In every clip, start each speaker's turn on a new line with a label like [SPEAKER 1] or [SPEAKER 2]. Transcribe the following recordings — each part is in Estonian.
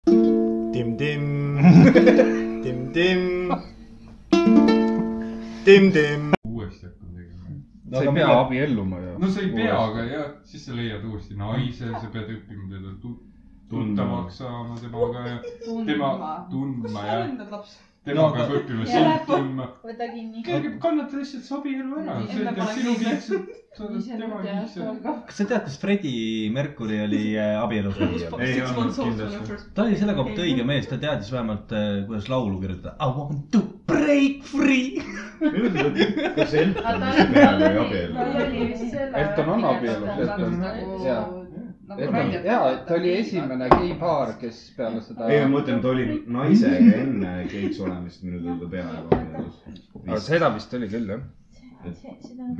[SPEAKER 1] Tim-tim , tim-tim , tim-tim .
[SPEAKER 2] uuesti hakkad tegema .
[SPEAKER 3] sa ei pea . abielluma ju .
[SPEAKER 2] no sa ei pea , aga jah , siis sa leiad uuesti naise , sa pead õppima teda tu- tuntavaks saama temaga ja tema
[SPEAKER 4] tundma .
[SPEAKER 2] tundma
[SPEAKER 4] kus sa
[SPEAKER 2] ja
[SPEAKER 4] lendad laps ?
[SPEAKER 2] tema peab õppima sind tundma .
[SPEAKER 5] võta kinni .
[SPEAKER 2] keegi kannata lihtsalt see abielu ära ,
[SPEAKER 4] Enne
[SPEAKER 2] see teeb
[SPEAKER 4] pole
[SPEAKER 2] sinu
[SPEAKER 4] keegi-
[SPEAKER 2] lihtsalt , sa oled
[SPEAKER 4] ise
[SPEAKER 2] tema
[SPEAKER 4] nüüd jah , see
[SPEAKER 2] lihtsalt .
[SPEAKER 4] algab .
[SPEAKER 6] kas sa tead , kas Freddie Mercury oli äh, abielus või ?
[SPEAKER 2] Ei
[SPEAKER 4] Six
[SPEAKER 2] olnud
[SPEAKER 4] months old when
[SPEAKER 2] kindlasti.
[SPEAKER 4] I first-
[SPEAKER 6] ta oli selle kohta õige mees , ta teadis vähemalt , kuidas laulu kirjutada . I want to break free .
[SPEAKER 3] kas
[SPEAKER 5] aga
[SPEAKER 3] Elton
[SPEAKER 5] ta
[SPEAKER 3] oli peaaegu ei
[SPEAKER 5] oli , ta oli
[SPEAKER 3] abiellunud ?
[SPEAKER 5] vist selle .
[SPEAKER 3] Elton on abielus, Elton
[SPEAKER 4] Nagu-
[SPEAKER 3] on- jaa.
[SPEAKER 4] nagu
[SPEAKER 3] Elton
[SPEAKER 4] välja- ,
[SPEAKER 3] jaa , ta oli esimene gei paar , kes peale seda .
[SPEAKER 7] ei , ma mõtlen , ta oli naisega enne geiks olemist , minu teada peaaegu
[SPEAKER 3] aga
[SPEAKER 7] abiellus .
[SPEAKER 3] seda vist oli küll jah .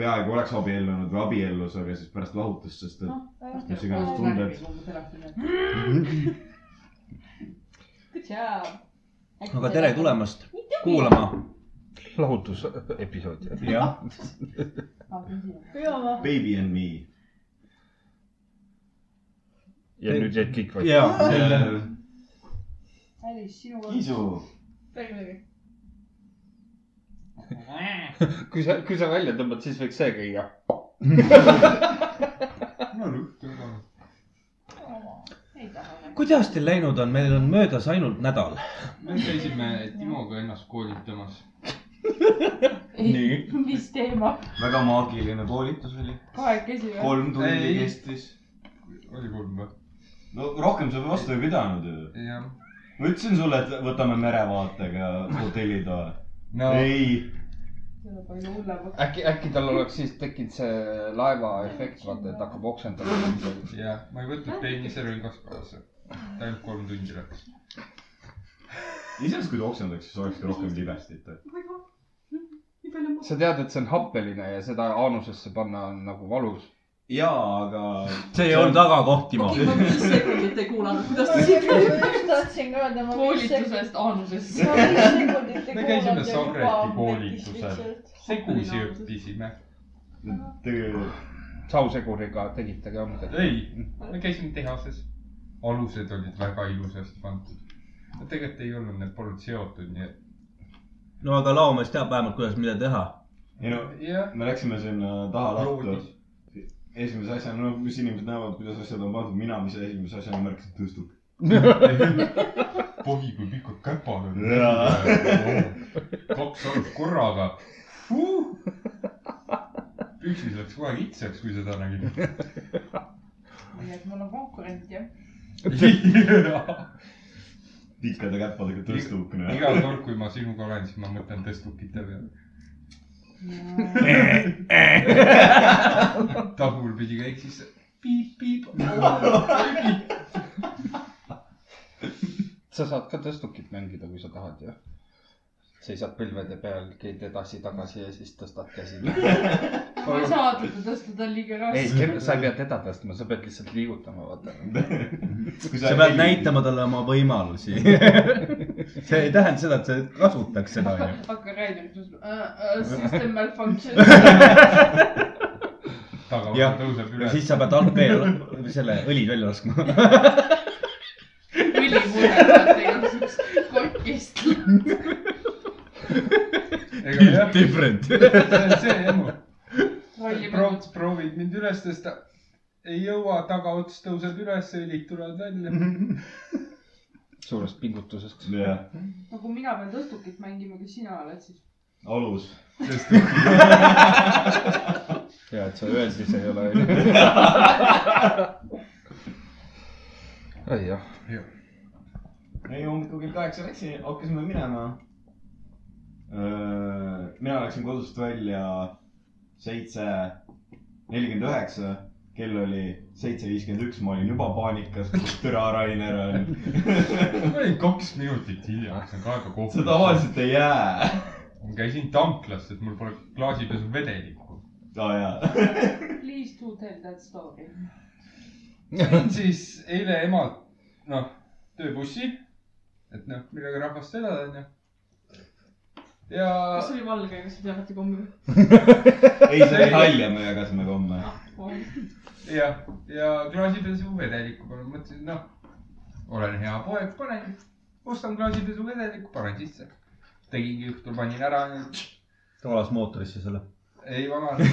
[SPEAKER 7] peaaegu oleks abiellunud või abiellus , aga siis pärast lahutas , sest et mis iganes tunded .
[SPEAKER 4] Good job .
[SPEAKER 6] aga tere . tulemast kuulama .
[SPEAKER 3] lahutusepisood .
[SPEAKER 6] jah ,
[SPEAKER 7] Baby and me .
[SPEAKER 3] ja nüüd jäid kõik vait .
[SPEAKER 6] ja .
[SPEAKER 4] Alice , sinu kord .
[SPEAKER 7] Kiisu .
[SPEAKER 4] räägi midagi .
[SPEAKER 3] kui sa , kui sa välja tõmbad , siis võiks see käia .
[SPEAKER 2] mul on õhtu ära .
[SPEAKER 4] ei taha .
[SPEAKER 6] kuidas teil läinud on , meil on möödas ainult nädal .
[SPEAKER 2] me käisime Timoga ennast koolitamas .
[SPEAKER 4] ei , mis teema ?
[SPEAKER 7] väga maagiline koolitus oli .
[SPEAKER 4] kahekesi või ?
[SPEAKER 7] kolm tundi
[SPEAKER 2] Ei.
[SPEAKER 7] kestis .
[SPEAKER 2] oli kolm või ?
[SPEAKER 7] no rohkem sa vastu ei pidanud ju .
[SPEAKER 2] jah .
[SPEAKER 7] ma ütlesin sulle , et võtame merevaatega hotellitoa .
[SPEAKER 2] no
[SPEAKER 7] ei ,
[SPEAKER 4] selle palju hullemaks .
[SPEAKER 3] äkki , äkki tal oleks siis tekkinud see laeva efekt , vaata , et hakkab oksendama .
[SPEAKER 2] jah , ma ei võtnud peeniserõngast kaasa . ainult kolm tundi läks .
[SPEAKER 7] isegi kui ta oksendaks , siis olekski rohkem libestit .
[SPEAKER 4] nii palju ma .
[SPEAKER 3] sa tead , et see on happeline ja seda aanusesse panna on nagu valus .
[SPEAKER 7] jaa , aga .
[SPEAKER 6] see ei olnud aga koht , Timo .
[SPEAKER 4] okei , ma viis sekundit ei kuulanud , kuidas ta siin
[SPEAKER 5] just tahtsin ka öelda , ma viis sekundit .
[SPEAKER 4] koolitusest aanusest .
[SPEAKER 5] ma viis sekundit ei
[SPEAKER 2] Me
[SPEAKER 5] kuulanud
[SPEAKER 2] käisime
[SPEAKER 5] ja juba
[SPEAKER 2] Sagreti
[SPEAKER 5] ammendis
[SPEAKER 2] koolitusel.
[SPEAKER 5] lihtsalt.
[SPEAKER 2] segusi õppisime .
[SPEAKER 3] sauseguriga tegite ka midagi ?
[SPEAKER 2] ei , me käisime tehases . alused olid väga ilusasti pandud . no tegelikult ei olnud , need polnud seotud , nii et .
[SPEAKER 6] no aga laomees teab vähemalt , kuidas mida teha .
[SPEAKER 7] ei no ,
[SPEAKER 2] jah .
[SPEAKER 7] me läksime sinna taha lattu
[SPEAKER 2] Roodis. .
[SPEAKER 7] esimese asjana , no mis inimesed näevad , kuidas asjad on pandud , mina , mis esimese asjana märkasin , tõstub .
[SPEAKER 2] pohi , kui pikad käpad on
[SPEAKER 7] Jaa. .
[SPEAKER 2] kaks alust korraga huh! . püksis läks kohe kitsaks , kui seda nägin .
[SPEAKER 4] nii et mul on konkurent jah .
[SPEAKER 7] pikkade käppadega tõstub .
[SPEAKER 2] iga kord , kui ma sinuga olen , siis ma mõtlen tõstukite peale . tagurpidi käiks siis piip-piip .
[SPEAKER 3] sa saad ka tõstukit mängida , kui sa tahad ju . seisad põlvede peal , keed edasi-tagasi ja siis tõstad käsi .
[SPEAKER 4] ma ei saa teda tõsta , ta on liiga
[SPEAKER 3] ei
[SPEAKER 4] raske .,
[SPEAKER 3] sa ei pea teda tõstma , sa pead lihtsalt liigutama , vaata .
[SPEAKER 7] noh.
[SPEAKER 6] sa pead . näitama talle oma võimalusi . see ei tähenda seda , et sa kasutaks seda , onju .
[SPEAKER 4] hakka rääkima , äh, system malfunction .
[SPEAKER 2] tagaosa
[SPEAKER 6] Jah.
[SPEAKER 2] tõuseb
[SPEAKER 6] ja
[SPEAKER 2] üles
[SPEAKER 6] siis sa pead alt veel selle õli välja laskma .
[SPEAKER 4] õli muudab tegelikult kokist .
[SPEAKER 2] ega jah ,
[SPEAKER 6] different .
[SPEAKER 2] see on see emu .
[SPEAKER 4] rollimängud .
[SPEAKER 2] Proots proovib mind üles tõsta . ei jõua , tagaots tõuseb üles , õlid tulevad välja .
[SPEAKER 3] suurest pingutusest .
[SPEAKER 7] jah ,
[SPEAKER 4] no kui mina pean tõstukit mängima , kes sina oled siis ?
[SPEAKER 7] alus .
[SPEAKER 3] ja et sa öeldis ei ole . ai jah ,
[SPEAKER 7] ei , hommikul kell kaheksa läksin , hakkasime minema . mina läksin kodust välja seitse nelikümmend üheksa , kell oli seitse viiskümmend üks , ma olin juba paanikas , türa Rainer on .
[SPEAKER 2] ma olin kaks minutit hilja , see on ka aega kohv .
[SPEAKER 7] sa tavaliselt ei jää .
[SPEAKER 2] ma käisin tanklas , et mul pole klaasipesu vedelikku .
[SPEAKER 7] aa jaa .
[SPEAKER 4] Please do tell that story .
[SPEAKER 2] siis eile emalt , noh , tööbussi , et noh , millega rahvast elada , onju . ja
[SPEAKER 4] kas see oli valge , kas te jagate kommi või ?
[SPEAKER 7] ei , see oli nalja , me jagasime komme .
[SPEAKER 4] Ah,
[SPEAKER 2] jah , ja klaasipesu vedelikku panen , mõtlesin , noh , olen hea poeg , panen . ostan klaasipesuvedeliku , panen sisse . tegingi õhtul , panin ära ,
[SPEAKER 6] valas mootorisse selle .
[SPEAKER 2] ei valanud .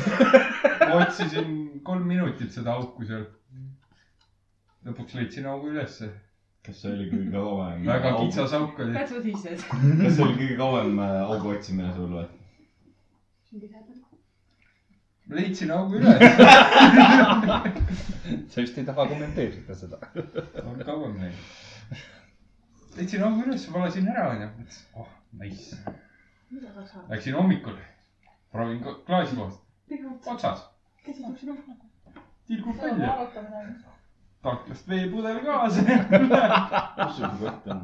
[SPEAKER 2] otsisin kolm minutit seda auku seal . lõpuks leidsin augu ülesse .
[SPEAKER 7] kas see oli kõige kauem ?
[SPEAKER 2] väga . kitsas auk oli .
[SPEAKER 4] That's what he says .
[SPEAKER 7] kas see oli kõige kauem äh, augu otsimine sul või ?
[SPEAKER 2] leidsin augu üles .
[SPEAKER 3] sa vist ei taha kommenteerida seda .
[SPEAKER 2] on kauem läinud . leidsin augu üles , valasin ära onju . mõtlesin , oh nice . Läksin hommikul , proovin ko- klaasi kohast , otsas , tilgub välja , tanklast veepudel kaasa .
[SPEAKER 7] kus sul see kott on ?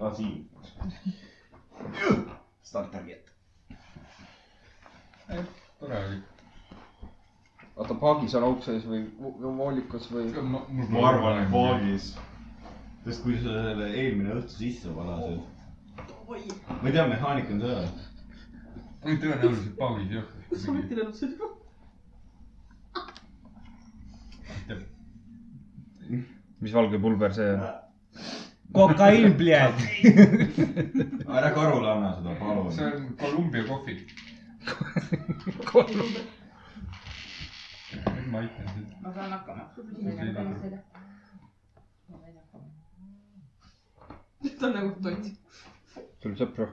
[SPEAKER 7] aa , siin . Starter kett .
[SPEAKER 2] tore oli .
[SPEAKER 3] oota , paagis on auk sees või vo- voolikus või ?
[SPEAKER 7] ma arvan , et . voodis . sest kui sa selle eelmine õhtu sisse valasid . ma ei tea , mehaanik on seal .
[SPEAKER 2] tõenäoliselt Paulis jah .
[SPEAKER 8] kus sa oled pidanud sõitma ?
[SPEAKER 3] mis valge pulber see on ?
[SPEAKER 6] kokaiin , pljääd .
[SPEAKER 7] ära Karule anna seda , palun .
[SPEAKER 2] see on Kolumbia kohvik . nüüd ma aitan sind .
[SPEAKER 4] ma saan hakkama .
[SPEAKER 8] ta on nagu tont .
[SPEAKER 3] sul sõpru ?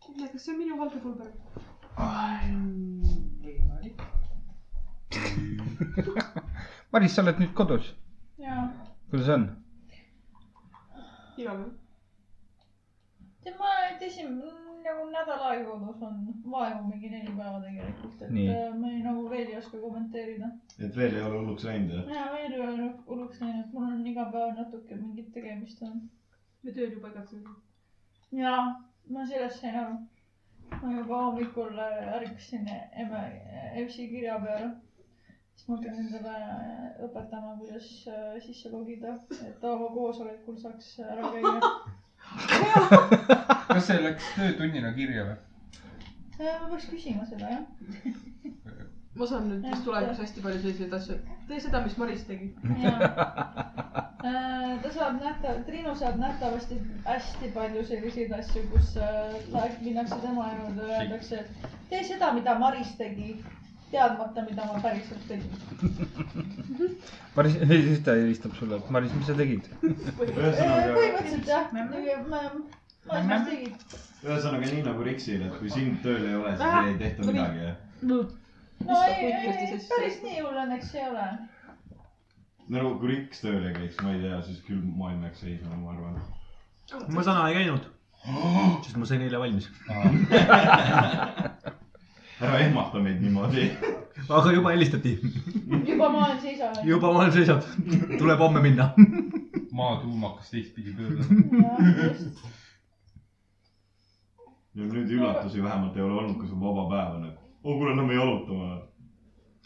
[SPEAKER 8] kuule , kas see on minu valge pulber ?
[SPEAKER 4] võimalik .
[SPEAKER 3] Maris , sa oled nüüd kodus .
[SPEAKER 4] jaa .
[SPEAKER 3] kuidas on ?
[SPEAKER 8] igav jah ?
[SPEAKER 5] ma esimene nagu nädal aega kodus on , vaevu mingi neli päeva tegelikult , et
[SPEAKER 3] Nii.
[SPEAKER 5] äh, ma ei, nagu veel ei oska kommenteerida .
[SPEAKER 7] et veel ei ole hulluks läinud jah ?
[SPEAKER 5] mina veel ei ole nagu hulluks läinud , mul on iga päev natuke mingit tegemist on .
[SPEAKER 8] me tööl juba igatseme .
[SPEAKER 5] jaa , ma sellest sain aru . ma juba hommikul äh, ärkasin emme , EBS-i kirja peale . siis ma hakkasin talle õpetama , kuidas äh, sisse logida , et ta oma koosolekul saaks ära käia .
[SPEAKER 2] kas see läks töötunnina kirja või ?
[SPEAKER 5] Äh, ma peaks küsima seda jah .
[SPEAKER 8] ma saan nüüd vist tulevikus hästi palju selliseid asju . tee seda , mis Maris tegi .
[SPEAKER 5] ta Äh, saab nähta- , Triinu saab nähtavasti hästi palju selliseid asju , kus äh, läheb , minnakse tema juurde , öeldakse , et tee seda , mida Maris tegi , teadmata , mida ma päriselt tegin .
[SPEAKER 3] Maris , siis ta helistab sulle , et Maris , mis sa tegid ?
[SPEAKER 7] ühesõnaga ,
[SPEAKER 5] Äh, põhimõtteliselt jah , ma , ma ei saa tegin .
[SPEAKER 7] ühesõnaga nii nagu Riksil , et kui sind tööl ei ole , siis ei tehta midagi jah ?
[SPEAKER 5] no ei , ei , päris nii hull õnneks ei ole .
[SPEAKER 7] no nagu kui Riks tööle käiks , ma ei tea , siis küll maailm jääks seisma , ma arvan .
[SPEAKER 8] ma
[SPEAKER 6] ma täna ei käinud , sest ma sain eile valmis .
[SPEAKER 7] ära ehmata meid niimoodi .
[SPEAKER 6] aga juba helistati ,
[SPEAKER 5] juba ma olen seisanud .
[SPEAKER 6] juba vahel seisab , tuleb homme minna .
[SPEAKER 2] maa tuum hakkas teistpidi pöörlema .
[SPEAKER 7] ja nüüd üllatusi vähemalt ei ole olnud , kui sul vaba päev on , et oo kuule , lähme jalutama .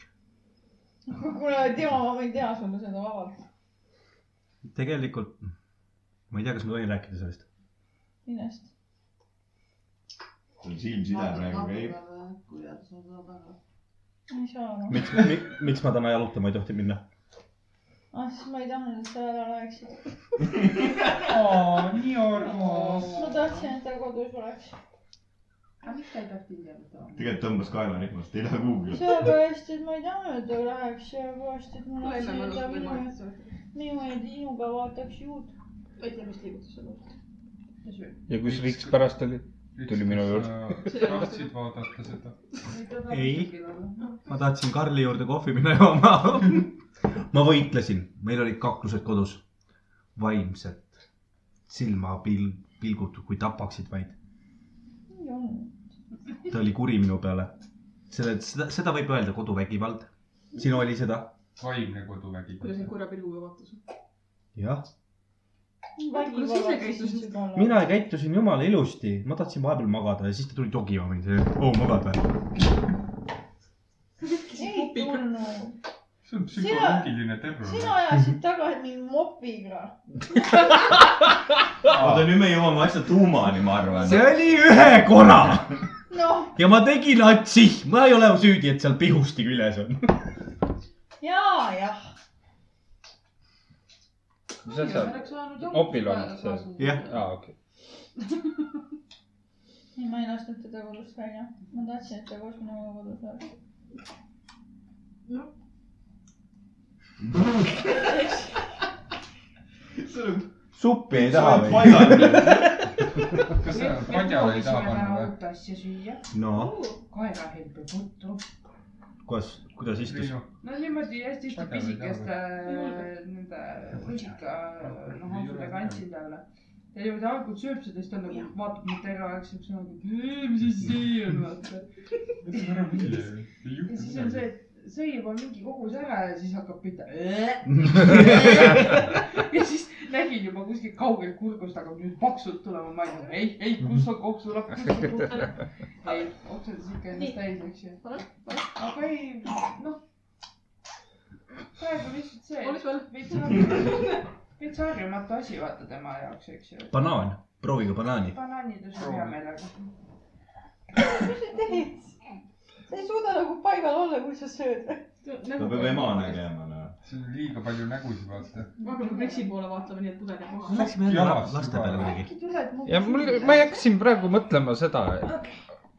[SPEAKER 5] kuule , Timo , ma võin teha sulle seda vabalt .
[SPEAKER 6] tegelikult , ma ei tea , kas ma tohin rääkida sellest .
[SPEAKER 5] minest .
[SPEAKER 7] sul silmside praegu käib .
[SPEAKER 8] kuidas ma seda tahan ?
[SPEAKER 5] ei saa aru .
[SPEAKER 6] miks , miks ma täna jalutama ei tohtinud minna ?
[SPEAKER 5] ah , siis ma ei tahtnud , et sa ära läheksid .
[SPEAKER 2] nii armas .
[SPEAKER 5] ma tahtsin , et ta kodus oleks .
[SPEAKER 4] aga miks ta ei peaks pildile võtma ?
[SPEAKER 7] tegelikult tõmbas kaelarihmast , ei lähe kuhugi .
[SPEAKER 5] sellepärast , et ma ei tahtnud , et ta läheks , sellepärast et ma
[SPEAKER 8] ma enne
[SPEAKER 5] tahtsin , et ta
[SPEAKER 8] mõnusalt ei
[SPEAKER 5] minu ,
[SPEAKER 8] maininud .
[SPEAKER 5] minu ja Tiinuga vaataks juut .
[SPEAKER 8] ma ei tea , mis liigutus see on .
[SPEAKER 3] ja kus Riks pärast oli ? Tuli minu
[SPEAKER 2] juurde . äh, tahtsid vaadata seda ?
[SPEAKER 6] Ei. . ma tahtsin Karli juurde kohvi minna jooma . ma võitlesin , meil olid kaklused kodus , vaimselt , silmapilg , pilgud kui tapaksid vaid . ta oli kuri minu peale . selle , seda , seda võib öelda koduvägivald . sinu oli seda ?
[SPEAKER 2] vaimne koduvägi
[SPEAKER 8] kuidas . neid korra pilguga vaatas ?
[SPEAKER 6] jah .
[SPEAKER 8] Kuidas sa ise käitusid? ?
[SPEAKER 6] mina käitusin jumala ilusti , ma tahtsin vahepeal magada ja siis ta tuli togima mind , oo "Oh, magad või ?
[SPEAKER 5] ei tulnud .
[SPEAKER 2] see on psühholoogiline terror .
[SPEAKER 5] sina ajasid taga mind mopiga .
[SPEAKER 7] oota , nüüd me jõuame asja tuumani , ma arvan .
[SPEAKER 6] see oli ühe korra
[SPEAKER 5] noh ,
[SPEAKER 6] ja ma tegin atsi , ma ei ole süüdi , et seal pihusti küljes on .
[SPEAKER 5] jaa , jah .
[SPEAKER 3] mis asja ? Opil on see-
[SPEAKER 6] Jah.
[SPEAKER 3] aa , okei .
[SPEAKER 5] ei , ma ei lasknud teda kodust välja . ma tahtsin , et ta koos minuga kodus oleks .
[SPEAKER 3] suppi ei
[SPEAKER 7] sa
[SPEAKER 3] taha
[SPEAKER 7] oled
[SPEAKER 3] või ?
[SPEAKER 7] paigal .
[SPEAKER 2] kas sa padjale ei taha panna või ?
[SPEAKER 9] uut asja süüa ,
[SPEAKER 6] no ,
[SPEAKER 9] koera helbe putru .
[SPEAKER 6] kuidas , kuidas istus ?
[SPEAKER 2] Triinu ,
[SPEAKER 9] no niimoodi hästi-hästi
[SPEAKER 2] Padjale ei taha
[SPEAKER 9] pisikest äh, nende rusika , noh , hankudega andsin talle . ja niimoodi algul sööb seda , siis ta nagu vaatab mind terve aeg siukse nagu , mis asi see on , vaata .
[SPEAKER 2] võta ära vilja ju . ei
[SPEAKER 9] ja
[SPEAKER 2] juhtu
[SPEAKER 9] siis on see ,
[SPEAKER 2] midagi .
[SPEAKER 9] et sõi juba mingi kogus ära ja siis hakkab pihta . ja siis nägin juba kuskilt kaugelt kurgust hakkab nüüd paksult tulema , ma ei tea , ei , ei , kus on kopsulapp , kus on kopsulapp . ei , oksendas ikka ennast täis , eks ju . aga ei , noh . praegu lihtsalt see
[SPEAKER 8] oleks veel .
[SPEAKER 9] veits harjumatu , veits harjumatu asi vaata tema jaoks , eks ju .
[SPEAKER 6] banaan , proovige banaani .
[SPEAKER 9] banaanid on sul hea meelega .
[SPEAKER 5] mis sa teed ? sa ei suuda nagu paigal olla , kui sa sööd .
[SPEAKER 7] ta peab ema . nägema , noh .
[SPEAKER 2] siin on liiga palju nägusid , vaata .
[SPEAKER 8] ma hakkan Brexi poole vaatama , nii et pudel jääb maha .
[SPEAKER 6] Läksime jälle
[SPEAKER 2] Jalas
[SPEAKER 6] laste peale kuidagi .
[SPEAKER 9] äkki tuled mu .
[SPEAKER 3] ja mul , ma hakkasin praegu mõtlema seda , et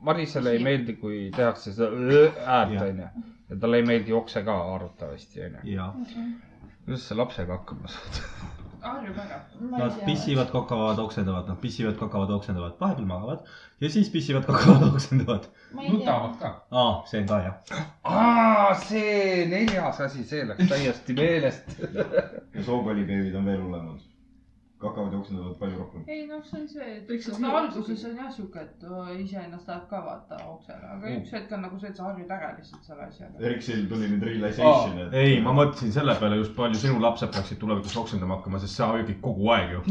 [SPEAKER 3] Marisele ei meeldi , kui tehakse seda "ö" häält ,
[SPEAKER 6] Jah.
[SPEAKER 3] onju . ja talle ei meeldi okse ka arvatavasti , onju .
[SPEAKER 6] ja
[SPEAKER 3] kuidas sa lapsega hakkama saad ?
[SPEAKER 9] harjub ära .
[SPEAKER 6] nad pissivad , kakavad , oksendavad , nad pissivad , kakavad , oksendavad , vahepeal magavad ja siis pissivad , kakavad , oksendavad .
[SPEAKER 2] nutavad ka .
[SPEAKER 6] aa , see on ka jah .
[SPEAKER 3] aa , see neljas asi , see läks täiesti meelest .
[SPEAKER 7] ja sookolibeebid on veel hullemad . kakavad jooksnud palju rohkem .
[SPEAKER 9] ei noh , see on see ,
[SPEAKER 8] Võiks
[SPEAKER 9] et
[SPEAKER 8] olla
[SPEAKER 9] no
[SPEAKER 8] nii.
[SPEAKER 9] alguses on jah siuke , et öö, iseennast tahab ka vaata oksele , aga mm. üks hetk on nagu see , et sa harjud ära lihtsalt selle asjaga .
[SPEAKER 7] Erik Sill tuli nüüd realization , et .
[SPEAKER 6] ei , ma mõtlesin selle peale , just palju sinu lapsed peaksid tulevikus oksendama hakkama , sest sa öögid kogu aeg ju .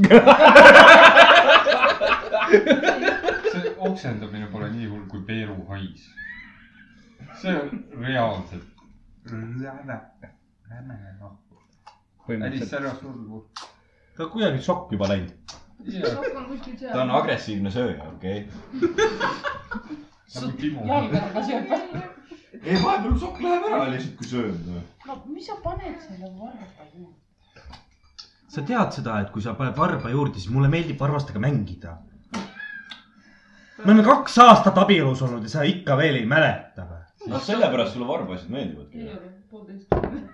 [SPEAKER 2] see oksendamine pole nii hull kui peeruhais . see on reaalselt räme , räme noh .
[SPEAKER 3] põhimõtteliselt
[SPEAKER 2] Alice , ära surgu .
[SPEAKER 6] ta on kuidagi šokk juba läinud .
[SPEAKER 2] jaa ,
[SPEAKER 8] rohkem kuskil seal .
[SPEAKER 7] ta on agressiivne sööja , okei okay? .
[SPEAKER 2] nagu Timo .
[SPEAKER 9] jalgadega sööb .
[SPEAKER 7] ei , vahepeal sokk läheb ära lihtsalt , kui sööb . noh.
[SPEAKER 9] no mis sa paned selle varba juurde ?
[SPEAKER 6] sa tead seda , et kui sa paned varba juurde , siis mulle meeldib varvastega mängida . me oleme kaks aastat abielus olnud ja sa ikka veel ei mäleta või ?
[SPEAKER 7] noh , sellepärast sulle varbasid meeldivadki
[SPEAKER 9] ei . ole , poolteist ,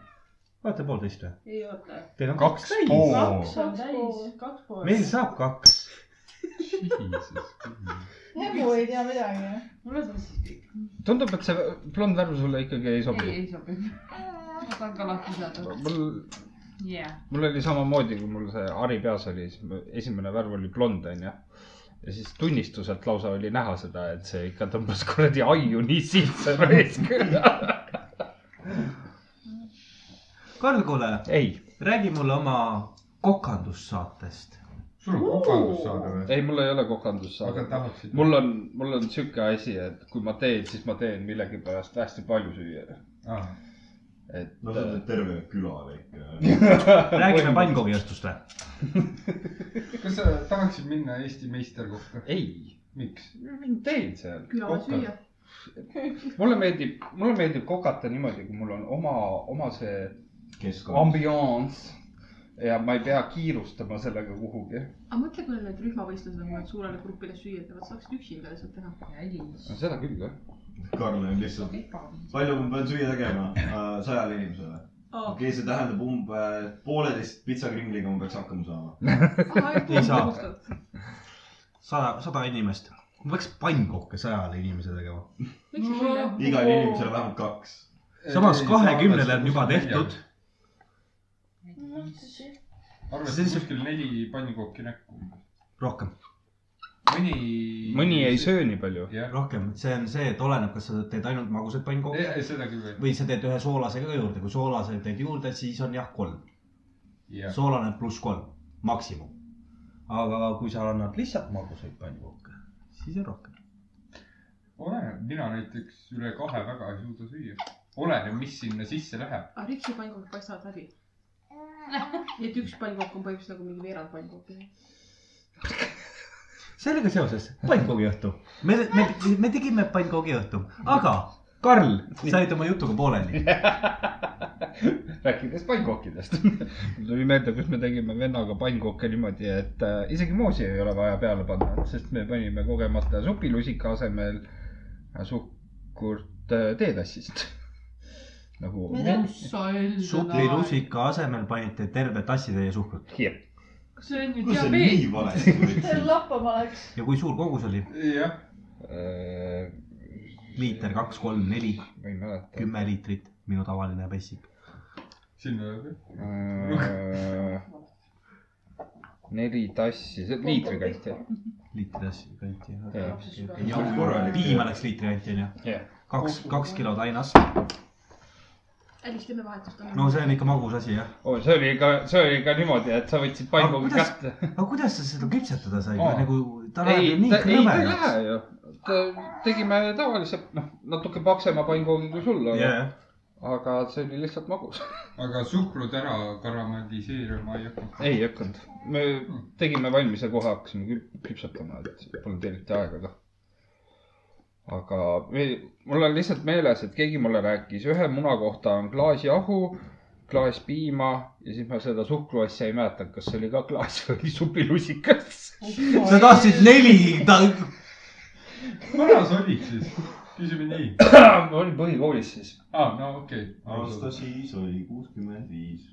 [SPEAKER 6] olete poolteist või ?
[SPEAKER 9] ei oota .
[SPEAKER 6] Teil on
[SPEAKER 2] kaks
[SPEAKER 6] täis.
[SPEAKER 2] pool .
[SPEAKER 9] kaks on täis , kaks pool .
[SPEAKER 6] meil saab kaks .
[SPEAKER 5] Hemu ei tea midagi .
[SPEAKER 9] mulle see siis kõik .
[SPEAKER 3] tundub , et see blond värv sulle ikkagi ei
[SPEAKER 9] ei ,
[SPEAKER 3] sobi .
[SPEAKER 9] ei sobi . ma saan ka lahti saada .
[SPEAKER 3] mul ,
[SPEAKER 9] jah .
[SPEAKER 3] mul oli samamoodi , kui mul see hari peas oli , siis mu esimene värv oli blond , onju . ja siis tunnistuselt lausa oli näha seda , et see ikka tõmbas kuradi aiu nii sisse raisk .
[SPEAKER 6] Karl , kuule ,
[SPEAKER 3] ei ,
[SPEAKER 6] räägi mulle oma kokandussaatest .
[SPEAKER 2] sul on kokandus saada või ?
[SPEAKER 3] ei , mul ei ole kokandus ,
[SPEAKER 2] aga
[SPEAKER 3] aga
[SPEAKER 2] tahaksid ?
[SPEAKER 3] mul on , mul on sihuke asi , et kui ma teen , siis ma teen millegipärast hästi palju süüa . et
[SPEAKER 7] no sa oled terve küla äh, kõik .
[SPEAKER 6] räägime pannkoogijastust või ?
[SPEAKER 2] kas sa tahaksid minna Eesti meisterkokka ?
[SPEAKER 3] ei ,
[SPEAKER 2] miks ?
[SPEAKER 3] mind teen seal .
[SPEAKER 8] küla süüa .
[SPEAKER 3] mulle meeldib , mulle meeldib kokata niimoodi , kui mul on oma , oma see
[SPEAKER 7] keskkond .
[SPEAKER 3] ambiaanss ja ma ei pea kiirustama sellega kuhugi .
[SPEAKER 8] aga mõtle , kui need rühmavõistlused on , kui nad suurele grupile süüa teevad , saaksid üksinda lihtsalt teha .
[SPEAKER 3] no seda küll jah .
[SPEAKER 7] Karl on lihtsalt , palju ma pean süüa tegema äh, sajale inimesele ? okei okay, , see tähendab umbe pooleteist pitsakringliga ma peaks hakkama saama .
[SPEAKER 6] Ei saa. . sada , sada inimest . ma peaks pannkooke sajale inimesele tegema .
[SPEAKER 7] igale inimesele vähemalt kaks .
[SPEAKER 6] samas kahekümnele on juba tehtud .
[SPEAKER 2] arvestad
[SPEAKER 6] Siis-
[SPEAKER 2] kuskil neli noh. pannkooki näkku .
[SPEAKER 6] rohkem ,
[SPEAKER 2] mõni .
[SPEAKER 3] mõni ei . söö nii palju .
[SPEAKER 2] jah ,
[SPEAKER 6] rohkem , see on see , et oleneb , kas sa teed ainult magusaid pannkooke
[SPEAKER 2] seda küll veel .
[SPEAKER 6] või sa teed ühe soolase ka juurde , kui soolase teed juurde , siis on jah kolm ,
[SPEAKER 2] jah ,
[SPEAKER 6] soolane pluss kolm , maksimum . aga kui sa annad lihtsalt magusaid pannkooke , siis on rohkem .
[SPEAKER 2] oleneb , mina näiteks üle kahe väga ei suuda süüa . oleneb , mis sinna sisse läheb .
[SPEAKER 8] aga riksi pannkoogid paistavad läbi . nii et üks pannkook on põhimõtteliselt nagu mingi veerand pannkooki .
[SPEAKER 6] sellega seoses pannkoogiõhtu , me , me , me tegime pannkoogiõhtu , aga Karl , sa jäid oma jutuga pooleli .
[SPEAKER 3] rääkides pannkookidest . mul tuli meelde , kus me tegime vennaga pannkooke niimoodi , et äh, isegi moosi ei ole vaja peale panna , sest me panime kogemata supilusika asemel suhkurt äh, teetassist . nagu .
[SPEAKER 6] supilusika asemel panite terve tassitäie suhkrut
[SPEAKER 9] kas see on nüüd
[SPEAKER 7] kuidas see
[SPEAKER 9] diabeet ?
[SPEAKER 7] nii valesti
[SPEAKER 5] see
[SPEAKER 7] tuli ?
[SPEAKER 5] lappama läks .
[SPEAKER 6] ja kui suur kogus oli ?
[SPEAKER 2] jah ,
[SPEAKER 6] liiter , kaks , kolm , neli ,
[SPEAKER 3] Äh, ma ei mäleta .
[SPEAKER 6] kümme liitrit , minu tavaline pessik .
[SPEAKER 2] siin ei ole küll .
[SPEAKER 3] Äh, neli tassi , see liitri kanti .
[SPEAKER 6] liitri tassi kanti .
[SPEAKER 7] Jah, korralik.
[SPEAKER 6] piima läks liitri kanti onju
[SPEAKER 3] Jah. .
[SPEAKER 6] kaks , kaks kilo tainas .
[SPEAKER 8] äkki teeme vahetust ?
[SPEAKER 6] no see on ikka magus asi jah .
[SPEAKER 3] oo , Oh, see oli ka , see oli ka niimoodi , et sa võtsid pannkoogid
[SPEAKER 6] Aga kuidas-
[SPEAKER 3] kätte .
[SPEAKER 6] aga kuidas sa seda küpsetada said
[SPEAKER 3] Aa.
[SPEAKER 6] oh. ? nagu ta läheb ju
[SPEAKER 3] ei ,
[SPEAKER 6] nii
[SPEAKER 3] ta , ei , ta ei
[SPEAKER 6] krõbedaks .
[SPEAKER 3] lähe ju . tegime tavalise , noh , natuke paksema pannkoogi kui sul , aga yeah. ,
[SPEAKER 6] jah ,
[SPEAKER 3] aga see oli lihtsalt magus .
[SPEAKER 2] aga suhkrut ära karamelliseerima ei hakanud .
[SPEAKER 3] ei hakanud , me tegime valmis ja kohe hakkasime kü- küpsetama , et polnud eriti aega ka . aga me- mul on lihtsalt meeles , et keegi mulle rääkis , ühe muna kohta on klaas jahu , klaas piima ja siis ma seda suhkruasja ei mäleta , kas see oli ka klaas või oli supilusikas .
[SPEAKER 6] sa tahtsid neli ta... ,
[SPEAKER 2] vanas olid siis , küsime nii .
[SPEAKER 3] ma olin põhikoolis siis ,
[SPEAKER 2] aa , Ah, no okei
[SPEAKER 7] aasta . siis oli kuuskümmend viis .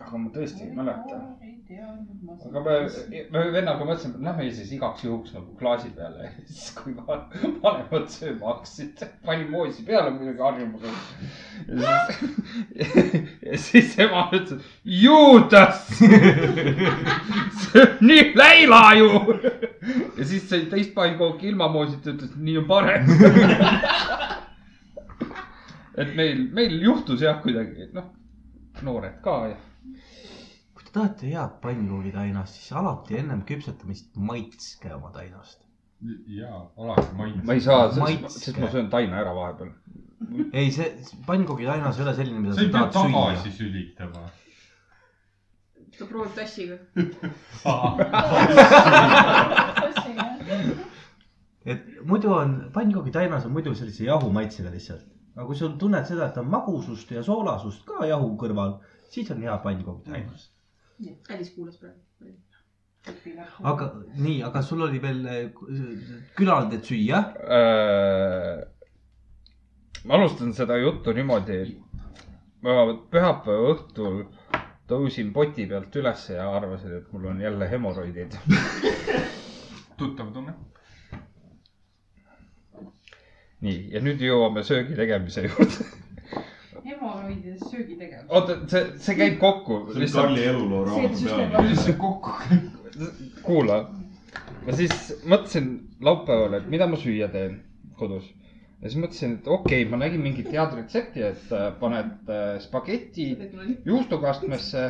[SPEAKER 3] aga ma tõesti ei mäleta .
[SPEAKER 9] ei teadnud ma
[SPEAKER 3] aga me , me vennaga mõtlesime , et lähme siis igaks juhuks nagu klaasi peale ja siis , kui va- vanemad sööma hakkasid , panime oosi peale muidugi harjumusel . ja siis , ja siis ema ütles , juudas , see on nii leila ju . ja siis sai teist pannkooki ilma moosita , ütles , nii on parem . et meil , meil juhtus jah , kuidagi noh , noored ka ja
[SPEAKER 6] kui te tahate head pannkoogi tainast , siis alati ennem küpsetamist maitske oma tainast .
[SPEAKER 2] jaa , alati maitse .
[SPEAKER 3] ma ei saa ,
[SPEAKER 6] Maitske.
[SPEAKER 3] sest ma söön taina ära vahepeal .
[SPEAKER 6] ei , see pannkoogi tainas ei ole selline , mida
[SPEAKER 2] sa ei
[SPEAKER 6] sa
[SPEAKER 2] pea
[SPEAKER 6] tahad süüa .
[SPEAKER 2] tagasi sülitama .
[SPEAKER 8] ta proovib tassiga .
[SPEAKER 6] et muidu on , pannkoogi tainas on muidu sellise jahu maitsega lihtsalt . aga kui sa tunned seda , et on magusust ja soolasust ka jahu kõrval , siis on hea pannkoogi tainas .
[SPEAKER 8] Alice kuulas praegu .
[SPEAKER 6] aga nii , aga sul oli veel eh, külaldajaid süüa .
[SPEAKER 3] Äh, ma alustan seda juttu niimoodi . ma pühapäeva õhtul tõusin poti pealt üles ja arvasin , et mul on jälle hemoroidid .
[SPEAKER 2] tuttav tunne .
[SPEAKER 3] nii , ja nüüd jõuame söögi tegemise juurde .
[SPEAKER 9] hemoroidides söögi tegemine .
[SPEAKER 3] oota , see , see käib kokku .
[SPEAKER 7] see oli Karli eluloo raamatu peal .
[SPEAKER 2] kuidas see kokku käib ?
[SPEAKER 3] kuula , ma siis mõtlesin laupäeval , et mida ma süüa teen kodus . ja siis mõtlesin , et okei okay, , ma nägin mingit head retsepti , et äh, paned äh, spageti juustokastmesse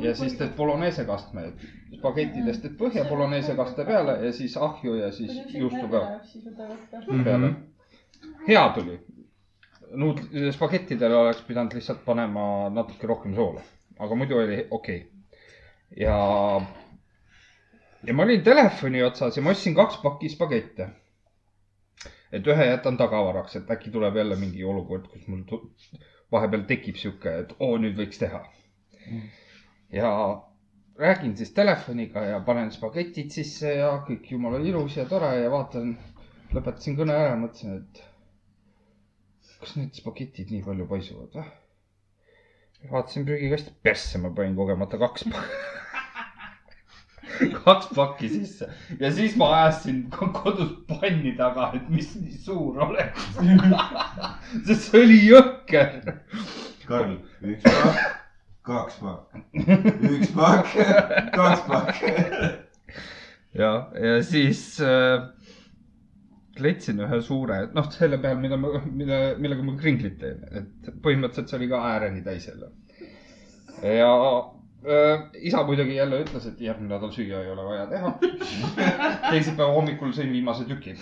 [SPEAKER 3] ja siis teed bolognese kastme , et spagettidest teed põhja bolognese kaste peale ja siis ahju ja siis juustu ka peale . Mhm. hea tuli . nuud- , spagettidele oleks pidanud lihtsalt panema natuke rohkem soola , aga muidu oli okei okay. . ja , ja ma olin telefoni otsas ja ma ostsin kaks pakki spagette . et ühe jätan tagavaraks , et äkki tuleb jälle mingi olukord , kus mul tu- vahepeal tekib sihuke , et oo , nüüd võiks teha . ja räägin siis telefoniga ja panen spagetid sisse ja kõik jumala ilus ja tore ja vaatan , lõpetasin kõne ära , mõtlesin , et kas need spagetid nii palju paisuvad või ? vaatasin prügikasti , persse ma panin kogemata kaks pakki , kaks pakki sisse ja siis ma ajasin ko- kodus panni taga , et mis nii suur oleks . sest see oli jõhker .
[SPEAKER 7] Karl , üks pakk , kaks pakk , üks pakk , kaks pakk .
[SPEAKER 3] ja , ja siis äh, leidsin ühe suure , noh , selle peal , mida ma , mille , millega ma kringlit teen , et põhimõtteliselt see oli ka ääreni täis jälle . ja äh, isa muidugi jälle ütles , et järgmine nädal süüa ei ole vaja teha . teisipäeva hommikul sõin viimase tüki .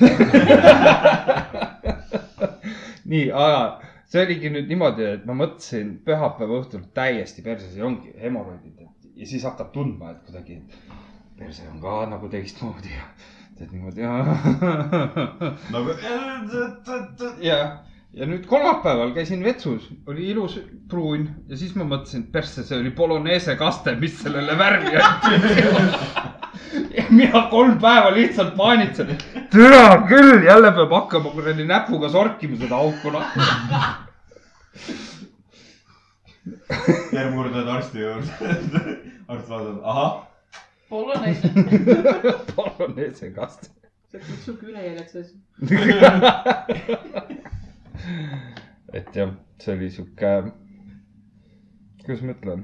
[SPEAKER 3] nii , aga see oligi nüüd niimoodi , et ma mõtlesin pühapäeva õhtul täiesti perses ja ongi hemoroidid et- ja siis hakkad tundma , et kuidagi , et perse on ka nagu teistmoodi ja teed niimoodi ja ,
[SPEAKER 7] nagu .
[SPEAKER 3] ja ja nüüd kolmapäeval käisin vetsus , oli ilus pruun ja siis ma mõtlesin , et persse , see oli Polonese kaste , mis sellele värvi andis . ja mina kolm päeva lihtsalt paanitsen , türa küll , jälle peab hakkama kuradi näpuga sorkima seda auku lahti .
[SPEAKER 7] järgmine kord lähed arsti juurde . arst vaatab , ahah ,
[SPEAKER 4] Polonaise .
[SPEAKER 3] Polonese kaste .
[SPEAKER 8] see on siuke ülejäljed sees .
[SPEAKER 3] et jah , see oli sihuke , kuidas ma ütlen .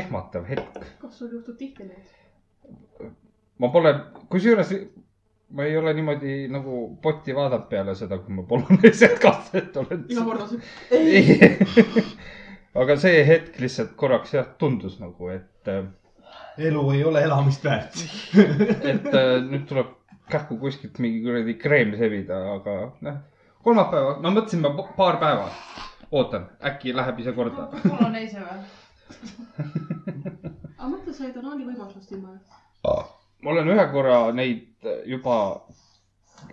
[SPEAKER 3] ehmatav hetk .
[SPEAKER 8] kas sul juhtub tihti neid ?
[SPEAKER 3] ma pole , kusjuures ma ei ole niimoodi nagu potti vaadanud peale seda , kui ma poloneiset kastet olen .
[SPEAKER 8] iga kord on see ,
[SPEAKER 3] aga see hetk lihtsalt korraks jah , tundus nagu , et ,
[SPEAKER 6] elu ei ole elamist väärt .
[SPEAKER 3] et äh, nüüd tuleb kähku kuskilt mingi kuradi kreem sebida , aga noh , kolmapäeva , ma mõtlesin , ma pa- paar päeva ootan , äkki läheb ise korda .
[SPEAKER 4] Polonaise või ?
[SPEAKER 8] aga mõtle , sa jäid anaalivõimalusest ilma .
[SPEAKER 3] ma olen ühe korra neid juba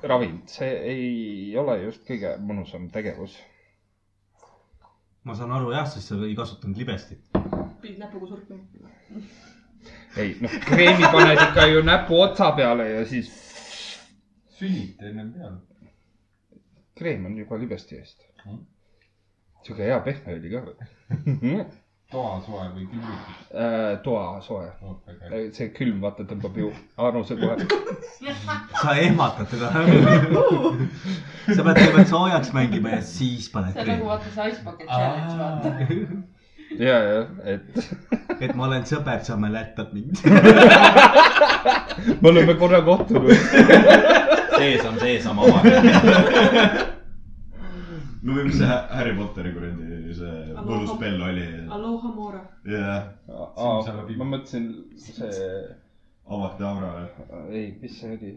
[SPEAKER 3] ravinud , see ei ole just kõige mõnusam tegevus .
[SPEAKER 6] ma saan aru jah , sest sa ei kasutanud libestit .
[SPEAKER 8] pidid näpuga surkima .
[SPEAKER 3] ei , noh , kreemi paned ikka ju näpu otsa peale ja siis
[SPEAKER 2] sünnite ennem peale .
[SPEAKER 3] kreem on juba libesti eest
[SPEAKER 2] Mm. .
[SPEAKER 3] sihuke hea pehme oli ka .
[SPEAKER 2] toasoe või külmutus .
[SPEAKER 3] Äh, toa soe , see külm , vaata , tõmbab ju anuse kohe .
[SPEAKER 6] sa ehmatad teda . sa pead kõigepealt soojaks mängima ja siis paned
[SPEAKER 9] see on nagu
[SPEAKER 6] kreemi .
[SPEAKER 9] vaata see Ice Bucket Challenge , vaata .
[SPEAKER 3] ja , ja , et
[SPEAKER 6] et ma olen sõber , sa mäletad mind .
[SPEAKER 3] me oleme korra kohtunud .
[SPEAKER 7] sees on seesama omane . no või mis see Harry Potteri kuradi see võluspell oli
[SPEAKER 8] Aloha Mora .
[SPEAKER 7] ja
[SPEAKER 3] ma mõtlesin , see ,
[SPEAKER 7] avati Avra või ?
[SPEAKER 3] Äh, ei , mis see oli ?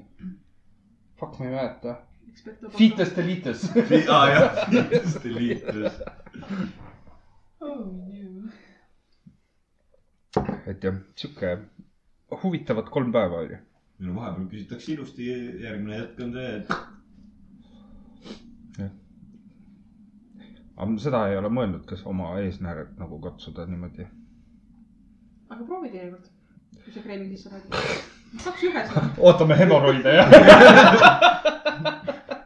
[SPEAKER 3] Fuck , ma ei mäleta .
[SPEAKER 8] ekspert .
[SPEAKER 3] Fiites delites .
[SPEAKER 7] aa jah , kindlasti liitus .
[SPEAKER 8] Oh,
[SPEAKER 3] et jah , sihuke huvitavad kolm päeva oli .
[SPEAKER 7] no vahepeal küsitakse ilusti , järgmine hetk on see , et
[SPEAKER 3] aga ma seda ei ole mõelnud , kas oma eesnääret nagu katsuda niimoodi .
[SPEAKER 8] aga proovi teinekord , kui sa kreemi sisse paned . saaks ühes .
[SPEAKER 3] ootame hemoroide , jah ?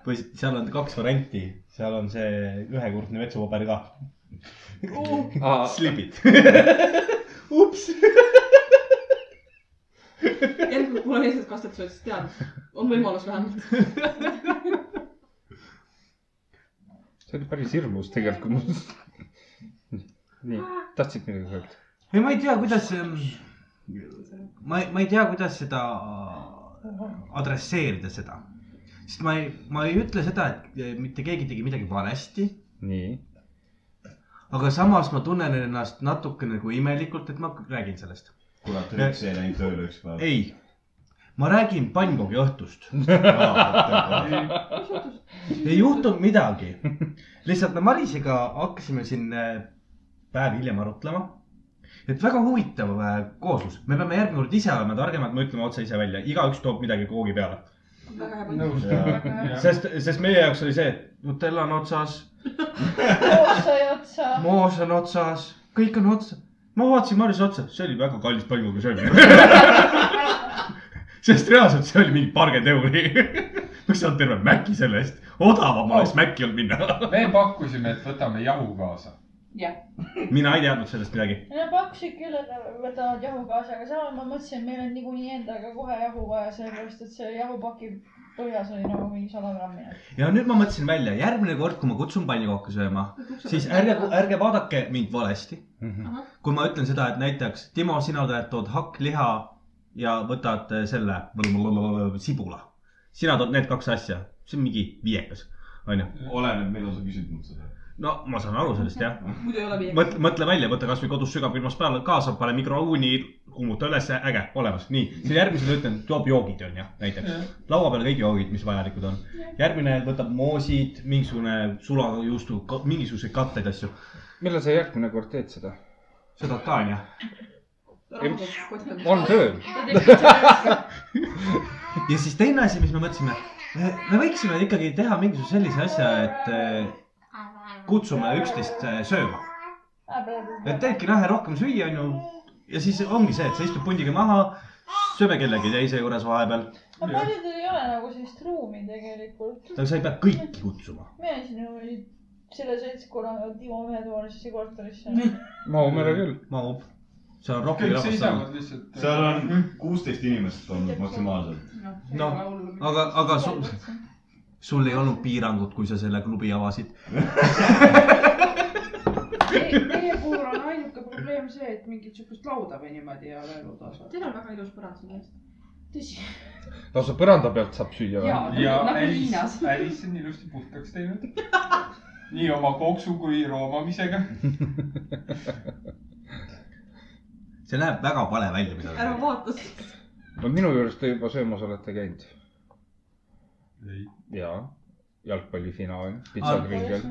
[SPEAKER 6] või seal on kaks varianti , seal on see ühekordne vetsupaber ka .
[SPEAKER 9] Oh.
[SPEAKER 8] Oh.
[SPEAKER 6] slipid . ups .
[SPEAKER 8] järgmine , kui mul on esimesed kastet sööd , siis tead , on võimalus vähemalt .
[SPEAKER 3] see oli päris hirmus tegelikult , kui ma . nii , tahtsid midagi öelda ?
[SPEAKER 6] ei , ma ei tea , kuidas , ma ei , ma ei tea , kuidas seda äh, adresseerida seda . sest ma ei , ma ei ütle seda , et äh, mitte keegi tegi midagi valesti ,
[SPEAKER 3] nii ,
[SPEAKER 6] aga samas ma tunnen ennast natuke nagu imelikult , et ma räägin sellest .
[SPEAKER 7] kurat , Riks ei läinud tööle üks päev .
[SPEAKER 6] ei , ma räägin pannkoogi õhtust , ei juhtunud midagi . lihtsalt me Marisega hakkasime siin äh, päev hiljem arutlema , et väga huvitav äh, kooslus , me peame järgmine kord ise olema targemad , me ütleme otse ise välja , igaüks toob midagi koogi peale .
[SPEAKER 8] väga hea point .
[SPEAKER 2] nõus .
[SPEAKER 6] sest , sest meie jaoks oli see , et Nutella on otsas ,
[SPEAKER 5] koostöö otsa .
[SPEAKER 6] moos on otsas , kõik on otsas . ma vaatasin Marise otsa , see oli väga kallis pannkoogi söömine . sest reaalselt see oli mingi paarkümmend euri . oleks saanud terve Maci selle eest , odavam oleks Maci olnud minna .
[SPEAKER 2] me pakkusime , et võtame jahu kaasa .
[SPEAKER 6] mina ei teadnud sellest midagi .
[SPEAKER 5] no pakkusid küll , et nad võtavad jahu kaasa , aga samas ma mõtlesin , et meil on niikuinii endaga kohe jahu vaja , sellepärast et see jahupaki põhjas oli nagu mingi sada grammi .
[SPEAKER 6] ja nüüd ma mõtlesin välja , järgmine kord , kui ma kutsun pannkooke sööma , siis ärge , ärge vaadake mind valesti .
[SPEAKER 3] Mhm.
[SPEAKER 6] kui ma ütlen seda , et näiteks Timo , sina tead , tood hakkliha ja võtad eh, selle sibula . sina tood need kaks asja , see on mingi viiekas , onju .
[SPEAKER 7] oleneb , millal sa küsid mult seda .
[SPEAKER 6] no ma saan aru sellest jah .
[SPEAKER 8] muidu ei ole viie .
[SPEAKER 6] mõtle , mõtle välja , võta kasvõi kodus sügavkülmas peale kaasa , pane mikrouuni , kuumuta üles , äge , olemas , nii . siis järgmisele ütlen , toob joogid onju , näiteks . laua peal kõik joogid , mis vajalikud on . järgmine võtab moosid , mingisugune sulajuustu , mingisuguseid katteid , asju .
[SPEAKER 3] millal sa järgmine kord teed seda ?
[SPEAKER 6] seda ka onju .
[SPEAKER 3] on töö .
[SPEAKER 6] ja siis teine asi , mis me mõtlesime , me võiksime ikkagi teha mingisuguse sellise asja , et eh, kutsume üksteist eh, sööma . et teedki lähe rohkem süüa , onju . ja siis ongi see , et sa istud pundiga maha , sööme kellegi teise juures vahepeal .
[SPEAKER 5] aga paljudel ei ole nagu sellist ruumi tegelikult .
[SPEAKER 6] aga sa ei pea kõiki kutsuma .
[SPEAKER 5] mina siin ju selle seltskonna Timo ühetoalisesse korterisse .
[SPEAKER 3] Maumere küll .
[SPEAKER 6] mahub . seal on rohkem
[SPEAKER 2] kõik
[SPEAKER 6] rahvast saanud .
[SPEAKER 2] seisavad lihtsalt .
[SPEAKER 7] seal on kuusteist inimest olnud maksimaalselt .
[SPEAKER 6] Noh, aga , aga sul , sul ei olnud piirangut , kui sa selle klubi avasid .
[SPEAKER 9] meie puhul on ainuke probleem see , et mingit siukest lauda või niimoodi ei ole elu tasa .
[SPEAKER 8] Teil on väga ilus põrand siin ees .
[SPEAKER 9] tõsi .
[SPEAKER 3] lausa põranda pealt saab süüa või ?
[SPEAKER 2] ja
[SPEAKER 9] ja nagu Hiinas .
[SPEAKER 2] Alice , Alice on ilusti puhtaks teinud . nii oma koksu kui roomamisega .
[SPEAKER 6] see näeb väga vale välja , mida ta
[SPEAKER 8] ära
[SPEAKER 6] teeb .
[SPEAKER 8] vaata siis .
[SPEAKER 3] no minu juures te juba söömas olete käinud .
[SPEAKER 2] ei ,
[SPEAKER 3] jaa , jalgpallifinaal , pitsakriigel .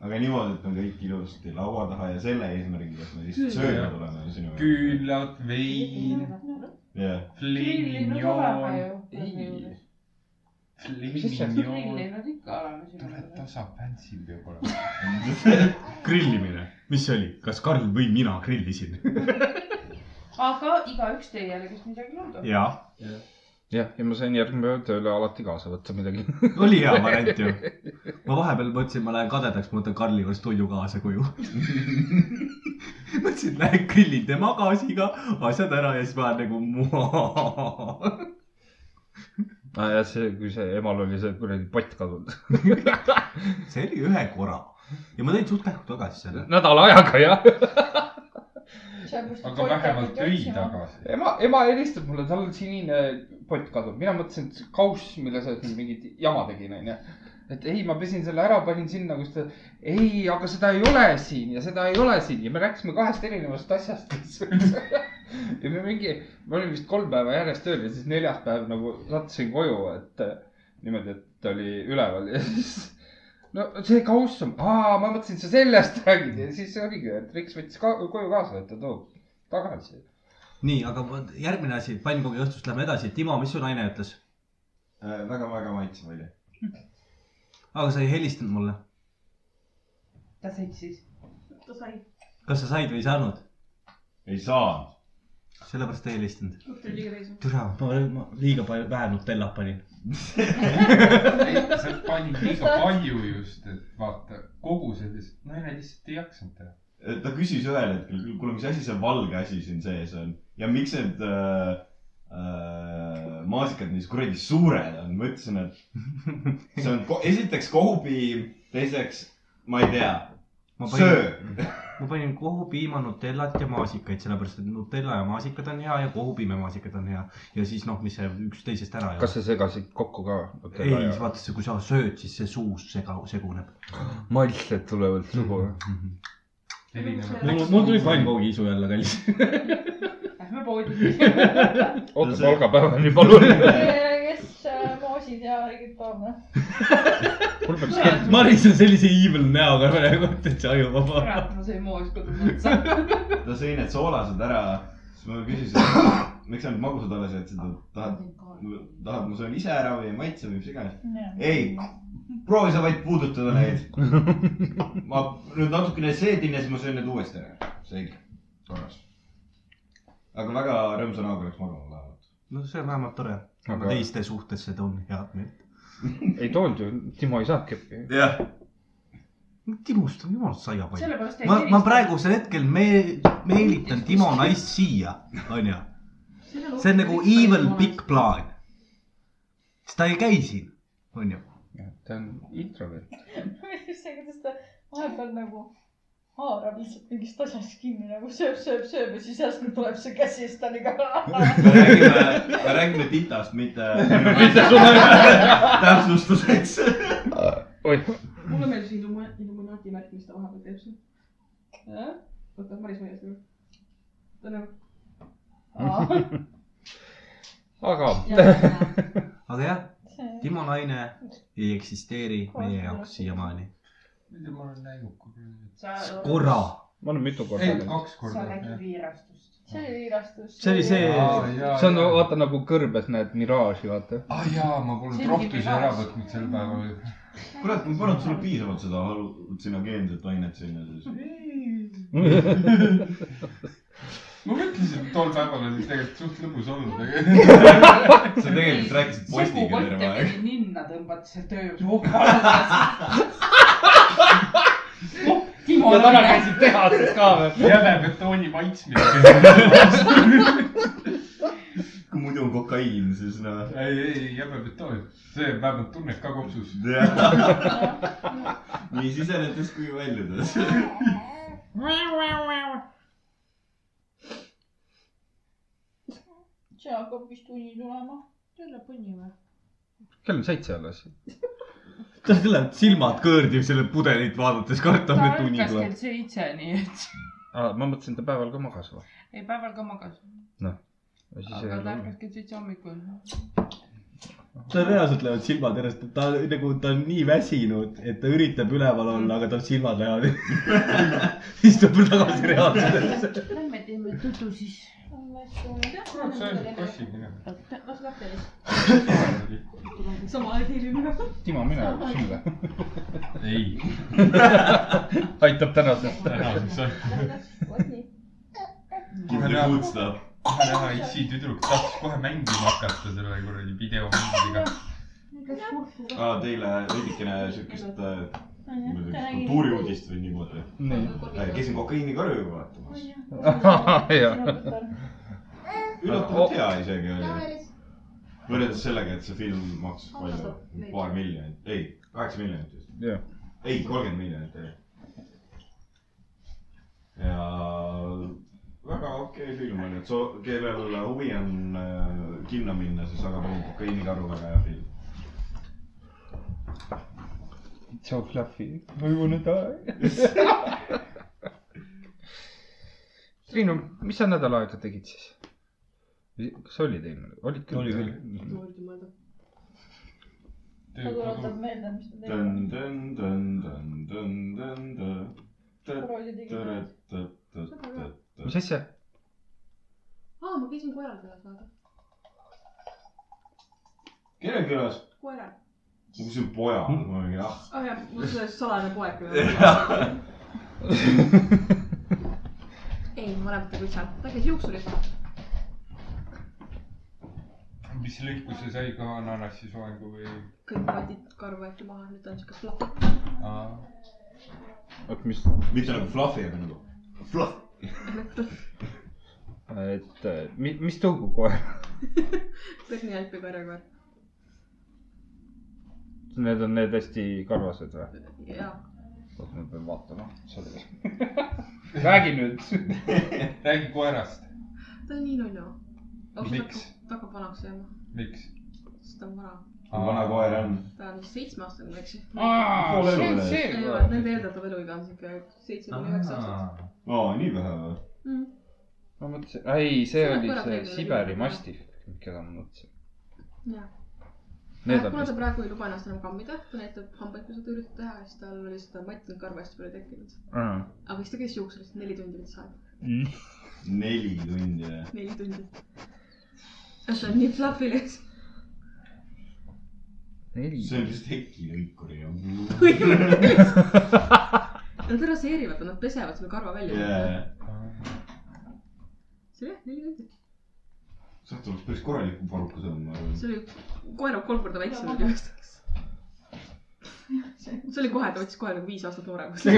[SPEAKER 7] aga niimoodi , et on kõik ilusti laua taha ja selle eesmärgiga , et me
[SPEAKER 8] Küll.
[SPEAKER 7] lihtsalt sööma tuleme sinu .
[SPEAKER 2] küünlad , vein ,
[SPEAKER 7] jah ,
[SPEAKER 2] flinjon . ei ,
[SPEAKER 9] grillinud
[SPEAKER 2] flinjon .
[SPEAKER 9] ikka oleme sinu
[SPEAKER 2] tuleb
[SPEAKER 9] meelest .
[SPEAKER 2] tasa , pantsil peab olema .
[SPEAKER 6] grillimine , mis see oli , kas Karl või mina grillisin ?
[SPEAKER 9] aga igaüks teie jälgis midagi lauda .
[SPEAKER 6] jaa ,
[SPEAKER 3] jah , ja ma sain järgmine päev tööle alati kaasa võtta midagi .
[SPEAKER 6] oli hea variant ju . ma vahepeal mõtlesin , ma lähen kadedaks , ma võtan Karli juurest Toiu kaasa koju . mõtlesin , lähen grillin tema gaasiga asjad ära ja siis ma olen nagu .
[SPEAKER 3] aa jah , Ah, see , kui see emal oli see kuradi pott kadunud .
[SPEAKER 6] see oli ühe korra ja ma tõin suht kähku tagasi selle .
[SPEAKER 3] nädala ajaga jah .
[SPEAKER 2] aga vähemalt tõi . tagasi .
[SPEAKER 3] ema , ema helistab mulle , tal on sinine pott kadunud , mina mõtlesin , et kauss , mille sa siin mingit jama tegid , onju . et ei , ma pesin selle ära , panin sinna , kus ta , ei , aga seda ei ole siin ja seda ei ole siin ja me rääkisime kahest erinevast asjast lihtsalt . ja me mingi , ma olin vist kolm päeva järjest tööl ja siis neljas päev nagu sattusin koju , et äh, niimoodi , et ta oli üleval ja siis no see kauss on , aa , ma mõtlesin , sa sellest räägid ja siis oligi , et Riks võttis ka koju kaasa , et ta toob tagasi .
[SPEAKER 6] nii , aga vot järgmine asi , pannkoogi õhtust lähme edasi . Timo , mis su naine ütles ?
[SPEAKER 7] väga-väga Äh, maitsev oli .
[SPEAKER 6] aga sa ei helistanud mulle .
[SPEAKER 9] ta sõitsis .
[SPEAKER 8] ta sai .
[SPEAKER 6] kas sa said või ei saanud ?
[SPEAKER 7] ei saanud .
[SPEAKER 6] sellepärast ei helistanud .
[SPEAKER 8] õhtul liiga täis .
[SPEAKER 6] türa , ma, ma liiga palju , vähe Nutellat panin .
[SPEAKER 2] sa panid liiga palju just , et vaata kogu selles , naine lihtsalt ei jaksanud teha .
[SPEAKER 7] ta küsis ühel hetkel , kuule , mis asi see valge asi siin sees on ja miks need äh, äh, maasikad nii kuradi suured on . ma ütlesin , et see on ko esiteks kohupiim , teiseks ma ei tea ,
[SPEAKER 6] ma panin ,
[SPEAKER 7] söö .
[SPEAKER 6] ma panin kohupiima , Nutellat ja maasikaid , sellepärast et Nutella ja maasikad on hea ja kohupiime maasikad on hea . ja siis noh , mis see üks teisest ära ei
[SPEAKER 3] kas sa segasid kokku ka ?
[SPEAKER 6] ei , vaata see , kui sa sööd , siis see suus sega , seguneb .
[SPEAKER 3] maitsed tulevad suhu mm .
[SPEAKER 6] mul , mul tuli pannkoogi isu jälle kallis .
[SPEAKER 9] Lähme poodi .
[SPEAKER 3] -hmm. oota , palgapäevani palun .
[SPEAKER 5] kes äh, moosid ja õiget toome .
[SPEAKER 3] mul peaks kehtima .
[SPEAKER 6] Maris on sellise evil näoga praegu , et täitsa ajuvaba .
[SPEAKER 9] kurat , ma sõin moes kodus otsa .
[SPEAKER 7] ta sõi need soolased ära , siis ma küsisin , miks sa need magusad alles jätsid , et tahad , tahad , ma söön ise ära või ei maitse või mis iganes . ei , proovi sa vaid puudutada neid . ma nüüd natukene seedin ja siis ma söön need uuesti ära , selge , korras . aga väga rõõmsa näoga läks magama vähemalt .
[SPEAKER 6] no see on vähemalt tore .
[SPEAKER 3] Aga-
[SPEAKER 6] teiste suhtes seda on head meelt .
[SPEAKER 3] ei toonud ju , Timo ei saanud keppi .
[SPEAKER 7] jah ,
[SPEAKER 6] Timust on jumalast saiapai .
[SPEAKER 9] sellepärast
[SPEAKER 6] ma , ma . praegusel hetkel me- , meelitan Timo naist siia , onju . see on nagu evil big . plaan . sest ta ei käi siin , onju .
[SPEAKER 3] ta on introvert .
[SPEAKER 5] see , kuidas ta vahepeal nagu haarab lihtsalt mingist asjast kinni nagu sööb , sööb , sööb ja siis järsku tuleb see käsi ja siis ta on iga .
[SPEAKER 7] me räägime , me räägime titast , mitte . mitte sulle . täpsustuseks .
[SPEAKER 3] oi ,
[SPEAKER 8] mulle meeldis Illuma- , Illuminaati märk , mis ta vahepeal teeb seal . oota , Maris , ma ei oska . ta on nagu .
[SPEAKER 3] aga
[SPEAKER 6] aga jah ,
[SPEAKER 5] see ,
[SPEAKER 6] Timo naine ei eksisteeri meie jaoks siiamaani .
[SPEAKER 2] mida ma olen näinud , kui .
[SPEAKER 6] korra .
[SPEAKER 3] ma olen mitu korda
[SPEAKER 2] ei ,
[SPEAKER 3] näinud .
[SPEAKER 2] kaks
[SPEAKER 9] sa
[SPEAKER 2] korda .
[SPEAKER 9] räägid viirastust .
[SPEAKER 5] see oli viirastus .
[SPEAKER 6] see oli see ,
[SPEAKER 3] see on vaata nagu kõrbes näed miraaži , vaata .
[SPEAKER 2] ah jaa , ma polnud
[SPEAKER 5] Selge
[SPEAKER 2] rohtusi ära
[SPEAKER 5] viraas.
[SPEAKER 2] võtnud sel päeval ju .
[SPEAKER 7] kurat , ma polnud sulle piisavalt seda halutsinogeenset ainet sinna siis .
[SPEAKER 2] ma mõtlesin tol päeval oli tegelikult suht lõbus olnud , aga
[SPEAKER 7] sa tegelikult rääkisid postiga terve aeg .
[SPEAKER 9] ninna tõmbati seal töö juures , oh paras . oh , Timo
[SPEAKER 3] ja täna
[SPEAKER 9] Lõhne .
[SPEAKER 3] käisid tehases ka veel .
[SPEAKER 2] jäme betooni maitsmine .
[SPEAKER 7] kui muidu on kokaiin , siis noh .
[SPEAKER 2] ei , ei , jäme betoon , see vähemalt tunned ka kopsus .
[SPEAKER 7] nii sisenedes kui väljudes .
[SPEAKER 5] see hakkab vist tunni tulema . jälle punni või ?
[SPEAKER 3] kell on seitse alles .
[SPEAKER 6] tal lähevad silmad kõõrdiv selle pudelit vaadates , kartab ,
[SPEAKER 9] ta
[SPEAKER 6] et uni
[SPEAKER 9] ärkas
[SPEAKER 6] tuleb .
[SPEAKER 9] kell seitse , nii et
[SPEAKER 3] ma mõtlesin , ta päeval ka magas või ?
[SPEAKER 9] ei päeval ka magas , aga ta ärkas kell seitse hommikul .
[SPEAKER 6] tal reaalselt lähevad silmad järjest , ta nagu , ta on nii väsinud , et ta üritab üleval olla , aga tal silmad lähevad . siis tuleb tagasi reaalsusesse .
[SPEAKER 9] Lähme teeme tutu siis .
[SPEAKER 2] kurat , sa oled kossimine .
[SPEAKER 8] las läheb teile .
[SPEAKER 4] sama aeg hiljem .
[SPEAKER 3] Timo , mine sulle .
[SPEAKER 2] ei ,
[SPEAKER 3] aitab tänasest .
[SPEAKER 2] tänaseks on kohe
[SPEAKER 7] kindel
[SPEAKER 2] näha ,
[SPEAKER 7] kuutstab .
[SPEAKER 2] kohe näha , issi tüdruk tahtis kohe mängima hakata selle kuradi videomängiga .
[SPEAKER 7] aa , Ah, teile veidikene siukest äh, ma ei tea, kas kultuuriuudist või niimoodi .
[SPEAKER 3] nii .
[SPEAKER 7] käisin kokaiinikarju vaatamas .
[SPEAKER 3] Oh.
[SPEAKER 7] üllatavalt hea isegi oli . võrreldes sellega , et see film maksis palju , paar miljonit , ei , kaheksa miljonit vist .
[SPEAKER 3] Jah.
[SPEAKER 7] ei , kolmkümmend miljonit oli . ja väga okei film on , et so- , kellel huvi on äh, kinno minna , siis väga palju kokaiinikaru , väga hea film .
[SPEAKER 3] It's so fluffy . I wanna die . Triinu , mis sa nädal aega tegid siis ? kas oli teil , olid küll ?
[SPEAKER 6] Oli küll.
[SPEAKER 3] küll .
[SPEAKER 5] ta tuletab meelde , mis ta tegi .
[SPEAKER 7] dun , dun , dun , dun , dun , dun , dun , dun ,
[SPEAKER 5] koroosi tegi
[SPEAKER 7] dun , dun , dun , dun , dun .
[SPEAKER 3] mis asja ?
[SPEAKER 8] aa , ma käisin koeral külas , vaata .
[SPEAKER 7] kelle külas ?
[SPEAKER 8] koeral .
[SPEAKER 7] ma küsin pojal , ma mingi ah ,
[SPEAKER 8] aa jaa , mul see salane poeg külas . ei , ma olen mitte kutsal , ta käis juuksuris .
[SPEAKER 2] mis lõiku see sai ka ananassi soengu või ?
[SPEAKER 8] kõik patid karu võeti maha , nüüd on siuke flop .
[SPEAKER 3] oot , mis ,
[SPEAKER 7] mitte nagu fluffy , aga nagu fluff .
[SPEAKER 3] et eh, mi- mis tõugu koer ?
[SPEAKER 8] kõik nii halb ja karjakoer .
[SPEAKER 3] Need on need hästi karvased või ?
[SPEAKER 8] jaa .
[SPEAKER 3] oot , ma pean vaatama . räägi nüüd .
[SPEAKER 2] räägi koerast ,
[SPEAKER 8] ta on nii nunnu .
[SPEAKER 2] Miks?
[SPEAKER 8] ta hakkab vanaks jääma ,
[SPEAKER 2] miks ?
[SPEAKER 8] sest ta on vana .
[SPEAKER 7] kui vana koer on ?
[SPEAKER 8] ta on vist seitsme aastane , ma ei eksi .
[SPEAKER 3] pool elu üle .
[SPEAKER 8] ei ole , nende eeldatav eluiga on siuke seitse kuni üheksa aastat . Mm,
[SPEAKER 7] aa , nii vähe või ?
[SPEAKER 3] ma mõtlesin , ei , see
[SPEAKER 8] Sa oled
[SPEAKER 3] oli
[SPEAKER 8] koera
[SPEAKER 3] see
[SPEAKER 8] peegel-
[SPEAKER 3] Siberi mastiff , keda ma mõtlesin .
[SPEAKER 8] Jah.
[SPEAKER 3] Need on
[SPEAKER 8] kuna ta
[SPEAKER 3] vist ,
[SPEAKER 8] praegu ei luba ennast enam kammida , ta näitab hambaid , kui seda üritab teha , siis tal oli seda matti karva hästi palju tekkinud . aga siis ta käis juuksuris neli tundi võttis aega ,
[SPEAKER 7] neli tundi või ?
[SPEAKER 8] neli tundi . see on nii fluffileks .
[SPEAKER 3] neli .
[SPEAKER 7] see on vist hekilõikuri jah .
[SPEAKER 8] Nad raseerivad , nad pesevad selle karva välja .
[SPEAKER 7] jaa ,
[SPEAKER 8] see oli jah , neli tundi .
[SPEAKER 7] sealt tuleks päris korraliku paruka saama .
[SPEAKER 8] see oli koera kolm korda väiksem oli vist . see oli kohe , ta võttis kohe nagu viis aastat nooremaks .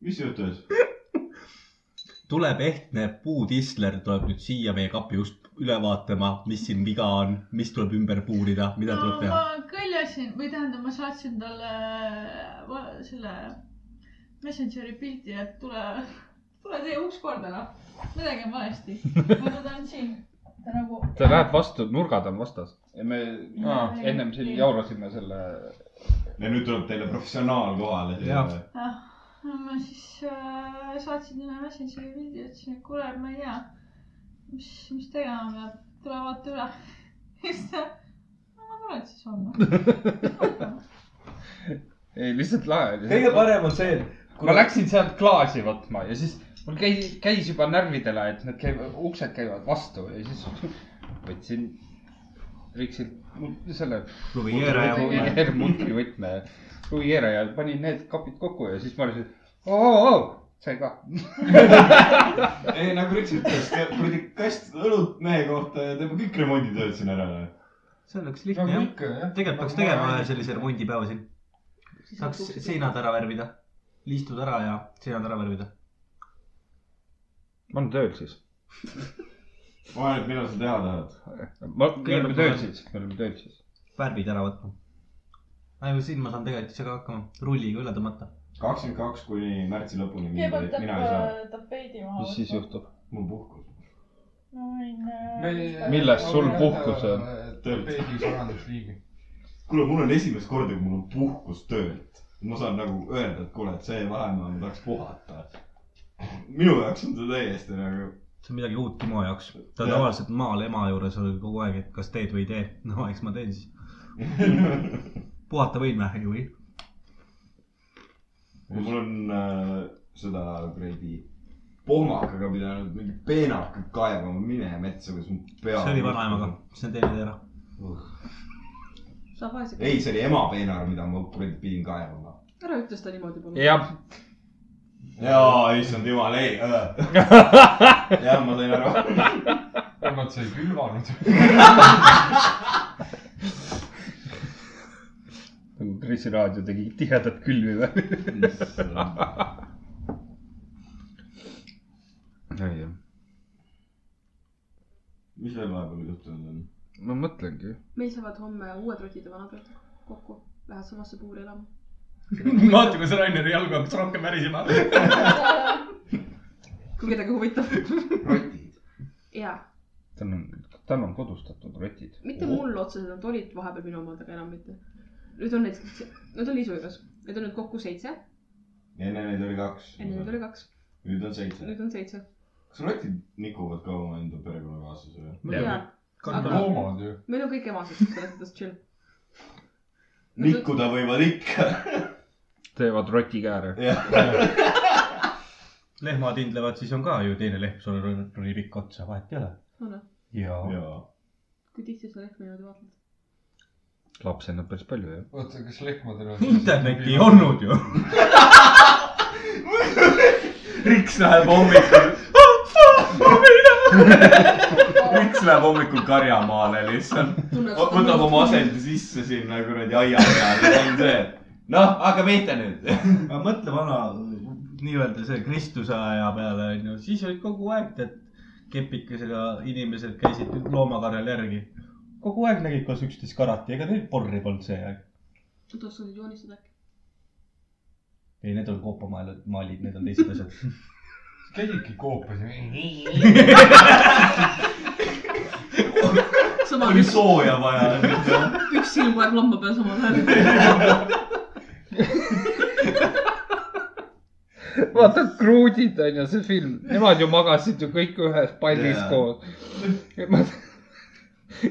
[SPEAKER 7] mis juhtus ?
[SPEAKER 6] tuleb ehtne puutisler , tuleb nüüd siia meie kapi just üle vaatama , mis siin viga on , mis tuleb ümber puurida , mida tuleb
[SPEAKER 5] no,
[SPEAKER 6] teha .
[SPEAKER 5] ma kõljasin või tähendab , ma saatsin talle va- selle Messengeri pildi , et tule , tule tee uks korda noh , midagi on valesti . aga ta on siin , ta nagu .
[SPEAKER 3] ta läheb vastu , nurgad on vastas ja me
[SPEAKER 2] Aa.
[SPEAKER 3] ennem siin jaurasime selle .
[SPEAKER 7] ja nüüd tuleb teile professionaal kohale .
[SPEAKER 6] Jah.
[SPEAKER 5] no "Ah, ma siis äh, saatsin talle Messengeri pildi , ütlesin , et kuule , ma ei tea , mis , mis tegema peab , tule vaata üle . siis ta , no ma tulen siis homme .
[SPEAKER 3] ei , lihtsalt lahe oli .
[SPEAKER 6] parem on see , et
[SPEAKER 3] ma läksin sealt klaasi võtma ja siis mul käis , käis juba närvidele , et need käivad , uksed käivad vastu ja siis võtsin Riksilt mut- selle
[SPEAKER 6] Luviera ja
[SPEAKER 3] Luviera mutrivõtme ja Luviera ja panin need kapid kokku ja siis ma arvasin , et oo , oo , sai ka .
[SPEAKER 7] ei , nagu Rits ütles , kuradi kast õlut mehe kohta ja teeme kõik remonditööd siin ära .
[SPEAKER 6] see oleks
[SPEAKER 2] nagu
[SPEAKER 6] lihtne jah .
[SPEAKER 2] ikka jah .
[SPEAKER 6] tegelikult peaks tegema ühe . sellise remondipäeva siin . saaks seinad ära värvida , liistud ära ja seinad ära värvida .
[SPEAKER 3] ma olen tööl siis .
[SPEAKER 7] ma arvan , et millal sa teha tahad .
[SPEAKER 3] ma , me oleme
[SPEAKER 6] Kõigepealt
[SPEAKER 3] tööl
[SPEAKER 6] ma-
[SPEAKER 3] siis , me oleme tööl siis .
[SPEAKER 6] värvid ära võtma . ei , siin ma saan tegelikult ise ka hakkama , rulliga üle tõmmata .
[SPEAKER 7] kakskümmend kaks kuni märtsi lõpuni mind ,
[SPEAKER 5] kõigepealt
[SPEAKER 7] mina ei saa .
[SPEAKER 5] tapab , tapab veidi maha .
[SPEAKER 3] mis siis ? juhtub ?
[SPEAKER 7] mul puhkus .
[SPEAKER 5] ma võin
[SPEAKER 3] Millest sul puhkus on? ?
[SPEAKER 2] peeglis rahandusliigi .
[SPEAKER 7] kuule , mul on esimest korda , kui mul on puhkus töölt . ma saan nagu öelda , et kuule , et see vahemaa , ma tahaks puhata . minu jaoks on see täiesti nagu ,
[SPEAKER 6] see on midagi uut Timo jaoks . ta
[SPEAKER 7] Jah.
[SPEAKER 6] tavaliselt maal ema juures oli kogu aeg , et kas teed või ei tee . no eks ma teen siis . puhata võin või , ei või ?
[SPEAKER 7] mul on äh, seda kuradi pohmakaga pidanud mingi peenaka kaevama , mine metsa , kus mu pea .
[SPEAKER 6] see oli vanaemaga , see on teine tee ära .
[SPEAKER 8] saab vaeseks .
[SPEAKER 7] ei , see oli ema peenar , mida ma kuradi pidin kaevama .
[SPEAKER 8] ära ütle seda niimoodi palun .
[SPEAKER 3] jah ,
[SPEAKER 7] jaa , issand jumal , ei äh. . jah , ma sain aru .
[SPEAKER 2] kolmand sai külvanud .
[SPEAKER 3] nagu Krisi raadio tegi tihedat külmi või ? ei ,
[SPEAKER 7] mis veel vahepeal juhtunud on ?
[SPEAKER 3] ma mõtlengi .
[SPEAKER 8] meil saavad homme uued rotid ja vanad rotid kokku , lähevad samasse puuri elama .
[SPEAKER 6] vaata , kuidas Raineri jalg hakkas rohkem värisema .
[SPEAKER 8] kui kedagi huvitab .
[SPEAKER 7] rotid .
[SPEAKER 8] jaa ,
[SPEAKER 3] tal on , tal on kodustatud rotid .
[SPEAKER 8] mitte mul otseselt , nad olid vahepeal minu omadega enam mitte . nüüd on neid , nad on Liisu juures , neid on nüüd kokku seitse ,
[SPEAKER 7] enne neid oli kaks .
[SPEAKER 8] enne neid oli kaks ,
[SPEAKER 7] nüüd on seitse .
[SPEAKER 8] nüüd on seitse .
[SPEAKER 7] kas rotid nikuvad ka omaenda perekonnakaaslase või ?
[SPEAKER 8] jaa , aga
[SPEAKER 2] loomad ju .
[SPEAKER 8] meil on kõik emased , selles mõttes chill .
[SPEAKER 7] nikkuda võivad ikka .
[SPEAKER 3] teevad roti ka ära .
[SPEAKER 6] lehmad hindlevad , siis on ka ju teine lehm , sul on tuli pikk otsa , vahet ei ole .
[SPEAKER 8] no noh ,
[SPEAKER 6] jaa .
[SPEAKER 7] jaa .
[SPEAKER 8] kui tihti sa lehma niimoodi vaatad ?
[SPEAKER 3] lapsena päris palju jah .
[SPEAKER 2] oota , kas lehmadel on ?
[SPEAKER 6] internetti ei . olnud ju .
[SPEAKER 7] Riks läheb hommikul . Riks läheb hommikul karjamaale lihtsalt . võtab oma . asendi sisse sinna kuradi aia peale , see on see . noh , hakka pihta nüüd .
[SPEAKER 6] aga mõtle vana , nii-öelda see Kristuse aja peale onju , siis olid kogu aeg tead kepikesega inimesed käisid loomakarjal järgi . kogu aeg nägid , kas üksteist karati , ega neil porri polnud see aeg .
[SPEAKER 8] Nad oskavad joonistada äkki .
[SPEAKER 6] ei , need on koopamaalid , maalid , need on teised asjad .
[SPEAKER 2] käidki koopas ja .
[SPEAKER 8] sama ,
[SPEAKER 7] oli sooja vaja .
[SPEAKER 8] üks silm kogu aeg lamba peal samal ajal .
[SPEAKER 3] vaata , kruudid on ju see film , nemad ju magasid ju kõik ühes pallis
[SPEAKER 7] Jaa.
[SPEAKER 3] koos .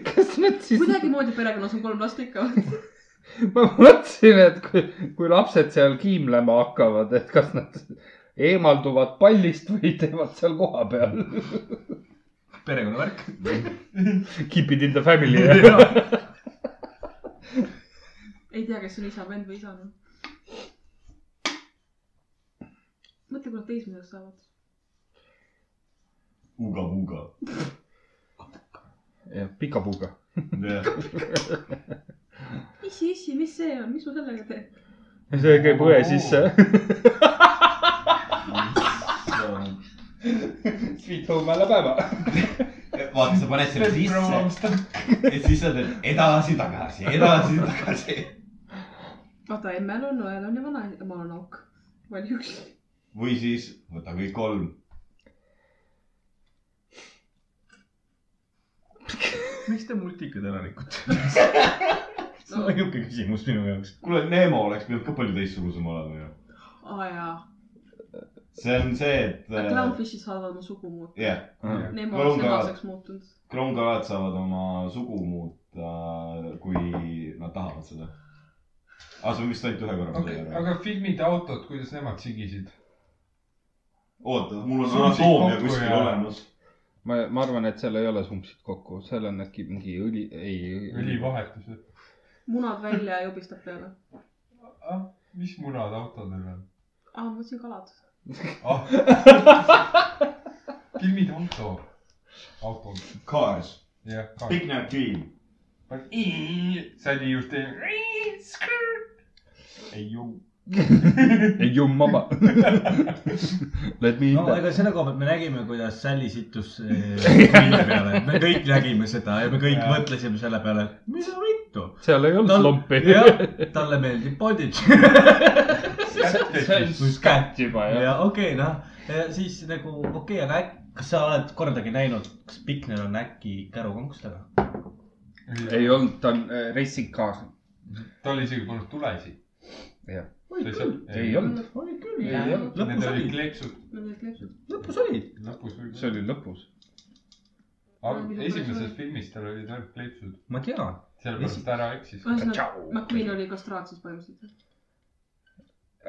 [SPEAKER 3] kas nad siis ,
[SPEAKER 8] kuidagimoodi perekonnas on kolm last ikka .
[SPEAKER 3] ma mõtlesin , et kui , kui lapsed seal kiimlema hakkavad , et kas nad eemalduvad pallist või teevad seal kohapeal .
[SPEAKER 6] perekonnavärk .
[SPEAKER 3] Keep it in the family jah .
[SPEAKER 8] ei tea , kes on isa , vend või isa . mõtle , kui nad teismeliseks saavad .
[SPEAKER 7] uga-uga .
[SPEAKER 3] pika puuga .
[SPEAKER 8] issi , issi , mis see on , mis ma sellega teen ?
[SPEAKER 3] see käib õe sisse . Sweet home alla päeva .
[SPEAKER 7] vaata , sa paned selle sisse ja siis sa teed edasi-tagasi , edasi-tagasi .
[SPEAKER 8] vaata , emmel on , õel on ja vanaemal on auk . vali üks .
[SPEAKER 7] või siis võta kõik kolm .
[SPEAKER 6] miks te multikad ära rikute ? see on ainuke küsimus minu jaoks .
[SPEAKER 7] kuule , Neemo oleks pidanud ka palju teistsugusem olema ju .
[SPEAKER 8] aa jaa .
[SPEAKER 7] see on see , et äh,
[SPEAKER 8] Clownfishid saavad oma sugu muuta .
[SPEAKER 7] jah ,
[SPEAKER 8] Neemo
[SPEAKER 7] Palun
[SPEAKER 8] oleks
[SPEAKER 7] ka.
[SPEAKER 8] emaseks muutunud .
[SPEAKER 7] kroonkalad saavad oma sugu muuta , kui nad tahavad seda . Ah, aga see on vist ainult ühe korra .
[SPEAKER 2] aga filmid ja autod , kuidas nemad sigisid ?
[SPEAKER 7] oota , mul on
[SPEAKER 2] Sumpsid
[SPEAKER 7] anatoomia
[SPEAKER 2] kokku
[SPEAKER 7] kuskil
[SPEAKER 2] ja-
[SPEAKER 7] olemas .
[SPEAKER 3] ma , ma arvan , et seal ei ole sumpsid kokku , seal on äkki mingi õli , ei .
[SPEAKER 2] õlivahetus .
[SPEAKER 8] munad välja ja jobistab peale .
[SPEAKER 2] mis munad autodel on ?
[SPEAKER 8] aa , ma mõtlesin kalad .
[SPEAKER 2] ah , filmid auto , autod ,
[SPEAKER 7] Cars ,
[SPEAKER 2] jah .
[SPEAKER 7] Big Night Dream .
[SPEAKER 2] see oli just see ,
[SPEAKER 7] ei ju .
[SPEAKER 3] ei jummama . Let me
[SPEAKER 6] no
[SPEAKER 3] in .
[SPEAKER 6] ega selle koha pealt me nägime , kuidas Sally sittus mille peale , me kõik nägime seda ja me kõik
[SPEAKER 2] Jaa.
[SPEAKER 6] mõtlesime selle peale , mis on vittu .
[SPEAKER 3] seal ei olnud lompi .
[SPEAKER 6] talle meeldib bondage .
[SPEAKER 3] see on
[SPEAKER 6] Või skätt.
[SPEAKER 3] skätt juba jah .
[SPEAKER 6] ja okei okay, , noh , siis nagu okei okay, , aga äk- kas sa oled kordagi näinud , kas Piknel on äkki kärukonks taga ?
[SPEAKER 3] ei olnud , ta on äh, racing car .
[SPEAKER 2] ta oli isegi polnud tulesid .
[SPEAKER 3] Jah. . ei
[SPEAKER 2] ei olnud .
[SPEAKER 3] olnud ,
[SPEAKER 6] oli küll
[SPEAKER 3] Ei olnud.
[SPEAKER 2] Need
[SPEAKER 6] lõpus
[SPEAKER 2] olid
[SPEAKER 6] olid ,
[SPEAKER 2] kleepsud
[SPEAKER 8] no need kleepsud .
[SPEAKER 6] lõpus olid .
[SPEAKER 2] lõpus
[SPEAKER 3] see
[SPEAKER 2] võib-olla .
[SPEAKER 3] oli lõpus .
[SPEAKER 2] aga esimeses filmis tal olid ainult kleepsud ,
[SPEAKER 6] ma tean .
[SPEAKER 2] sellepärast ta ära eksis .
[SPEAKER 8] ühesõnaga ,
[SPEAKER 3] tšau .
[SPEAKER 8] McQueen oli kastraatsis
[SPEAKER 3] Äh,
[SPEAKER 8] põhimõtteliselt .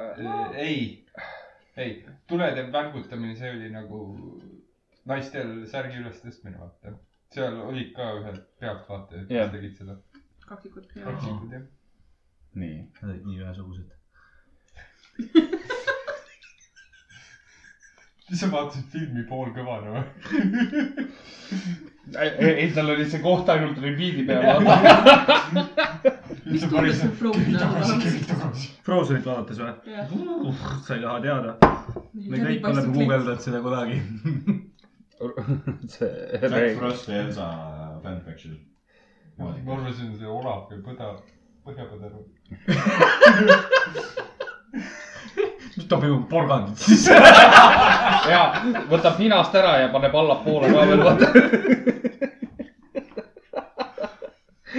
[SPEAKER 2] Äh, ei , ei , tulede värgutamine , see oli nagu naistel särgi üles tõstmine , vaata . seal olid ka ühed pealtvaatajad ,
[SPEAKER 3] Jah.
[SPEAKER 2] kes tegid seda .
[SPEAKER 8] kaksikud .
[SPEAKER 2] kaksikud jah .
[SPEAKER 3] nii .
[SPEAKER 6] Nad olid nii ühesugused .
[SPEAKER 2] sa vaatasid filmi poolkõvana või ?
[SPEAKER 3] ei , tal oli see koht ainult repeat'i peal , vaata .
[SPEAKER 8] mis tundes see Frozen on ?
[SPEAKER 6] Frozenit vaadates või ?
[SPEAKER 8] jah ,
[SPEAKER 6] sa ei taha teada . me kõik
[SPEAKER 8] Läbi
[SPEAKER 6] oleme
[SPEAKER 8] paistnud
[SPEAKER 6] guugeldanud seda kunagi .
[SPEAKER 3] see
[SPEAKER 7] Jack
[SPEAKER 3] Rein ,
[SPEAKER 7] Frost ja Elsa äh, fanfiction .
[SPEAKER 2] ma arvasin , see olav või põda , põhjapõder .
[SPEAKER 6] mis topib mu porgandit sisse ?
[SPEAKER 3] jaa , võtab ninast ära ja paneb allapoole ka veel , vaata .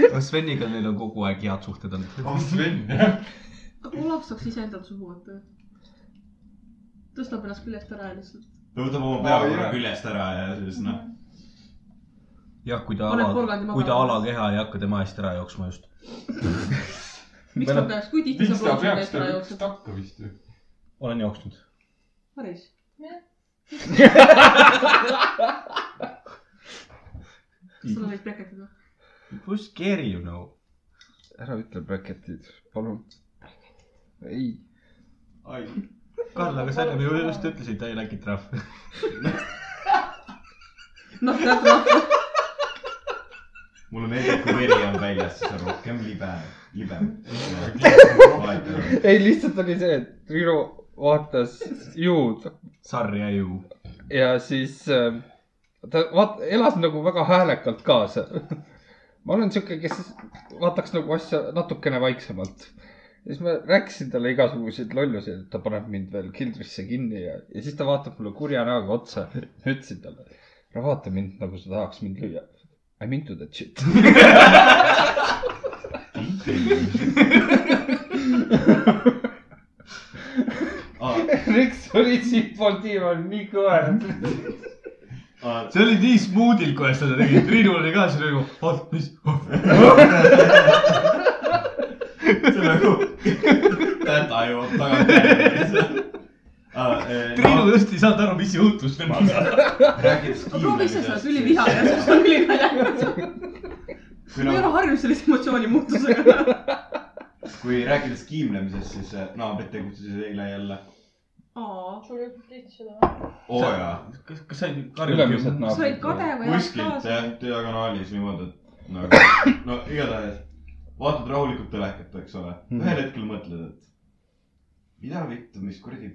[SPEAKER 6] kas Sveniga neil on kogu aeg head suhted olnud ?
[SPEAKER 2] ah , Sven jah .
[SPEAKER 8] aga Olav saaks iseendalt suhu võtta . tõstab ennast küljest ära ja lihtsalt .
[SPEAKER 7] ta võtab oma
[SPEAKER 2] Aa,
[SPEAKER 7] pea korra
[SPEAKER 2] jah.
[SPEAKER 7] küljest ära ja siis noh ,
[SPEAKER 6] jah , kui ta
[SPEAKER 8] Paneb
[SPEAKER 6] ala
[SPEAKER 8] porgandi , maha.
[SPEAKER 6] kui ta alakeha ei hakka tema eest ära jooksma just .
[SPEAKER 8] miks ta peaks , kui tihti
[SPEAKER 2] miks
[SPEAKER 8] saab
[SPEAKER 2] ta
[SPEAKER 8] Olav selle
[SPEAKER 2] peaks ,
[SPEAKER 8] eest
[SPEAKER 2] ta
[SPEAKER 8] ära
[SPEAKER 7] nagu-
[SPEAKER 2] peaks
[SPEAKER 8] jooksma ?
[SPEAKER 2] takka vist ju .
[SPEAKER 6] olen jooksnud .
[SPEAKER 8] päris . kas sul on neid pleketid või ?
[SPEAKER 6] Who's scary you know ?
[SPEAKER 3] ära ütle breketid , palun . ei .
[SPEAKER 7] ai ,
[SPEAKER 6] Karl , aga sa enne ju just ütlesid , ta ei läki trahv .
[SPEAKER 8] noh , tead rahva ,
[SPEAKER 7] mulle meeldib , kui veri on väljas , siis on rohkem libe , libem .
[SPEAKER 3] ei , lihtsalt oli see , et Riho vaatas juud
[SPEAKER 6] Sarja ju .
[SPEAKER 3] ja siis äh, ta vaat- , elas nagu väga häälekalt kaasa . ma olen sihuke , kes vaataks nagu asja natukene vaiksemalt . ja siis ma rääkisin talle igasuguseid lollusi , et ta paneb mind veel kildrisse kinni ja , ja siis ta vaatab mulle kurja näoga otsa . ütlesin talle , no vaata mind nagu sa tahaks mind lüüa . I m into that shit .
[SPEAKER 7] Ah,
[SPEAKER 3] Riks oli siitpoolt diivani nii kõva .
[SPEAKER 7] ah,
[SPEAKER 6] see oli nii smuudil , kui sa seda tegid . Triinu oli ka seal nagu , oh , mis , oh .
[SPEAKER 7] see on nagu , täda jõuab Ah, eh, tagasi .
[SPEAKER 6] Triinu just ei saanud aru , mis juhtus temaga .
[SPEAKER 7] rääkides
[SPEAKER 8] ma proovin ise seda
[SPEAKER 7] kiirusest ,
[SPEAKER 8] üliviha ja siis on ülinaljakas .
[SPEAKER 7] kui
[SPEAKER 8] ma ei
[SPEAKER 7] nagu
[SPEAKER 8] ole harjunud sellise emotsiooni muutusega .
[SPEAKER 7] kui rääkides kiimlemisest , siis äh, naabrid tegutsesid eile jälle .
[SPEAKER 8] aa ,
[SPEAKER 5] sul ei olnud tihti seda või ?
[SPEAKER 7] oo jaa ,
[SPEAKER 6] kas , kas sa ei
[SPEAKER 3] ülemised
[SPEAKER 6] karjunud ?
[SPEAKER 8] said kade
[SPEAKER 3] naabrid .
[SPEAKER 8] või elad
[SPEAKER 7] kuskilt
[SPEAKER 8] kaasa ?
[SPEAKER 7] jah , diagonaalis niimoodi , et nagu , no igatahes vaatad rahulikult telekat , eks ole .
[SPEAKER 2] Mhm.
[SPEAKER 7] ühel hetkel mõtled , et mida vittu , mis kuradi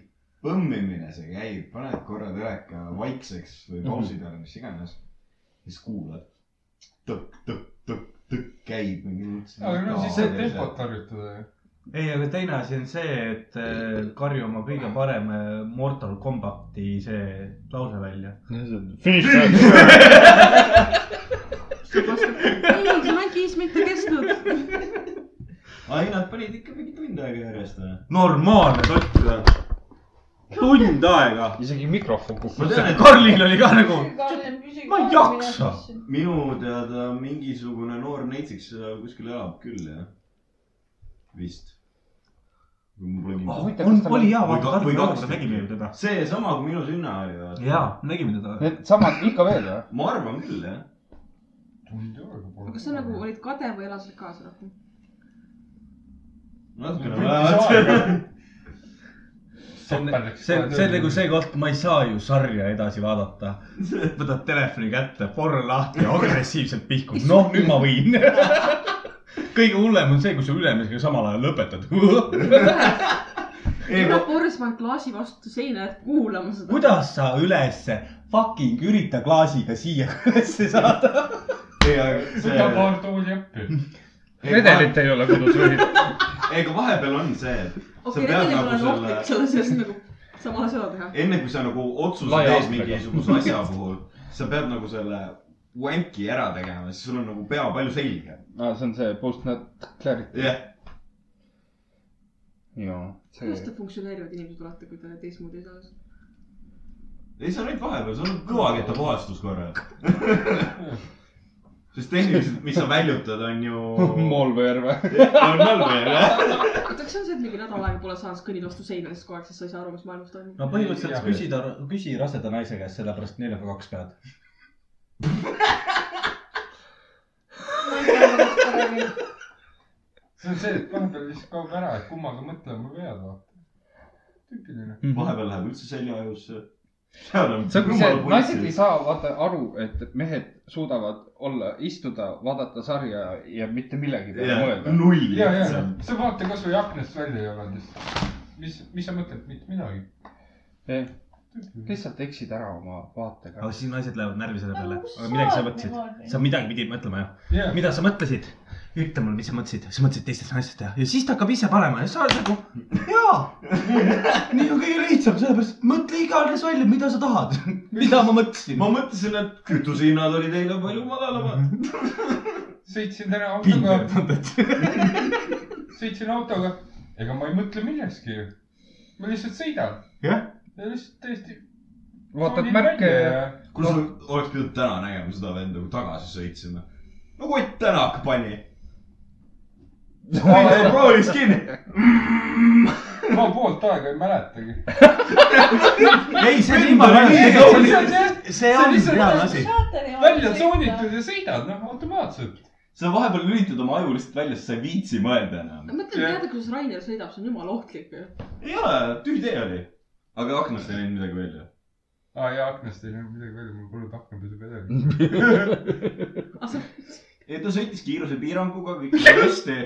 [SPEAKER 7] põmmimine see käib , paned korra teleka vaikseks
[SPEAKER 2] Mhm.
[SPEAKER 7] või pausi peale , mis iganes . siis kuulad tõkk , tõkk , tõkk , tõkk käib mingi .
[SPEAKER 2] aga no siis said tempot harjutada ju .
[SPEAKER 6] ei , aga teine asi on see , et äh, karju oma kõige parem äh, Mortal Combati see lause välja .
[SPEAKER 3] Finish that .
[SPEAKER 8] ei , see mäng viis mitte kestnud .
[SPEAKER 7] ai , nad panid ikka mingi tund aega järjest .
[SPEAKER 6] normaalne tott .
[SPEAKER 7] tund aega ?
[SPEAKER 3] isegi mikrofon kukkus .
[SPEAKER 7] ma tean , et
[SPEAKER 6] Karlil oli ka nagu , Ma ei jaksa.
[SPEAKER 7] minu teada äh, mingisugune noor neitsik seda kuskil elab küll jah , vist . kui mul pole kindlust .
[SPEAKER 6] on , oli hea ,
[SPEAKER 7] Või ka-
[SPEAKER 6] vaata Tartu
[SPEAKER 7] või
[SPEAKER 6] raamatus
[SPEAKER 7] kaksteist.
[SPEAKER 6] nägime ju teda .
[SPEAKER 7] seesama , kui minu sünna oli või ?
[SPEAKER 6] jaa , nägime teda .
[SPEAKER 3] Need samad ikka veel või ?
[SPEAKER 7] ma arvan küll , jah .
[SPEAKER 2] tund aega pole .
[SPEAKER 8] aga kas sa nagu olid kade või elasid kaasa rohkem ?
[SPEAKER 7] natukene vähemalt .
[SPEAKER 2] see
[SPEAKER 6] see , see , see on nagu . see koht , ma ei saa ju sarja edasi vaadata . võtad telefoni kätte , porn lahti ja agressiivselt pihkub . noh , nüüd ma võin . kõige hullem on see , kui sa ülemisega samal ajal lõpetad .
[SPEAKER 8] tuleb Borismaa klaasi vastu seina , et kuulama seda .
[SPEAKER 6] kuidas sa ülesse fucking ürita klaasiga siia ülesse saada ?
[SPEAKER 7] ei , aga
[SPEAKER 2] võta
[SPEAKER 7] see .
[SPEAKER 2] paar tooli appi .
[SPEAKER 3] vedelit ei ole kodus või ?
[SPEAKER 7] ega vahepeal on see , et sa
[SPEAKER 8] okei ,
[SPEAKER 7] pead
[SPEAKER 8] tegelikult
[SPEAKER 7] nagu
[SPEAKER 8] on
[SPEAKER 7] selle
[SPEAKER 8] ohtlik , selle sees nagu samal asjal teha .
[SPEAKER 7] enne kui sa nagu otsuse
[SPEAKER 3] Laia
[SPEAKER 7] teed
[SPEAKER 3] astmega.
[SPEAKER 7] mingisuguse asja puhul , sa pead nagu selle wanki ära tegema , siis sul on nagu pea palju selge .
[SPEAKER 3] aa , see on see postnat clarity .
[SPEAKER 7] jah ,
[SPEAKER 3] jaa ,
[SPEAKER 8] kuidas
[SPEAKER 3] see
[SPEAKER 8] te funktsioneerivad inimesed alati , kui te teistmoodi ei saa ?
[SPEAKER 7] ei sa olid vahepeal , sul on kõvaketta puhastus korra . sest tehniliselt , mis sa väljutad , on ju .
[SPEAKER 3] Molver või ?
[SPEAKER 7] on malver , jah .
[SPEAKER 8] oota , kas see on see , et mingi nädal aega pole saanud , kõnnid vastu seina lihtsalt kogu aeg , siis sa ei saa aru , mis maailmas toimub ?
[SPEAKER 6] no
[SPEAKER 2] Jah.
[SPEAKER 6] põhimõtteliselt küsida , küsi raseda naise käest , sellepärast neljaga kaks pead .
[SPEAKER 2] see on see , et vahepeal lihtsalt kaob ära , et kummaga mõtlema pead , vaata . tüüpiline .
[SPEAKER 7] vahepeal läheb üldse seljaajusse . seal on .
[SPEAKER 3] see on see , et naised ei saa vaata aru , et mehed suudavad olla , istuda , vaadata sarja ja mitte millegi peale
[SPEAKER 7] jah ,
[SPEAKER 3] mõelda .
[SPEAKER 7] null
[SPEAKER 2] ja , ja
[SPEAKER 7] lihtsalt .
[SPEAKER 2] sa vaata kasvõi aknast välja ei olnud lihtsalt . mis , mis sa mõtled , mitte midagi .
[SPEAKER 3] lihtsalt eksid ära oma vaatega
[SPEAKER 6] aga . siis naised lähevad närvi selle peale
[SPEAKER 5] No, . kus
[SPEAKER 6] aga midagi sa
[SPEAKER 5] sa oled
[SPEAKER 6] mõtlesid
[SPEAKER 5] niimoodi? ,
[SPEAKER 6] sa midagi pidid mõtlema jah .
[SPEAKER 2] jah ,
[SPEAKER 6] mida sa mõtlesid ? ütle mulle , mis sa mõtlesid , sa mõtlesid teistest naistest ja , ja siis ta hakkab ise panema ja sa oled nagu , jaa . nii on kõige lihtsam , sellepärast et mõtle iganes välja , mida sa tahad . mida ma mõtlesin
[SPEAKER 7] ma ? mõtlesin , et kütusehinnad olid eile palju madalamad .
[SPEAKER 2] sõitsin täna autoga ,
[SPEAKER 6] kindel .
[SPEAKER 2] sõitsin autoga . ega ma ei mõtle millestki ju . ma lihtsalt sõidan .
[SPEAKER 7] Jah.
[SPEAKER 2] ja lihtsalt täiesti .
[SPEAKER 3] vaatad märke ja .
[SPEAKER 7] kuule , sa oleks pidanud täna nägema seda venda , kui tagasi sõitsime . no Ott Tänak pani . proovis kinni .
[SPEAKER 2] ma poolt aega ei mäletagi .
[SPEAKER 6] ei , see on
[SPEAKER 2] see on
[SPEAKER 6] jumala
[SPEAKER 2] lihtsalt jah ,
[SPEAKER 6] see on reaalne asi .
[SPEAKER 2] välja . tsoonitud ja sõidad , noh , automaatselt .
[SPEAKER 7] sa vahepeal lülitad oma aju lihtsalt välja , sest sa ei viitsi mõelda enam .
[SPEAKER 8] ma mõtlen , teada , kuidas Rainer sõidab , see on jumala ohtlik ju .
[SPEAKER 7] ei ole , tühi tee oli . aga aknast ei läinud midagi välja .
[SPEAKER 2] aa ja aknast ei läinud midagi välja , mul polnud aknapesupedalit .
[SPEAKER 3] Mm.
[SPEAKER 7] ei , ta sõitis kiirusepiiranguga , kõik oli hästi .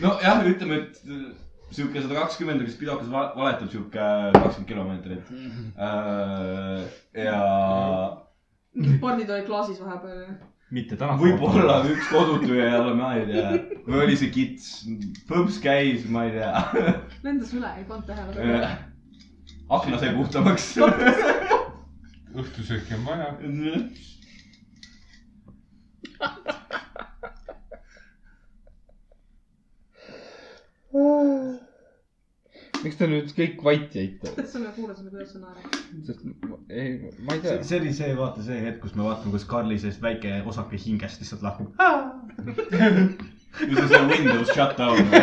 [SPEAKER 7] nojah , ütleme , et äh, sihuke sada kakskümmend , kes pidakas va- valetab sihuke äh, kakskümmend kilomeetrit . ja
[SPEAKER 8] pardid olid klaasis vahepeal ja .
[SPEAKER 6] mitte täna .
[SPEAKER 7] võib-olla . üks kodutu ja jälle ma ei tea , või oli see kits , põps käis , ma ei tea .
[SPEAKER 8] lendas üle , ei pannud tähele .
[SPEAKER 7] akna sai puhtamaks .
[SPEAKER 2] õhtusööki on vaja .
[SPEAKER 3] miks te nüüd kõik vait jäite ?
[SPEAKER 8] täitsa me kuulasime , kuidas sa naerad .
[SPEAKER 3] sest ei , ma ei tea .
[SPEAKER 6] see oli see , vaata see hetk , kus me vaatame , kus Karli seest väike osake hingest lihtsalt lahkub .
[SPEAKER 7] ja see on see Windows shutdown .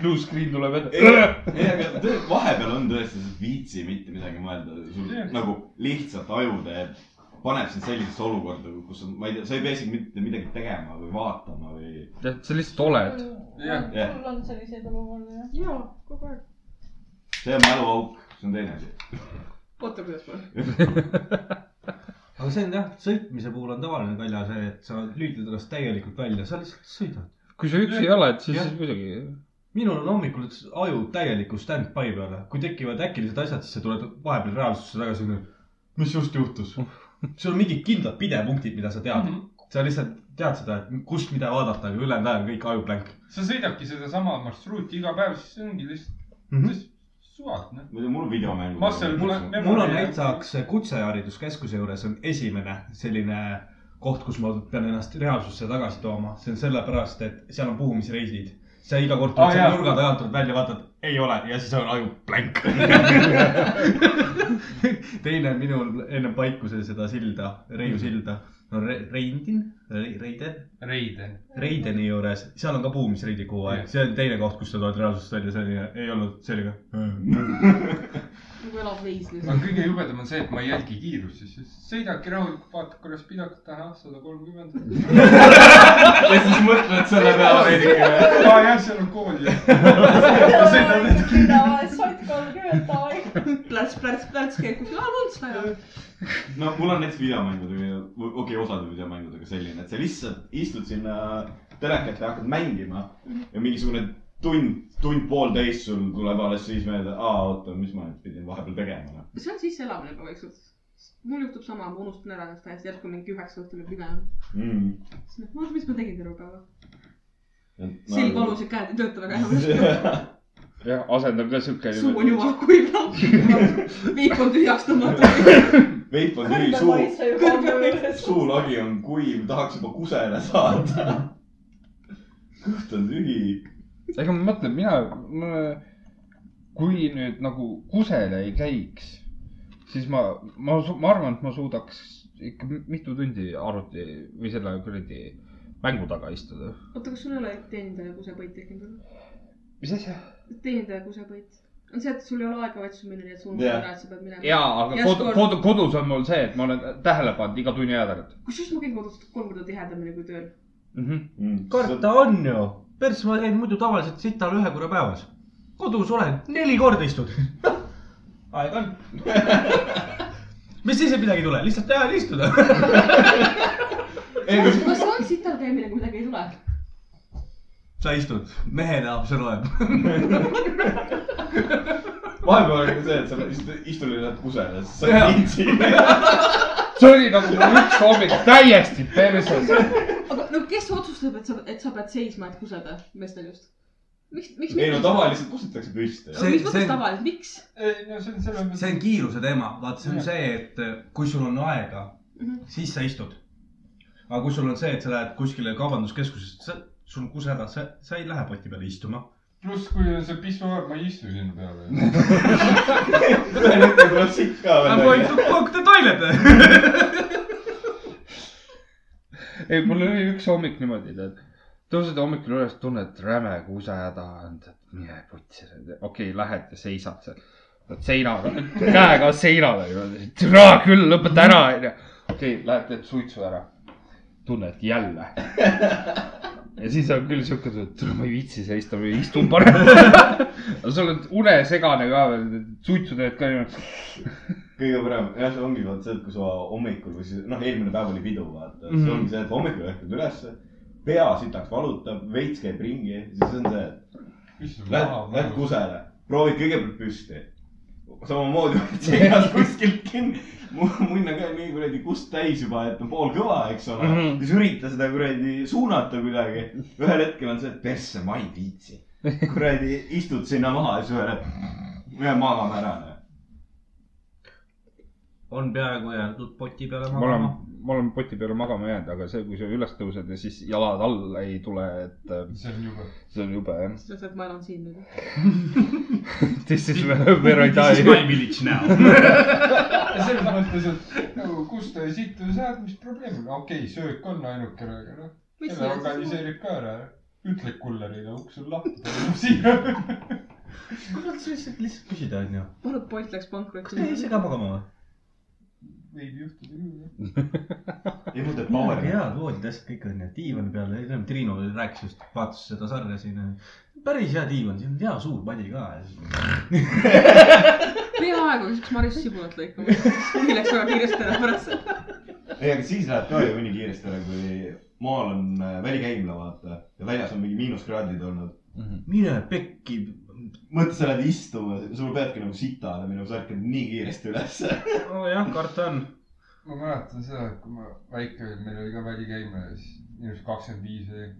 [SPEAKER 3] Blue screen tuleb
[SPEAKER 7] ei ,
[SPEAKER 3] ette .
[SPEAKER 7] aga tõ- vahepeal on tõesti , sa ei viitsi mitte midagi mõelda , sul
[SPEAKER 2] Jah.
[SPEAKER 7] nagu lihtsalt aju teeb , paneb sind sellisesse olukorda , kus on , ma ei tea , sa ei pea isegi mitte midagi tegema või vaatama või .
[SPEAKER 3] sa lihtsalt oled .
[SPEAKER 2] Jah,
[SPEAKER 7] jah.
[SPEAKER 5] mul on selliseid olukordi jah .
[SPEAKER 8] jaa , kogu aeg .
[SPEAKER 7] see on mäluauk , see on teine asi .
[SPEAKER 8] oota , kuidas ma .
[SPEAKER 6] aga see on jah , sõitmise puhul on tavaline kalja see , et sa lülitad ennast täielikult välja , sa lihtsalt sõidad .
[SPEAKER 3] kui sa üksi oled , siis
[SPEAKER 6] Jah.
[SPEAKER 3] muidugi .
[SPEAKER 6] minul on hommikul üks aju täieliku stand-by peale , kui tekivad äkilised asjad , siis sa tuled vahepeal reaalsusse tagasi , mis just juhtus . sul on mingid kindlad pidepunktid , mida sa tead mm . -hmm. sa lihtsalt tead seda , et kust mida vaadata , aga ülejäänud ajal on kõik ajuplank
[SPEAKER 2] sa sõidadki sedasama marsruuti iga päev , siis ongi lihtsalt
[SPEAKER 3] Mhm.
[SPEAKER 6] mm . -hmm.
[SPEAKER 2] lihtsalt suvad , noh .
[SPEAKER 7] muidu mul videomäng .
[SPEAKER 2] Marcel , mul on .
[SPEAKER 6] mul on näiteks Kutsehariduskeskuse juures on esimene selline koht , kus ma pean ennast reaalsusse tagasi tooma , see on sellepärast , et seal on puhumisreisid sa iga kord
[SPEAKER 2] Aa,
[SPEAKER 6] tuled selle
[SPEAKER 2] jaa.
[SPEAKER 6] nurga tagant , tuled välja , vaatad , ei ole ja siis on aju blank . teine on minul enne paikuse seda silda , Reiu silda , no Re- Reindin , Reiden ,
[SPEAKER 2] Reiden .
[SPEAKER 6] Reideni juures , seal on ka puumisreidi kuu aeg , see on teine koht , kus sa tuled reaalsusest välja , see oli- ei olnud , see oli ka .
[SPEAKER 8] nagu elab veisles .
[SPEAKER 2] aga kõige jubedam on see , et ma ei jälgi kiirust , siis sõidabki rahulikult , vaatad korraks pidakut , ahah , sada kolmkümmend .
[SPEAKER 6] ja siis mõtled selle peale veidikene .
[SPEAKER 2] aa jah , seal on kool ja .
[SPEAKER 5] davai , sott kolmkümmend , davai .
[SPEAKER 8] plärts , plärts , plärts käib kuskil , aa , Luntsaja .
[SPEAKER 7] no mul on näiteks videomängudega , okei okay, , osade videomängudega selline , et sa lihtsalt istud sinna telekat ja hakkad mängima ja mingisugune tund , tund-poolteist sul tuleb alles siis meelde , aa , oota , mis ma nüüd pidin vahepeal tegema , noh .
[SPEAKER 8] see on sisseelamine juba vaikselt . mul juhtub sama , ma unustan ära ennast täiesti , järsku mingi üheksa õhtul jääb pidama .
[SPEAKER 7] Mm.
[SPEAKER 8] siis noh , oota , mis ma tegin terve päeva . silm . valus ja käed ei tööta väga enam .
[SPEAKER 3] jah , asend on ka siuke .
[SPEAKER 8] suu on jumala kuiv laupäev . viik on tühjaks tõmmatud .
[SPEAKER 7] veip on tühi ,
[SPEAKER 5] kõrbe
[SPEAKER 7] suu ,
[SPEAKER 5] maitse juba ammuises .
[SPEAKER 7] suulagi on kuiv , tahaks juba kusele saada . kõht on tühi .
[SPEAKER 3] ega ma mõtlen , mina , kui nüüd nagu kusele ei käiks , siis ma , ma , ma arvan , et ma suudaks ikka mitu tundi arvuti või selle kuradi mängu taga istuda .
[SPEAKER 8] oota , kas sul ei ole teenindaja kusepõit tekkinud või ?
[SPEAKER 3] mis asja ?
[SPEAKER 8] teenindaja kusepõit on see , et sul ei ole aega , vaid sul on nii , et sul on
[SPEAKER 7] Jah.
[SPEAKER 8] ära , et sa pead minema .
[SPEAKER 3] jaa , aga
[SPEAKER 8] Ja
[SPEAKER 3] kodu ,
[SPEAKER 8] sport.
[SPEAKER 3] kodu , kodus on mul see , et ma olen tähele pannud iga tunni aja tagant
[SPEAKER 8] kusjuures ma käin kodus kolm korda tihedamini kui tööl .
[SPEAKER 3] mm . -hmm.
[SPEAKER 6] karta on ju , pers , ma käin muidu tavaliselt sital ühe korra päevas . kodus olen , neli korda istud . aeg on . mis siis , et midagi ei tule , lihtsalt teha ja istuda .
[SPEAKER 7] ei ,
[SPEAKER 8] kas kas on sital käimine , kui midagi ei tule ?
[SPEAKER 6] sa istud , mehena see loeb .
[SPEAKER 7] vahepeal oli ka see , et sa istud , istud lihtsalt kusele , sa
[SPEAKER 6] Jaa.
[SPEAKER 7] ei viitsi .
[SPEAKER 3] see oli nagu mul üks hommik täiesti perses .
[SPEAKER 8] aga no kes otsustab , et sa , et sa pead seisma , et kuseda meestel just ? miks , miks ?
[SPEAKER 7] ei no . tavaliselt kustutakse püsti .
[SPEAKER 6] See-
[SPEAKER 8] mis
[SPEAKER 6] see-
[SPEAKER 8] mõttes tavaliselt , miks ?
[SPEAKER 2] no see on selles mõttes .
[SPEAKER 6] see on kiiruse teema , vaata , see on see , et eh, kui sul on aega , siis sa istud . aga kui sul on see , et sa lähed kuskile kaubanduskeskusesse , sul on kuseda , sa , sa ei lähe poti peale istuma .
[SPEAKER 2] pluss , kui on see pissuaar , ma ei istu sinna peale .
[SPEAKER 7] ühel hetkel tuleb sikk ka
[SPEAKER 6] I m going to cook the toilet .
[SPEAKER 3] ei , mul oli üks hommik niimoodi , tead . tõused hommikul üles , tunned räme kuuse häda on , mine putsi . okei okay, , lähed ja seisad seal . oled seinaga , käega seinale . türa küll , lõpeta ära , onju . okei okay, , lähed teed suitsu ära . tunned jälle . ja siis on küll siuke , et türa, ma ei viitsi seista , ma istun parem . aga sa oled unesegane ka veel , suitsu teed ka niimoodi .
[SPEAKER 7] kõige parem , jah , see ongi vaat see , et kui sa hommikul või siis noh , eelmine päev oli pidu , vaata mm . -hmm.
[SPEAKER 3] Mhm.
[SPEAKER 7] see ongi see , et hommikul ärkad ülesse , pea sitaks valutab , veits käib ringi , siis on see , et lähed , lähed . kusele , proovid kõigepealt püsti . samamoodi oled
[SPEAKER 3] Mhm.
[SPEAKER 7] seljas kuskilt kinni . munna ka nii kuradi kust täis juba , et on pool kõva , eks ole mm .
[SPEAKER 3] Mhm.
[SPEAKER 7] -hmm. siis ürita seda kuradi suunata kuidagi . ühel hetkel on see , et persse , ma ei viitsi . kuradi istud sinna maha ja siis ühel hetkel , me magame ära .
[SPEAKER 6] on peaaegu jäänud poti peale
[SPEAKER 3] ma olen
[SPEAKER 6] magama .,
[SPEAKER 3] ma olen poti peale magama jäänud , aga see , kui sa üles tõused ja siis jalad alla ei tule , et äh,
[SPEAKER 2] see on jube .
[SPEAKER 3] see on jube jah .
[SPEAKER 8] sa ütled , ma elan siin nüüd .
[SPEAKER 3] This is where I
[SPEAKER 6] This is my
[SPEAKER 3] die .
[SPEAKER 6] village now .
[SPEAKER 2] selles mõttes , et nagu kus ta siit või sealt , mis probleem on , okei okay, , söök on ainukene , aga noh , selle organiseerib ka ära . ütle kullerile , uks on lahti , ta tuleb siia .
[SPEAKER 6] kurat , sa lihtsalt , lihtsalt küsida onju .
[SPEAKER 8] paljud poiss läks pankrotti .
[SPEAKER 6] tee ise ka magama või ?
[SPEAKER 2] võib juhtuda küll , jah .
[SPEAKER 7] ei , mul teeb
[SPEAKER 6] midagi
[SPEAKER 7] power .
[SPEAKER 6] head , voodid , asjad kõik on ju , diivani peal , Triinu rääkis just , vaatas seda sarja siin . päris hea diivan , siin on hea suur padi ka .
[SPEAKER 8] peaaegu siis , kui Maris Sibulat lõikama . nii läks väga kiiresti ära pärast .
[SPEAKER 7] ei , aga siis läheb ka ju nii kiiresti ära , kui maal on äh, välikäimla , vaata . ja väljas on mingi miinuskraadid olnud .
[SPEAKER 6] mine pekki ,
[SPEAKER 7] mõtle , sa lähed istuma , sul peabki nagu sita olema , nagu sa ärkad nii kiiresti ülesse .
[SPEAKER 6] nojah , karta on .
[SPEAKER 2] ma mäletan seda , et kui ma väike olin , meil oli ka välikäimine , siis miinus kakskümmend viis oli .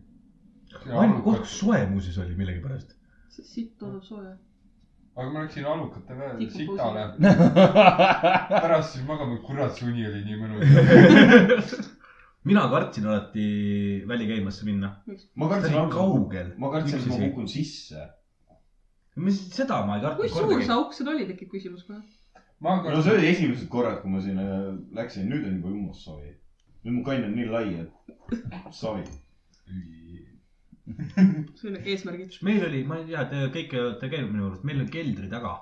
[SPEAKER 6] ainult koht soe muuseas oli millegipärast .
[SPEAKER 8] sitt tuleb sooja .
[SPEAKER 2] aga ma läksin alukate peale ,
[SPEAKER 8] Tikku
[SPEAKER 2] sitale . pärast siis magama , kurat , suni oli nii mõnus .
[SPEAKER 6] mina kartsin alati välikäimasse minna .
[SPEAKER 7] ma
[SPEAKER 6] see
[SPEAKER 7] kartsin
[SPEAKER 6] oli kaugel .
[SPEAKER 7] ma kartsin , et ma
[SPEAKER 6] Üksi
[SPEAKER 7] kukun sisse .
[SPEAKER 6] mis , seda ma ei
[SPEAKER 8] kui
[SPEAKER 6] kartnud
[SPEAKER 8] suur see
[SPEAKER 6] kordagi .
[SPEAKER 8] auk seal oli , tekib küsimus kohe .
[SPEAKER 2] ma
[SPEAKER 7] no see
[SPEAKER 2] kartsin ,
[SPEAKER 7] oli esimesed korrad , kui ma sinna äh, läksin , nüüd on juba jumal savi . nüüd mu kann on nii lai , et savi .
[SPEAKER 8] see oli eesmärgid .
[SPEAKER 6] meil oli , ma ei tea , te kõik olete käinud minu juures , meil oli keldri taga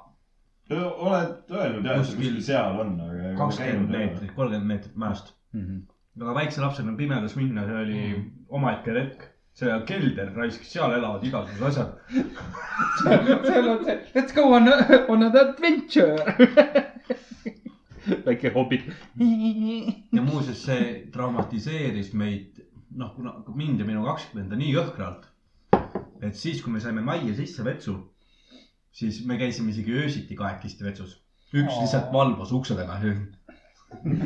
[SPEAKER 7] oled öelnud jah , et see
[SPEAKER 6] Kuskil
[SPEAKER 7] kuskil seal on , aga .
[SPEAKER 6] kakskümmend meetrit , kolmkümmend meetrit mäest .
[SPEAKER 3] Mhm.
[SPEAKER 6] aga väikse lapsena pimedas minna , see oli omaette retk . see kelder raisk , seal elavad igasugused asjad .
[SPEAKER 3] seal on see , let's go on , on an adventure . väike hobi .
[SPEAKER 6] ja muuseas , see traumatiseeris meid , noh , kuna mind ja minu kakskümmenda nii jõhkralt , et siis , kui me saime majja sisse vetsu , siis me käisime isegi öösiti kahekesti vetsus . üks
[SPEAKER 2] Aa.
[SPEAKER 6] lihtsalt valvas ukse taga .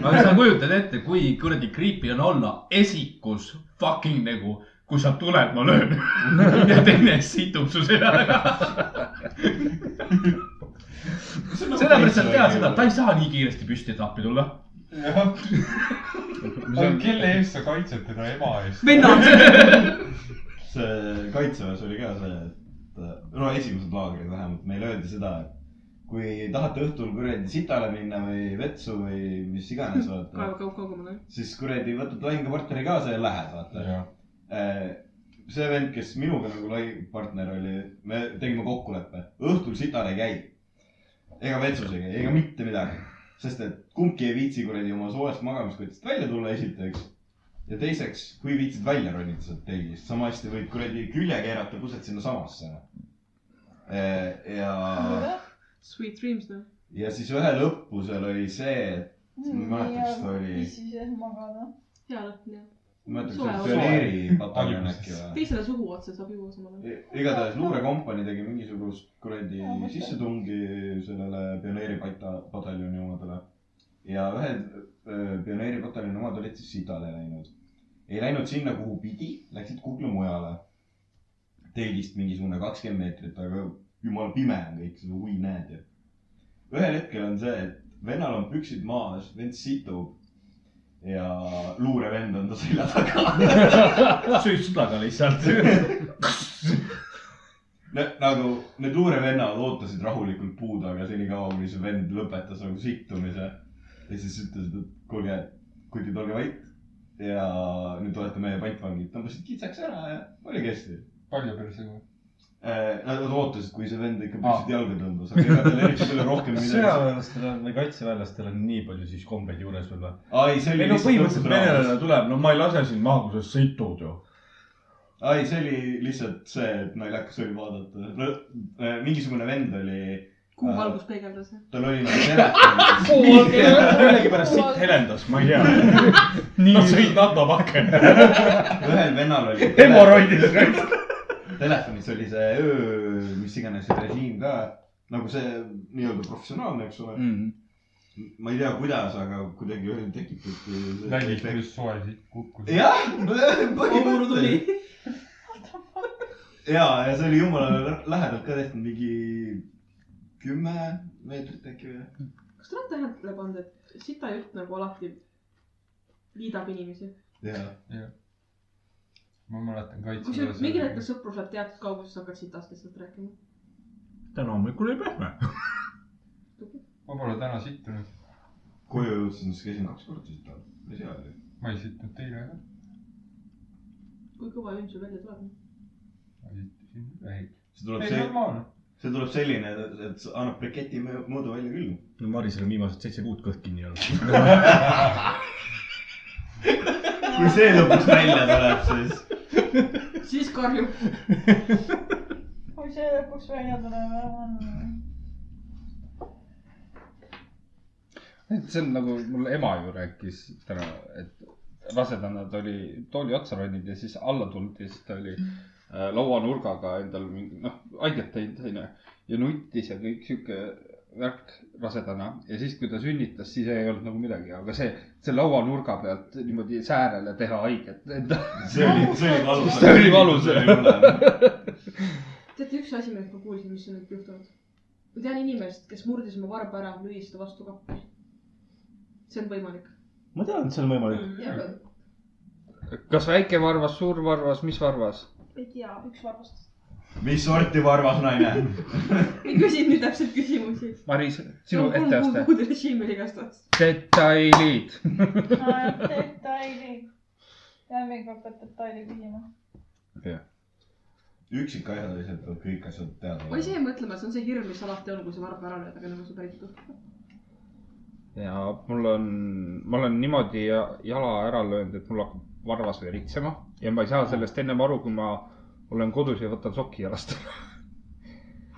[SPEAKER 6] aga sa kujutad ette , kui kuradi creepy on olla esikus fucking nagu , kui sa tuled , ma löön ja teine situb su selja taga . sellepärast sa tead seda , ta ei saa nii kiiresti püsti , et appi tulla .
[SPEAKER 2] jah . aga kelle eest sa kaitsed teda , ema eest ?
[SPEAKER 8] vennad ,
[SPEAKER 7] see kaitseväes oli ka see , et äh, no esimesed laagrid vähemalt , meile öeldi seda , et kui tahate õhtul kuradi sitale minna või vetsu või mis iganes , vaata ,
[SPEAKER 8] kaeva kaug- kaugemale .
[SPEAKER 7] siis kuradi võtad lahingupartneri kaasa ja lähed , vaata . see vend , kes minuga nagu lahingupartner oli , me tegime kokkuleppe , õhtul sitale ei käi . ega vetsus ei käi , ega mitte midagi , sest et kumbki ei viitsi kuradi oma soojast magamiskotist välja tulla , esiteks ja teiseks , kui viitsid välja ronida sealt telgist , sama hästi võid kuradi külje keerata , kused sinnasamasse . ja ,
[SPEAKER 8] Sweet dreams noh .
[SPEAKER 7] ja siis ühel õppusel oli see , et ma ei mäleta , kas ta oli ,
[SPEAKER 5] issi sees magada .
[SPEAKER 8] hea
[SPEAKER 6] noh,
[SPEAKER 8] lõpp , jah .
[SPEAKER 7] ma ei mäleta , kas see oli pioneeri pataljon äkki või ?
[SPEAKER 8] teisele suhu otsa saab juua samal ajal .
[SPEAKER 7] igatahes luurekompanii tegi mingisugust kuradi sissetungi sellele pioneeri pata- pataljoni omadele . ja ühed öö, pioneeri pataljoni omad olid siis idale läinud . ei läinud sinna , kuhu pidi , läksid kuhugi mujale . telgist mingisugune kakskümmend meetrit , aga jumal pime on kõik , seda hui näed ju . ühel hetkel on see , et vennal on püksid maas , vend situb ja luurevend on ta selja taga .
[SPEAKER 6] süstlaga lihtsalt .
[SPEAKER 7] nagu need luurevennad ootasid rahulikult puud , aga senikaua , kuni see vend lõpetas nagu sittumise ja siis ütlesid , et kuulge , kutid , olge vait . ja nüüd olete meie pantvangid , tõmbasid kitsaks ära ja oligi hästi .
[SPEAKER 2] palju perse kohe ?
[SPEAKER 7] eh, Nad ootasid , kui see vend ikka püksid jalga tõmbas , aga ega tal eriti palju rohkem midagi .
[SPEAKER 6] sõjaväelastel Ah. on või kaitseväelastel on nii palju siis kombeid juures veel või ?
[SPEAKER 7] ai , see
[SPEAKER 6] ei
[SPEAKER 7] oli
[SPEAKER 6] no
[SPEAKER 7] lihtsalt
[SPEAKER 6] põhimõtteliselt venelane
[SPEAKER 7] õppusraames .
[SPEAKER 6] tuleb , no ma ei lase sind maha , kui sa situd ju .
[SPEAKER 7] ai , see oli lihtsalt see , et naljakas oli vaadata . mingisugune vend oli ,
[SPEAKER 8] kuu valgus peegeldas .
[SPEAKER 7] tal oli nagu telefon .
[SPEAKER 6] millegipärast sitt helendas , ma ei tea . Nad sõid NATO pakke .
[SPEAKER 7] ühel vennal oli .
[SPEAKER 6] hemoroidis .
[SPEAKER 7] telefonis oli see öö , mis iganes režiim ka , nagu see nii-öelda professionaalne , eks ole .
[SPEAKER 3] Mhm.
[SPEAKER 7] ma ei tea , kuidas , aga kuidagi oli
[SPEAKER 2] nägid ,
[SPEAKER 7] tekitatud .
[SPEAKER 2] kuidas soe siit kukkus ?
[SPEAKER 7] jah ,
[SPEAKER 8] kommuru tuli
[SPEAKER 7] põhimõtteliselt . ja , ja see oli jumala lähedalt ka tehtud , mingi kümme meetrit äkki või ?
[SPEAKER 8] kas te olete tähele pannud , et sita jutt nagu alati liidab inimesi ?
[SPEAKER 7] jah ,
[SPEAKER 2] ma mäletan
[SPEAKER 8] kui sul mingil hetkel
[SPEAKER 2] kaitseväes .
[SPEAKER 8] sõprus läheb teatud kauguses , hakkad sitast lihtsalt rääkima .
[SPEAKER 6] täna hommikul ei pehme .
[SPEAKER 2] ma pole täna sittunud ,
[SPEAKER 7] koju jõudsin , siis käisin kaks korda siit all , mis hea oli .
[SPEAKER 2] ma ei sittunud teile ka .
[SPEAKER 8] kui kõva jõnd sul välja tuleb ?
[SPEAKER 2] ma sittusin ühe .
[SPEAKER 7] see tuleb
[SPEAKER 2] ei ,
[SPEAKER 7] see ,
[SPEAKER 2] normaalne .
[SPEAKER 7] see tuleb selline , et sa annad briketi mõ- mõõdu välja küll .
[SPEAKER 6] Marisel on viimased seitse kuud kõht kinni olnud .
[SPEAKER 7] kui see lõpuks välja tuleb , siis
[SPEAKER 8] siis karjub .
[SPEAKER 5] kui see lõpuks välja tuleb , on .
[SPEAKER 3] see on nagu mul ema ju rääkis täna , et rasedana ta oli tooli otsa roninud ja siis alla tulnud ja siis ta oli äh, lauanurgaga endal mingi noh , haiget teinud onju ja nuttis ja kõik sihuke värk rasedana ja siis , kui ta sünnitas , siis ei olnud nagu midagi , aga see , see lauanurga pealt niimoodi säärele teha haiget enda
[SPEAKER 7] see oli , see oli valus .
[SPEAKER 3] See oli valus.
[SPEAKER 8] teate , üks asi , millest ma kuulsin , mis on nüüd juhtunud . ma tean inimest , kes murdis oma varba ära , lüüs ta vastu kappi . see on võimalik .
[SPEAKER 6] ma tean , et see on võimalik .
[SPEAKER 8] ja ,
[SPEAKER 3] kas väike varvas , suur varvas , mis varvas ?
[SPEAKER 5] ei tea , üks varvastas .
[SPEAKER 7] mis sorti varvas naine ?
[SPEAKER 8] ei küsi nüüd täpselt küsimusi .
[SPEAKER 3] Maris , sinu etteaste .
[SPEAKER 8] kuud režiim oli igastahes .
[SPEAKER 3] detailid .
[SPEAKER 5] detaili . Lähme ikka hakkad detaili küsima .
[SPEAKER 7] üksikasjaliselt on kõik asjad
[SPEAKER 8] ma
[SPEAKER 7] teada .
[SPEAKER 8] ise jäin mõtlema , et see on see hirm , mis alati on , kui sa varba ära lööd , aga nagu sa päris tuttav .
[SPEAKER 3] ja mul on , ma olen niimoodi ja- jala ära löönud , et mul hakkab varvas veritsema ja ma ei saa sellest ennem aru , kui ma olen kodus ja võtan soki jalast .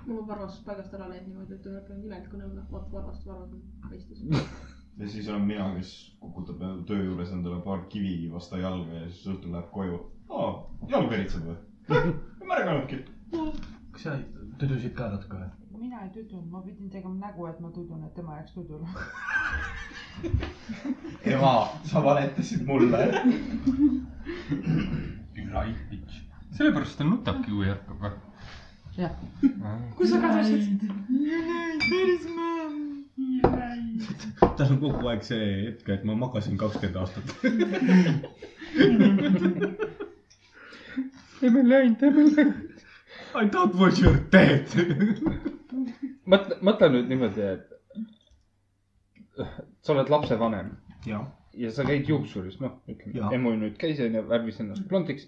[SPEAKER 8] mul on varvas paigast ära läinud niimoodi , et ühel hetkel on imelik kõne , vaat varvast , varvas on mõistus .
[SPEAKER 7] ja siis olen mina , kes kukutab töö juures endale paar kivi vastu jalga ja siis õhtul läheb koju . aa , jalg veritseb või ? ei märganudki .
[SPEAKER 6] kas sa tüdrusid ka natuke või ?
[SPEAKER 9] mina ei tudunud , ma pidin tegema nägu , et ma tudun , et tema jääks tudule .
[SPEAKER 7] ema , sa valetasid mulle .
[SPEAKER 2] Right bitch . sellepärast ta nutabki , kui ärkab või ?
[SPEAKER 9] Jah. .
[SPEAKER 8] kus sa kadusid ?
[SPEAKER 6] tal on kogu aeg see hetk , et ma magasin kakskümmend aastat .
[SPEAKER 3] ei , ma ei läinud , ei , ma ei läinud .
[SPEAKER 6] I thought was your dead .
[SPEAKER 3] mõtle , mõtle nüüd niimoodi , et sa oled lapsevanem
[SPEAKER 6] jah ,
[SPEAKER 3] ja sa käid juuksuris , noh , ütleme
[SPEAKER 6] Jaa. ,
[SPEAKER 3] emu ju nüüd käis onju , värvis ennast blondiks .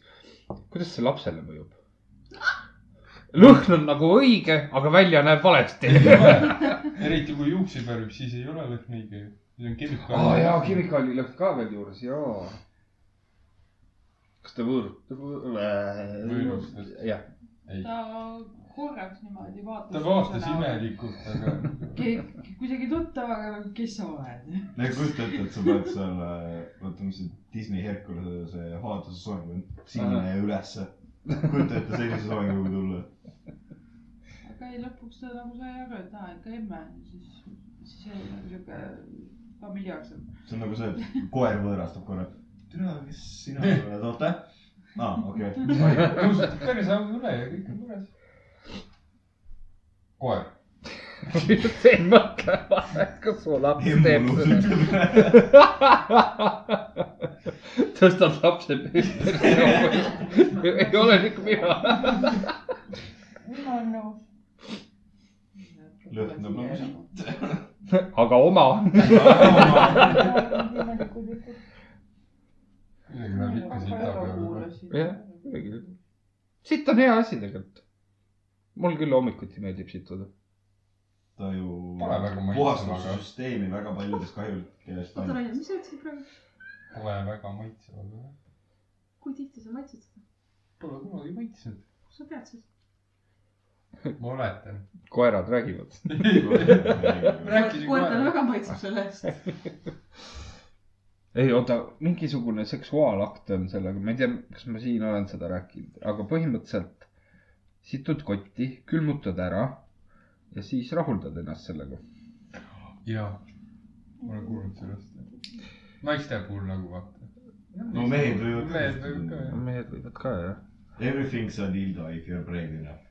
[SPEAKER 3] kuidas see lapsele mõjub ? lõhn on nagu õige , aga välja näeb valesti .
[SPEAKER 2] eriti kui juukseid värvib , siis ei ole lõhn õige ju . siis on
[SPEAKER 3] aa
[SPEAKER 2] kemikaal .
[SPEAKER 3] jaa , kemikaalilõhn ka veel juures , jaa . kas ta võõrub äh,
[SPEAKER 2] Võõrustas. ?
[SPEAKER 3] jah ,
[SPEAKER 2] ei ,
[SPEAKER 5] ta korraks niimoodi vaatas .
[SPEAKER 2] ta vaatas . imelikult , aga
[SPEAKER 9] kuidagi tuttav , aga nagu, kes sa oled ?
[SPEAKER 7] no kujuta ette , et sa pead seal , oota , mis see Disney Herkulese see Haaduse soeng on , sinine ja ülesse . kujuta ette sellise soenguga tulla .
[SPEAKER 9] aga ei , lõpuks ta nagu sai aru , et aa , ikka emme , siis , siis oli nagu sihuke familiaarsem .
[SPEAKER 7] see on nagu see , et koer võõrastab korra . türa , kes sina oled , oota . aa , okei okay. .
[SPEAKER 2] tõuseb päris augu üle ja kõik on korras . koer .
[SPEAKER 3] ei mõtle , kas su laps teeb
[SPEAKER 7] emu
[SPEAKER 3] seda .
[SPEAKER 7] lusib üle .
[SPEAKER 3] tõstad lapse püsti . ei ole nii kui mina .
[SPEAKER 5] ma olen nõus .
[SPEAKER 7] lõhnab nagu siit .
[SPEAKER 3] aga oma .
[SPEAKER 5] imelikud jutud .
[SPEAKER 2] kuidagi nad ikka siin taga .
[SPEAKER 3] Jah. sitt on hea asi tegelikult . mul küll hommikuti meeldib situda .
[SPEAKER 7] ta ju
[SPEAKER 2] Pole väga maitsev,
[SPEAKER 7] puhastab
[SPEAKER 2] aga-
[SPEAKER 7] süsteemi väga paljudest kahjulikest ainetest .
[SPEAKER 8] oota , Rainer , mis sa ütlesid praegu ?
[SPEAKER 2] Pole väga maitsev , aga
[SPEAKER 8] kui tihti sa maitsid seda ?
[SPEAKER 2] pole kunagi maitsenud .
[SPEAKER 8] kust sa tead siis ?
[SPEAKER 2] ma oletan .
[SPEAKER 3] koerad räägivad .
[SPEAKER 2] rääkisin
[SPEAKER 8] koertele
[SPEAKER 2] kohe .
[SPEAKER 8] väga maitseb selle eest .
[SPEAKER 3] ei oota , mingisugune seksuaalakt on sellega , ma ei tea , kas ma siin olen seda rääkinud , aga põhimõtteliselt situd kotti , külmutad ära ja siis rahuldad ennast sellega .
[SPEAKER 2] jaa , ma olen kuulnud sellest . naiste puhul nagu vaata .
[SPEAKER 7] No mehed võivad ka seda
[SPEAKER 2] mehed võivad
[SPEAKER 7] teha.
[SPEAKER 2] ka jah .
[SPEAKER 3] mehed võivad ka jah .
[SPEAKER 7] Everything's a dildo if you are brave enough .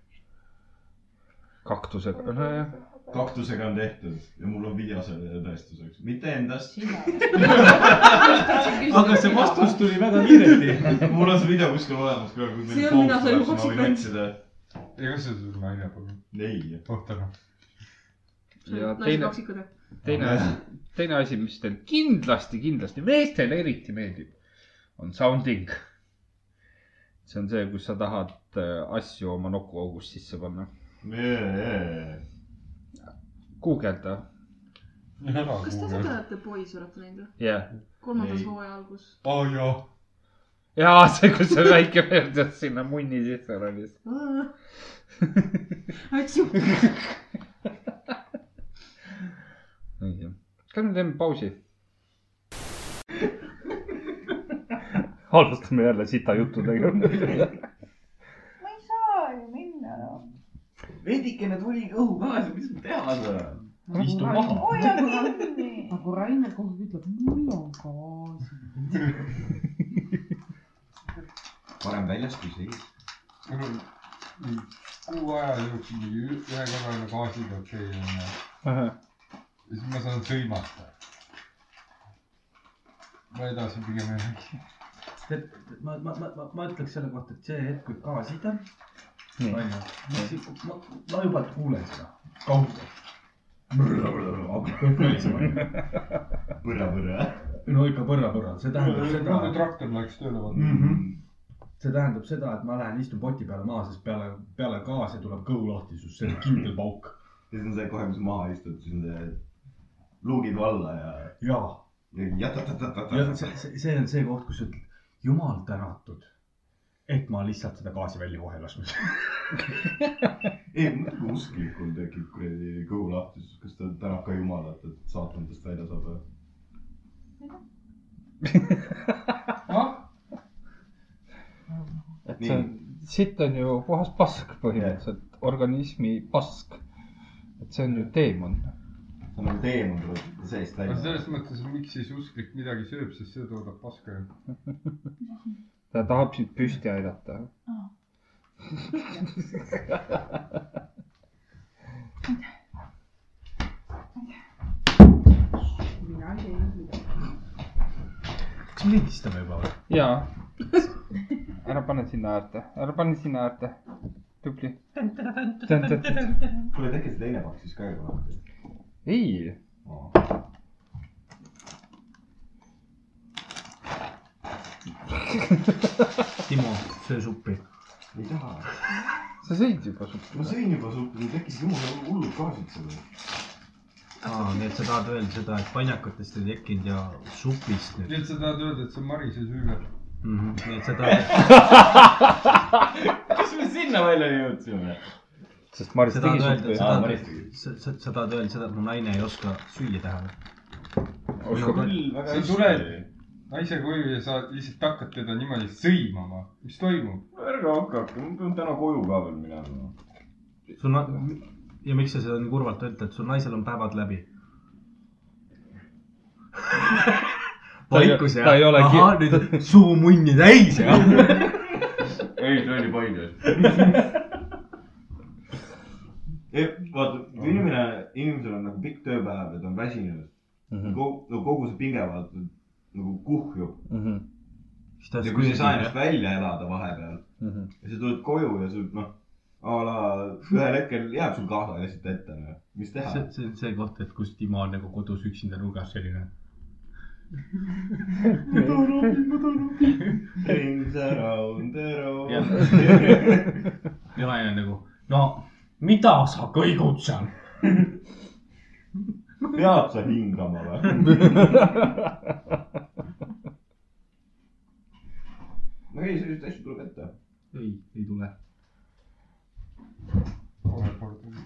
[SPEAKER 3] kaktusega , nojah .
[SPEAKER 7] kaktusega on tehtud ja mul on video selle tõestuseks , mitte endast .
[SPEAKER 6] aga see vastus tuli väga kiiresti .
[SPEAKER 7] mul on see video kuskil olemas ka .
[SPEAKER 8] See on mina, see on juba kakskümmend.
[SPEAKER 2] ja kas see sul naine puhul ?
[SPEAKER 7] ei ,
[SPEAKER 2] oota noh .
[SPEAKER 3] Ja
[SPEAKER 8] naised
[SPEAKER 3] teine-
[SPEAKER 8] kaksikud jah ?
[SPEAKER 3] teine asi , teine asi , mis teil kindlasti , kindlasti meestele eriti meeldib , on sounding . see on see , kus sa tahad äh, asju oma nokuaugust sisse panna , guugelda ,
[SPEAKER 2] ära
[SPEAKER 8] kas te seda
[SPEAKER 2] kuula .
[SPEAKER 8] olete Boys olete näinud või ?
[SPEAKER 3] jah .
[SPEAKER 8] kolmandas
[SPEAKER 7] Ei.
[SPEAKER 8] hooaja algus .
[SPEAKER 2] aa jaa .
[SPEAKER 3] jaa , see , kus see väike mees tead sinna munni sisse ronis .
[SPEAKER 8] Atsu .
[SPEAKER 3] kas me teeme pausi ? alustame jälle sita juttudega .
[SPEAKER 5] ma ei saa ju minna noh .
[SPEAKER 7] veidikene tuli kõhu kaasa , mis ma teha saan .
[SPEAKER 6] istu maha .
[SPEAKER 5] hoia kinni .
[SPEAKER 9] nagu Rainer kogu aeg ütleb , mul on gaas .
[SPEAKER 7] parem väljas kui sees .
[SPEAKER 2] mul on mingi kuu aja jooksul mingi ü- ühe korra nagu gaasiga okei on ja ja siis ma saan sõimata . ma edasi pigem ei räägi .
[SPEAKER 6] et ma , ma , ma , ma , ma ütleks selle kohta , et see hetk , kui gaas idab ,
[SPEAKER 3] Nii.
[SPEAKER 6] onju , ma , ma juba kuulen seda kaugelt . no
[SPEAKER 7] põra , põra .
[SPEAKER 6] ikka põrra-põrra , see tähendab seda
[SPEAKER 2] kui . traktor läks tööle , vaata .
[SPEAKER 6] mm .
[SPEAKER 7] Mhm.
[SPEAKER 6] -hmm. see tähendab seda , et ma lähen istun poti peale maha , sest peale , peale gaasi tuleb kõhu lahtisus , see on kindel pauk .
[SPEAKER 7] siis on see kohe , kui sa maha istud , siis on see luugid valla ja ,
[SPEAKER 6] ja ,
[SPEAKER 7] ja
[SPEAKER 6] ja
[SPEAKER 7] jatatatatatat .
[SPEAKER 6] see , see on see koht , kus sa ütled , jumal tänatud , et ma lihtsalt seda gaasi välja kohe ei lasknud .
[SPEAKER 7] ei , mõtle kui usklikul tekib kuradi kõhu lahtisus , kas ta tänab ka jumalat , et saatanast välja saada .
[SPEAKER 3] et see on , sitt on ju puhas pask põhimõtteliselt , organismi pask . et see on ju teemant .
[SPEAKER 7] see on nagu teemant , tuleb seest
[SPEAKER 2] aga
[SPEAKER 7] välja .
[SPEAKER 2] selles mõttes , miks siis usklik midagi sööb , sest see toodab paska ju .
[SPEAKER 3] ta tahab sind püsti aidata .
[SPEAKER 8] mina ei teinud midagi .
[SPEAKER 6] kas me lindistame juba või ?
[SPEAKER 3] jaa . ära pane sinna äärde , ära pane sinna äärde . tubli .
[SPEAKER 7] kuule , tekkis teine pakk siis ka juba lahti .
[SPEAKER 3] ei ,
[SPEAKER 6] Timo , söö suppi .
[SPEAKER 7] ei taha .
[SPEAKER 3] sa sõid juba
[SPEAKER 7] ma
[SPEAKER 3] suppi .
[SPEAKER 7] sõin juba suppi , mul tekkisid jumala hullud gaasid seal .
[SPEAKER 6] aa , nii et sa tahad öelda seda , et panjakatest ei tekkinud ja supist nüüd
[SPEAKER 2] nii . et sa tahad öelda , et see on Marise süü ?
[SPEAKER 6] nii et sa tahad ,
[SPEAKER 7] kas me sinna välja jõudsime ?
[SPEAKER 3] sest Maris
[SPEAKER 6] sa
[SPEAKER 3] tegi
[SPEAKER 6] tahad öelda ,
[SPEAKER 3] suppi
[SPEAKER 6] et . sa tahad , sa , sa , sa tahad öelda seda , et mu naine ei oska süüa teha või ?
[SPEAKER 3] oskab ,
[SPEAKER 2] sa tuled naise koju ja sa lihtsalt hakkad teda niimoodi sõimama , mis toimub ?
[SPEAKER 7] ärge hakake , ma pean täna koju ka veel minema .
[SPEAKER 6] sul na- , ja miks sa seda nii kurvalt ütled , sul naisel on päevad läbi . vaikus
[SPEAKER 3] Ta ei-
[SPEAKER 6] jah
[SPEAKER 3] ta ei ole ki-
[SPEAKER 6] ahah , nüüd suu munni täis jah .
[SPEAKER 7] ei , see oli Paides . vaata , kui inimene , inimesel on nagu pikk tööpäev ja ta on väsinud mm. ,
[SPEAKER 3] Mhm.
[SPEAKER 7] no kogu see pinge vaata nagu kuhjub
[SPEAKER 3] Mhm.
[SPEAKER 7] ja kui sa ei saa ennast välja elada vahepeal
[SPEAKER 3] Mhm.
[SPEAKER 7] ja sa tuled koju ja sul noh , a la ühel hetkel jääb sul kaasa lihtsalt ette , mis teha
[SPEAKER 6] see ,, see on see koht , et kus Timo on nagu kodus üksinda nurgas selline .
[SPEAKER 7] rings around the road .
[SPEAKER 6] ja naine on nagu , no mida sa kõigud seal .
[SPEAKER 7] pead sa hingama või ? no ei , selliseid asju tuleb ette .
[SPEAKER 6] ei , ei tule .
[SPEAKER 2] kohe kord .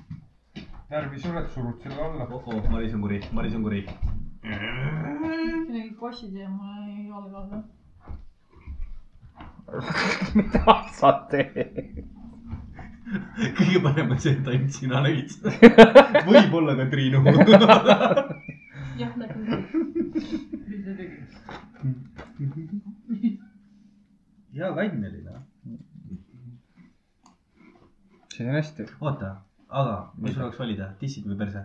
[SPEAKER 2] närvi sured , surud selle alla .
[SPEAKER 6] oh-oh , Maris on kuri , Maris on kuri .
[SPEAKER 5] midagi kossid ja mul ei ole ka .
[SPEAKER 3] mida sa teed ?
[SPEAKER 6] kõige parem on see , et ainult sina nägid seda . võib-olla ka Triinu .
[SPEAKER 8] jah , nägin küll .
[SPEAKER 9] mis sa tegid ?
[SPEAKER 6] hea kann oli
[SPEAKER 2] noh.
[SPEAKER 6] ta
[SPEAKER 3] see on hästi ,
[SPEAKER 6] oota , aga kui sul oleks valida , tissid või perse ?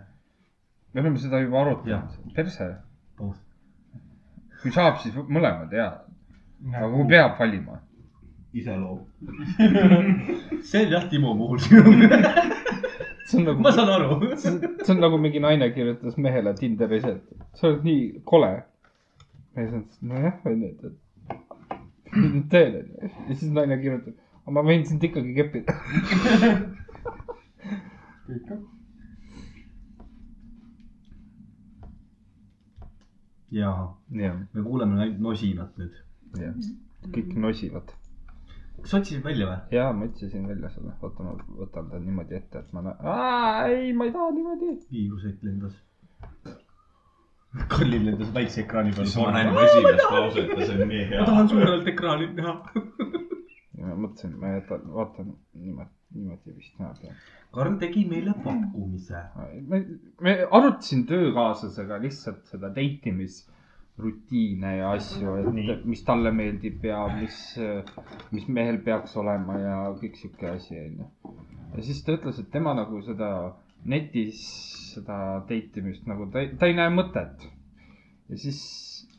[SPEAKER 3] me oleme seda juba arutanud
[SPEAKER 6] Jah. .
[SPEAKER 3] perse ,
[SPEAKER 6] Both .
[SPEAKER 3] kui saab , siis mõlemad ja , aga kui
[SPEAKER 2] nägu ,
[SPEAKER 3] peab valima .
[SPEAKER 7] iseloom .
[SPEAKER 6] see on jah Timo puhul sinu .
[SPEAKER 3] see on
[SPEAKER 6] ma
[SPEAKER 3] nagu ,
[SPEAKER 6] saan aru .
[SPEAKER 3] see on nagu mingi naine kirjutas mehele Tinderis , et sa oled nii kole . mees ütles , nojah , onju , et , et mis nüüd teen , onju . ja siis naine kirjutab , aga ma võin sind ikkagi keppida .
[SPEAKER 2] kõik on .
[SPEAKER 6] ja
[SPEAKER 3] jah ,
[SPEAKER 6] me kuuleme ainult nosinat nüüd .
[SPEAKER 3] jah , kõik nosivad .
[SPEAKER 6] kas otsisid välja või ?
[SPEAKER 3] ja ma otsisin välja selle , oota , ma võtan ta niimoodi ette , et ma näen , ei , ma ei taha niimoodi .
[SPEAKER 6] viiruseid lendas . Karlil lendas väikse ekraani peal .
[SPEAKER 7] esimest lauset ja see on nii
[SPEAKER 6] ma tahan . suurelt ekraanilt näha .
[SPEAKER 3] ja ma mõtlesin , ma jätan , vaatan niimoodi , niimoodi vist näeb jah .
[SPEAKER 6] Karl tegi meile pakkumise .
[SPEAKER 3] me , me arutasin töökaaslasega lihtsalt seda date imisrutiine ja asju ,
[SPEAKER 6] Nii.
[SPEAKER 3] et mis talle meeldib ja mis , mis mehel peaks olema ja kõik sihuke asi onju . ja siis ta ütles , et tema nagu seda netis seda date imist nagu ta ei , ta ei näe mõtet . ja siis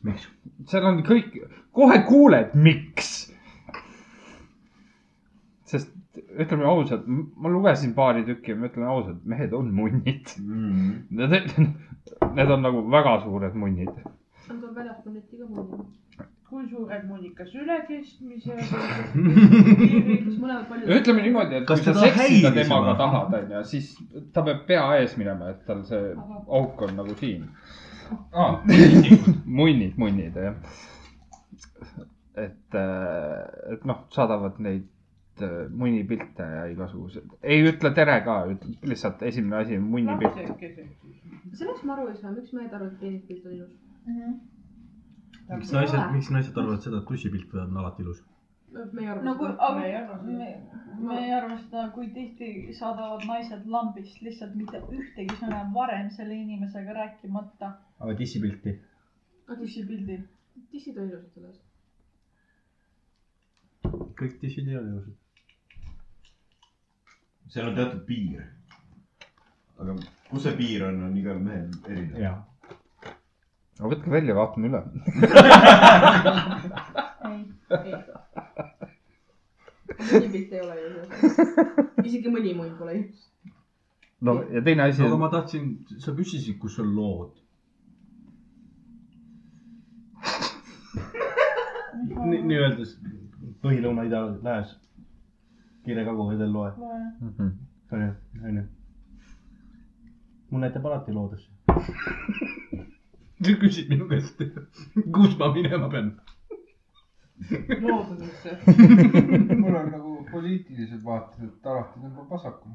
[SPEAKER 6] miks ?
[SPEAKER 3] seal on kõik , kohe kuuled , miks . sest ütleme ausalt , ma lugesin paari tükki ja ma ütlen ausalt , mehed on munnid . Need , need on nagu väga suured munnid .
[SPEAKER 10] on ka väljaspool neti ka muidu .
[SPEAKER 9] kui suured munnikas üle keskmise .
[SPEAKER 10] kas mõlemad palju ?
[SPEAKER 3] ütleme niimoodi , et
[SPEAKER 6] Kas
[SPEAKER 3] kui sa
[SPEAKER 6] teda
[SPEAKER 3] seksida
[SPEAKER 6] häiris
[SPEAKER 3] temaga
[SPEAKER 6] juba?
[SPEAKER 3] tahad , onju , siis ta peab pea ees minema , et tal see auk on nagu siin .
[SPEAKER 2] aa ,
[SPEAKER 3] munnid , munnid , jah . et , et noh , saadavad neid äh, munnipilte ja igasuguseid , ei ütle tere ka , lihtsalt esimene asi on munnipilt .
[SPEAKER 10] sellest ma aru ei saa , miks mehed arvavad , et peenikeelt on ilus .
[SPEAKER 6] miks naised , miks naised arvavad seda , et tussipilt on alati ilus ?
[SPEAKER 10] meie arvamus
[SPEAKER 5] no kui ,
[SPEAKER 9] Me ei
[SPEAKER 5] aga
[SPEAKER 9] arva seda.
[SPEAKER 5] me , me ei arva seda , kui tihti saadavad naised lambist lihtsalt mitte ühtegi sõna varem selle inimesega rääkimata .
[SPEAKER 6] aga tissipilti ?
[SPEAKER 5] püsipildi .
[SPEAKER 10] tissid on ilusad selles .
[SPEAKER 6] kõik tissid ei ole ilusad .
[SPEAKER 7] seal on teatud piir . aga kus see piir on , on igal mehel erinev .
[SPEAKER 6] jaa .
[SPEAKER 3] aga võtke välja , vaatame üle .
[SPEAKER 5] ei ,
[SPEAKER 8] mõni pilt ei ole ju . isegi mõni mõni pole ju .
[SPEAKER 3] no ja teine asi
[SPEAKER 6] no
[SPEAKER 3] on ,
[SPEAKER 6] aga ma tahtsin , sa küsisid , kus on lood . nii-öelda s- põhi , lõuna , ida , lääs . kire , kagu , vedel , loe .
[SPEAKER 3] Mhm.
[SPEAKER 6] onju , onju . mul näitab alati loodus . sa küsid minu käest , kus ma minema pean ?
[SPEAKER 9] loodusesse .
[SPEAKER 2] mul on nagu poliitilised vaated , et alati tõmbab vasakule .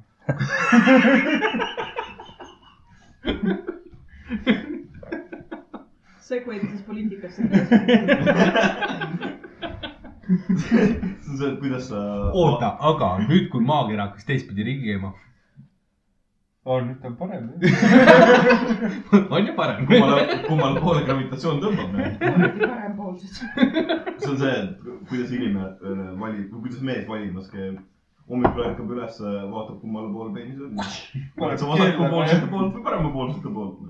[SPEAKER 8] Segmentis poliitikasse .
[SPEAKER 7] see on see , et kuidas sa .
[SPEAKER 6] oota , aga nüüd , kui maakera hakkas teistpidi ringi käima ,
[SPEAKER 2] aa , nüüd ta on parem jah .
[SPEAKER 6] on ju parem .
[SPEAKER 7] kummale , kummale poole gravitatsioon tõmbab ?
[SPEAKER 9] parempoolsed .
[SPEAKER 7] see on see , et kuidas inimene valib , kuidas mees valimas käib . hommikul ärkab üles , vaatab , kummal pool peenis on . oled sa vasakpoolsete poolt või paremapoolsete poolt ?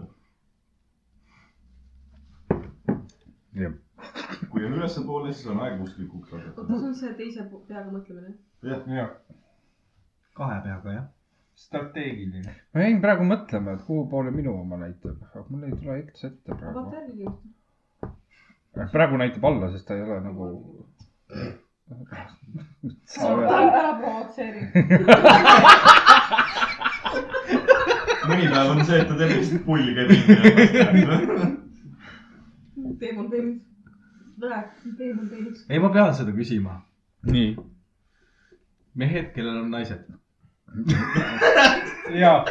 [SPEAKER 3] Jah. .
[SPEAKER 7] kui on ülespoole , siis on aeg mustlikuks hakata
[SPEAKER 8] oota , see . on see teise po- peaga mõtlemine .
[SPEAKER 2] jah ,
[SPEAKER 6] kahe peaga jah .
[SPEAKER 2] strateegiline .
[SPEAKER 3] ma jäin praegu mõtlema , et kuhu poole minu oma näitab , aga mul ei tule üldse ette praegu
[SPEAKER 10] vaata . järgi kirjutab .
[SPEAKER 3] praegu näitab alla , sest ta ei ole nagu .
[SPEAKER 5] ära provotseeri .
[SPEAKER 7] mõni päev on see , et ta teeb lihtsalt pulli käib ringi .
[SPEAKER 8] teemal peenis . teemal peenis .
[SPEAKER 6] ei , ma pean seda küsima .
[SPEAKER 3] nii .
[SPEAKER 6] mehed , kellel on naised .
[SPEAKER 2] jaa ,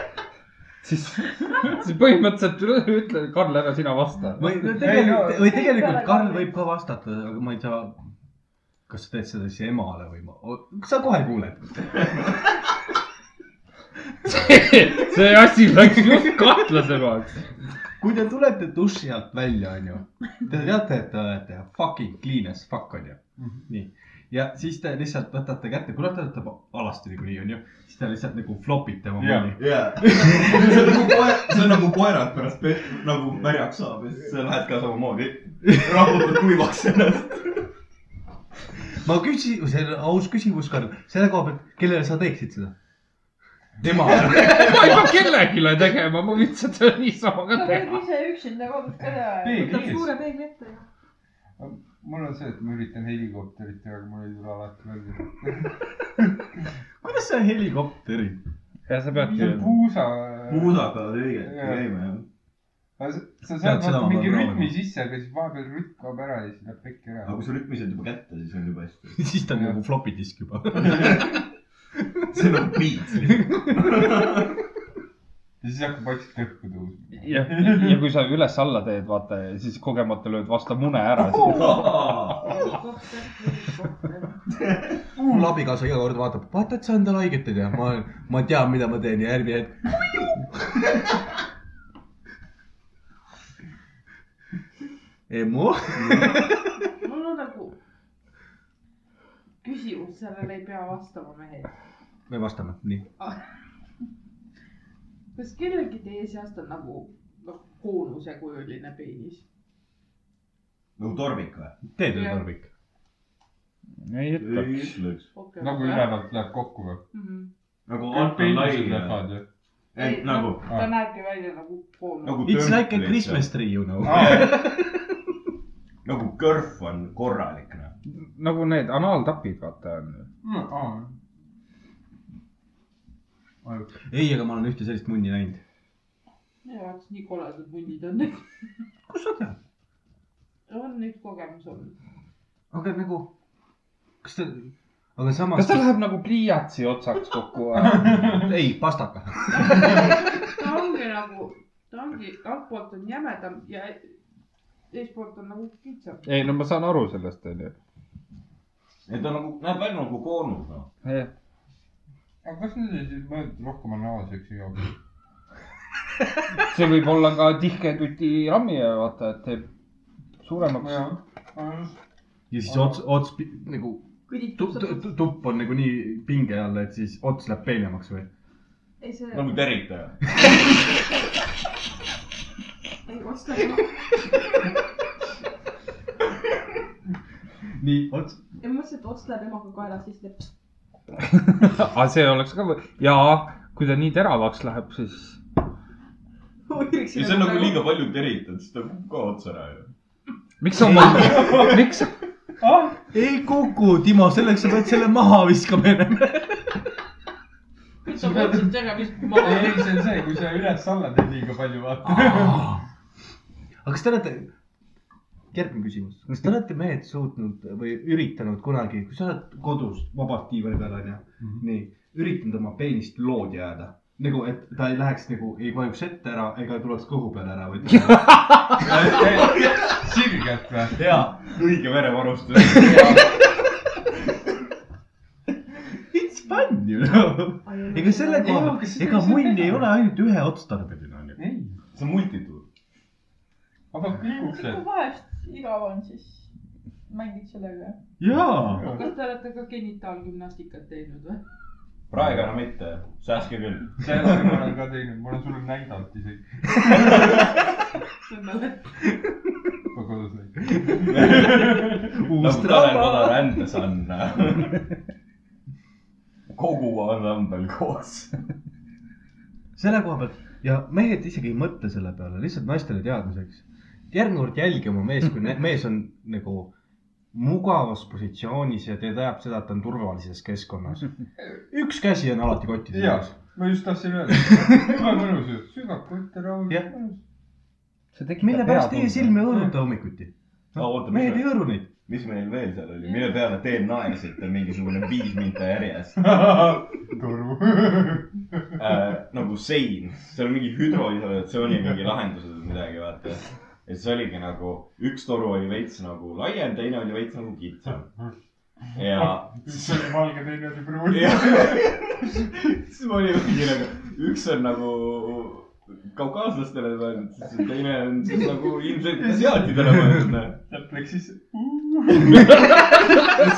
[SPEAKER 3] siis , siis põhimõtteliselt üle- ütle , Karl , ära sina vasta .
[SPEAKER 6] või no
[SPEAKER 2] Ei, no-
[SPEAKER 6] tegelikult , või tegelikult Karl võib ka vastata , aga ma ei saa . kas sa teed seda siis emale või ma , sa kohe kuuled .
[SPEAKER 3] see asi läks just kahtlasemaks .
[SPEAKER 6] kui te tulete duši alt välja , onju , te teate , et te olete fucking clean as fuck , onju .
[SPEAKER 7] Mhm.
[SPEAKER 6] nii , ja siis te lihtsalt võtate kätte , kuna te olete alasti niikuinii , onju , siis te lihtsalt nagu flopite oma
[SPEAKER 2] Jaa.
[SPEAKER 6] moodi .
[SPEAKER 7] jaa , see on nagu koer , see on nagu koerad pärast pe- nagu märjaks saab ja siis sa lähed ka samamoodi , rahutad kuivaks ennast .
[SPEAKER 6] ma küsin , see on aus küsimus , Karl , selle koha pealt , kellele sa teeksid seda ? tema .
[SPEAKER 3] ma ei pea kellelegi tegema , ma võin seda niisama ka
[SPEAKER 5] sa pead
[SPEAKER 3] teha .
[SPEAKER 5] ise üksinda kodus ka teha .
[SPEAKER 8] võtab
[SPEAKER 2] peeglis .
[SPEAKER 8] suure peegli ette ja .
[SPEAKER 2] mul on see , et ma üritan helikopterit teha , aga mul ei tule alati välja .
[SPEAKER 6] kuidas sa helikopteri ?
[SPEAKER 3] ja sa
[SPEAKER 2] see
[SPEAKER 3] peadki .
[SPEAKER 2] puusa . äh,
[SPEAKER 7] puusaga õige , käime jah .
[SPEAKER 2] sa
[SPEAKER 6] Pead
[SPEAKER 2] saad
[SPEAKER 6] seda
[SPEAKER 2] vaata
[SPEAKER 6] ma
[SPEAKER 2] mingi
[SPEAKER 6] pean
[SPEAKER 2] rütmi
[SPEAKER 6] proovima.
[SPEAKER 2] sisse , aga siis vahepeal rütm kaob ära ja siis läheb pekki ära
[SPEAKER 7] aga . kui sa rütmi saad juba kätte , siis on juba hästi .
[SPEAKER 6] siis ta on nagu flopi disk juba .
[SPEAKER 7] see on nagu piits .
[SPEAKER 2] ja siis hakkab vaikselt kõhku tõusma .
[SPEAKER 3] ja , ja kui sa üles-alla teed , vaata , siis kogemata lööd vastu mune ära .
[SPEAKER 6] mul abikaasa iga kord vaatab , vaata , et sa endale haiget ei tea , ma , ma tean , mida ma teen ja järgmine hetk . emu ,
[SPEAKER 9] mul on nagu küsimus , sellele ei pea vastama mehed .
[SPEAKER 6] me vastame , nii .
[SPEAKER 9] kas kellelgi teie seast on nagu , noh , koonusegujuline peenis ?
[SPEAKER 7] nagu tormik või ?
[SPEAKER 6] teed
[SPEAKER 9] Jah.
[SPEAKER 6] veel tormik ?
[SPEAKER 3] ei ütleks .
[SPEAKER 7] ütleks .
[SPEAKER 2] nagu . ülevalt läheb kokku või ?
[SPEAKER 9] Mhm.
[SPEAKER 7] nagu alt on lai
[SPEAKER 2] inimesed lähevad ju .
[SPEAKER 7] ei nagu ,
[SPEAKER 9] ta näebki välja nagu pool .
[SPEAKER 7] nagu .
[SPEAKER 6] It's like a Christmas tree you know .
[SPEAKER 7] nagu kõrv on korralik noh .
[SPEAKER 3] nagu need anaaltapid , vaata on ju .
[SPEAKER 6] ei , aga ma olen ühte sellist munni näinud .
[SPEAKER 9] minu jaoks nii koledad hundid on need .
[SPEAKER 6] kust sa tead ?
[SPEAKER 9] on nüüd kogemus olnud .
[SPEAKER 6] aga nagu , kas ta , aga samas
[SPEAKER 3] kas ta läheb nagu pliiatsi otsaks kokku või ?
[SPEAKER 6] ei , pastaka .
[SPEAKER 9] ta ongi nagu , ta ongi , altpoolt on jämedam ja eespoolt on nagu kitsam .
[SPEAKER 3] ei , no ma saan aru sellest , onju .
[SPEAKER 7] et ta nagu näeb välja nagu koonus noh .
[SPEAKER 2] aga kas need ei siis mõeldud rohkem analseks jooks ?
[SPEAKER 3] see võib olla ka tihke tuti rammi , vaata , et teeb suuremaks .
[SPEAKER 6] ja siis ots , ots pi- nagu tupp , tupp on nagu nii pinge all , et siis ots läheb peenemaks või ?
[SPEAKER 10] ei , see ,
[SPEAKER 7] nagu teritaja .
[SPEAKER 10] ei osta ei ole .
[SPEAKER 6] nii , ots .
[SPEAKER 10] ja ma mõtlesin , et ots läheb emaga kaelas , siis teeb .
[SPEAKER 3] aga see oleks ka , jaa , kui ta nii teravaks läheb , siis
[SPEAKER 7] ja see on nagu liiga palju teritad , siis ta kukub ka otsa ära ju .
[SPEAKER 3] miks sa oma , miks ,
[SPEAKER 6] ei kuku , Timo , selleks sa pead selle maha viskama ennem .
[SPEAKER 9] sa pead sind tegemist
[SPEAKER 2] ei ,
[SPEAKER 9] maha
[SPEAKER 2] ei , see on see , kui sa üles-alla teed liiga palju , vaata .
[SPEAKER 6] aga kas te olete , järgmine küsimus , kas te olete mehed suutnud või üritanud kunagi , kui sa oled kodus vabalt diivani peal onju mm ,
[SPEAKER 2] Mhm.
[SPEAKER 6] -hmm. nii , üritanud oma peenist loodi ajada nagu , et ta ei läheks nagu , ei vajuks ette ära ega ei tuleks kõhu peale ära või ?
[SPEAKER 2] sirgelt või ?
[SPEAKER 7] jaa , õige verevarustus .
[SPEAKER 6] It's fun you know . ega selle
[SPEAKER 2] Ei,
[SPEAKER 6] koha
[SPEAKER 2] aga , seda
[SPEAKER 6] ega
[SPEAKER 2] ei saa
[SPEAKER 6] munn ei
[SPEAKER 2] teha.
[SPEAKER 6] ole ainult ühe otstarbeline onju .
[SPEAKER 2] ei ,
[SPEAKER 7] see on multitool .
[SPEAKER 2] aga kõiguks see
[SPEAKER 5] kui . vahest igav on , siis mängid sellega .
[SPEAKER 6] jaa .
[SPEAKER 9] kas te olete ka genitaalgümnastikat teinud või ?
[SPEAKER 7] praegu enam mitte , säästke küll .
[SPEAKER 2] selle ma olen ka teinud , ma olen sulle näidanud isegi . ma kodus näitan .
[SPEAKER 7] nagu Tanel Padar and the Sun . kogu ansambel koos .
[SPEAKER 6] selle koha pealt ja mehed isegi ei mõtle selle peale , lihtsalt naistele teadmiseks . järgmine kord jälgi oma meest , kui ne- mees on nagu mugavas positsioonis ja ta teab seda , et ta on turvalises keskkonnas . üks käsi on alati kotti
[SPEAKER 2] Jaa.
[SPEAKER 6] sees .
[SPEAKER 2] ma just tahtsin öelda , jube mõnus ju , sügavkott ära .
[SPEAKER 6] Jah.
[SPEAKER 3] see tekitab
[SPEAKER 6] mille pärast teie silmi hõõruta hommikuti ?
[SPEAKER 7] Aa, oota, mis
[SPEAKER 6] mehed
[SPEAKER 7] me-
[SPEAKER 6] ei hõõru neid .
[SPEAKER 7] mis meil veel seal oli , mille peale DNA-sid on mingisugune viis minta järjest
[SPEAKER 2] toru .
[SPEAKER 7] äh, nagu sein , seal on mingi hüdroisolatsiooni mingi lahendused või midagi , vaata . ja siis oligi nagu , üks toru oli veits nagu laiem , teine oli veits nagu kitsam . ja
[SPEAKER 2] üks oli valge , teine oli pruun .
[SPEAKER 7] Ja- siis ma olin mingi nagu , üks on nagu kaukaaslastele mõeldud , siis teine on siis nagu ilmselt asiaatidele mõeldud .
[SPEAKER 2] sealt läks siis ,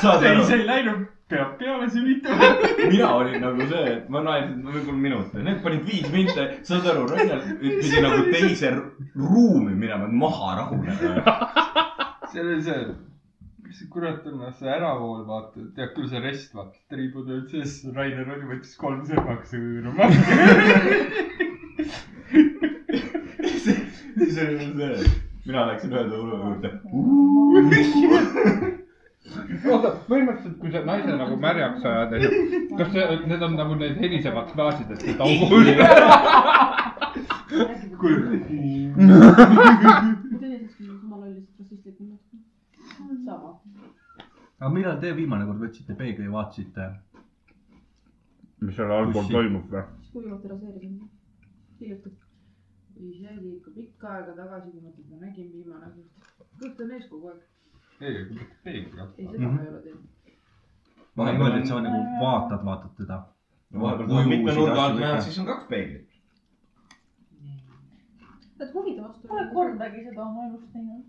[SPEAKER 7] saad
[SPEAKER 2] ei
[SPEAKER 7] aru ,
[SPEAKER 2] see ei läinud , peab peale sülitama .
[SPEAKER 7] mina olin nagu see , et ma naersin võib-olla minuti , need panid viis minta , saad aru , Rainer pidi nagu teise ruumi minema , et maha rahuneda .
[SPEAKER 2] seal oli see , mis see kurat on , see äravool , vaata , tead küll see rest , vaata , triibud olid sees , Rainer oli , võttis kolm sõrmaks ja hõõruma .
[SPEAKER 7] siis oli mul see , mina läksin ühe tõulu juurde .
[SPEAKER 3] oota , põhimõtteliselt , kui sa naise nagu märjaks ajad , onju , kas see , need on nagu need helisevad klaasid , et see taugul .
[SPEAKER 10] teises küll , jumala üldiselt rassistlikum .
[SPEAKER 9] sama .
[SPEAKER 6] aga millal te viimane kord võtsite peegli ja vaatasite ?
[SPEAKER 3] mis seal allpool toimub noh? või ?
[SPEAKER 10] siis kui viimati raseerisin . hiljuti .
[SPEAKER 9] ei , see oli ikka pikka aega tagasi , kui ma teda nägin viimane kord . kõht on ees kogu aeg .
[SPEAKER 2] ei , aga mitte peegel .
[SPEAKER 9] ei , seda ma ei ole teinud .
[SPEAKER 6] ma ei mõelnud , et sa nagu vaatad , vaatad teda .
[SPEAKER 7] vahepeal tuleb mitme nurga alt näha , siis on kaks peeglit .
[SPEAKER 10] et huvide vastu .
[SPEAKER 5] Pole kordagi seda oma elus teinud .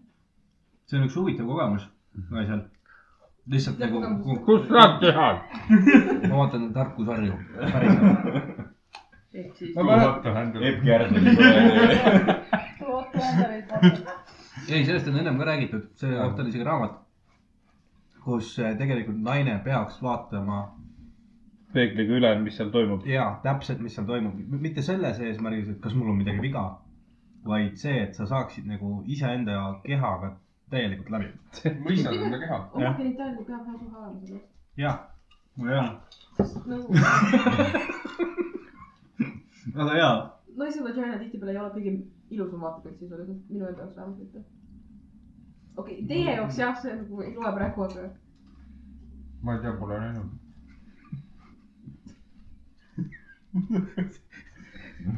[SPEAKER 6] see on üks huvitav kogemus
[SPEAKER 3] Mhm.
[SPEAKER 6] naisel . lihtsalt
[SPEAKER 10] Ja
[SPEAKER 6] nagu ,
[SPEAKER 10] kogemus.
[SPEAKER 3] kus nad teha ?
[SPEAKER 6] ma vaatan tarkusarju .
[SPEAKER 9] ehk siis
[SPEAKER 3] Ma mäletan-
[SPEAKER 2] vaata , Händel .
[SPEAKER 7] Epp Kärdla .
[SPEAKER 5] Otto Endel ei tahtnud .
[SPEAKER 6] ei , sellest on ennem ka räägitud , selle kohta oli isegi raamat , kus äh, tegelikult naine peaks vaatama
[SPEAKER 3] peegliga üle , mis seal toimub .
[SPEAKER 6] jaa , täpselt , mis seal toimub , mitte selles eesmärgis , et kas mul on midagi viga , vaid see , et sa saaksid nagu iseenda kehaga täielikult läbi .
[SPEAKER 2] mõistad enda keha .
[SPEAKER 8] oma genitaalne peab hea suhe olema selle
[SPEAKER 6] jah , mul ei ole .
[SPEAKER 8] eest . nagu
[SPEAKER 6] väga hea .
[SPEAKER 8] naise vagina tihtipeale ei ole kõige ilusam vaatepilt sisuliselt , minu enda jaoks vähemalt mitte . okei okay, , teie jaoks jah , see nagu ei loe praegu , aga
[SPEAKER 2] ma ei tea , pole näinud .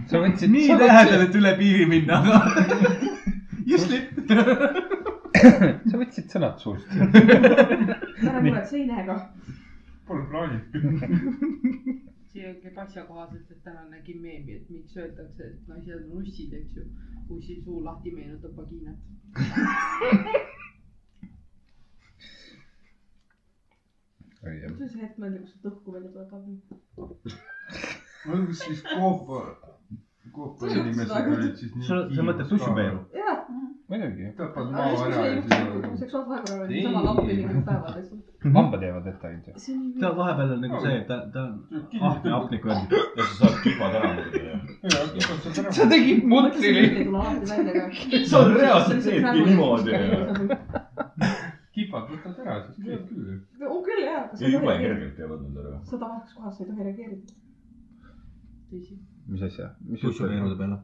[SPEAKER 3] sa võtsid .
[SPEAKER 6] nii lähedal , et üle piiri minna , aga just nii .
[SPEAKER 3] sa võtsid sõnad suust .
[SPEAKER 8] ära muretse , ei näe ka .
[SPEAKER 2] Pole plaani .
[SPEAKER 9] siin on kõik asjakohaselt , et täna nägin meemi , et miks öeldakse , et naised on ussid , eks ju . ussi suu lahti meenutab vagiinat .
[SPEAKER 8] see on see hetk , ma ei tea , kus sealt õhku välja tuleb .
[SPEAKER 2] mul siis koopa , koopainimesed olid siis nii .
[SPEAKER 6] sa sa mõtled ? dušipeeru ?
[SPEAKER 8] jah ,
[SPEAKER 3] muidugi ,
[SPEAKER 2] tapad
[SPEAKER 8] aga
[SPEAKER 2] maa
[SPEAKER 8] siis , kui
[SPEAKER 2] ära
[SPEAKER 8] see
[SPEAKER 2] ja
[SPEAKER 8] juhtub nagu
[SPEAKER 2] siis .
[SPEAKER 8] seksuaalvahekorral oli
[SPEAKER 2] Ei.
[SPEAKER 8] sama lapp nelikümmend päeva lihtsalt .
[SPEAKER 3] lambad jäävad ette ainult ju .
[SPEAKER 8] see on nii
[SPEAKER 6] tead , vahepeal on nagu see , et ta , ta on ahne hapniku järgi .
[SPEAKER 7] Ah, ja sa saad kihvad ära muidugi .
[SPEAKER 3] sa tegid
[SPEAKER 8] mõtlesin , et ei tule alati välja ka .
[SPEAKER 7] sa reaalselt teedki niimoodi .
[SPEAKER 2] kipad võtad ära , siis teed küll .
[SPEAKER 8] on küll jah , aga sa
[SPEAKER 7] ja
[SPEAKER 8] ei
[SPEAKER 7] jube
[SPEAKER 8] tohi reageerida .
[SPEAKER 7] kergelt jäävad nad ära .
[SPEAKER 8] sa tavalises kohas sa ei tohi reageerida .
[SPEAKER 9] tõsi .
[SPEAKER 3] mis asja ? mis
[SPEAKER 6] dušipeerude
[SPEAKER 3] jutt ?
[SPEAKER 6] peale .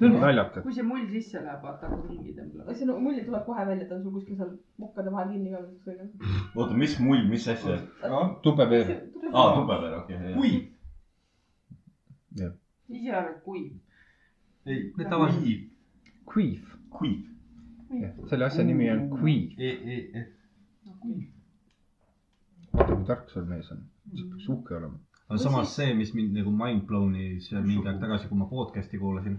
[SPEAKER 3] see on naljakas .
[SPEAKER 9] kui see mull sisse läheb , vaata hakkab ringi tõmbama .
[SPEAKER 8] see no, mulje tuleb kohe välja , ta on sul kuskil seal mukkade vahel kinni ka või midagi .
[SPEAKER 7] oota , mis mull , mis asja ?
[SPEAKER 3] tubepeer .
[SPEAKER 7] aa , tubepeer , okei .
[SPEAKER 2] kui ?
[SPEAKER 9] ise arvad , kui .
[SPEAKER 2] ei ,
[SPEAKER 6] Need tavaliselt-
[SPEAKER 2] kui .
[SPEAKER 3] Queef .
[SPEAKER 7] kui ?
[SPEAKER 3] selle asja nimi on Queef .
[SPEAKER 2] E , E , E .
[SPEAKER 3] vaata , kui tark sul mees on . sa peaks uhke olema .
[SPEAKER 6] aga samas see , mis mind nagu mind blown'is mingi aeg tagasi , kui ma podcast'i kuulasin ,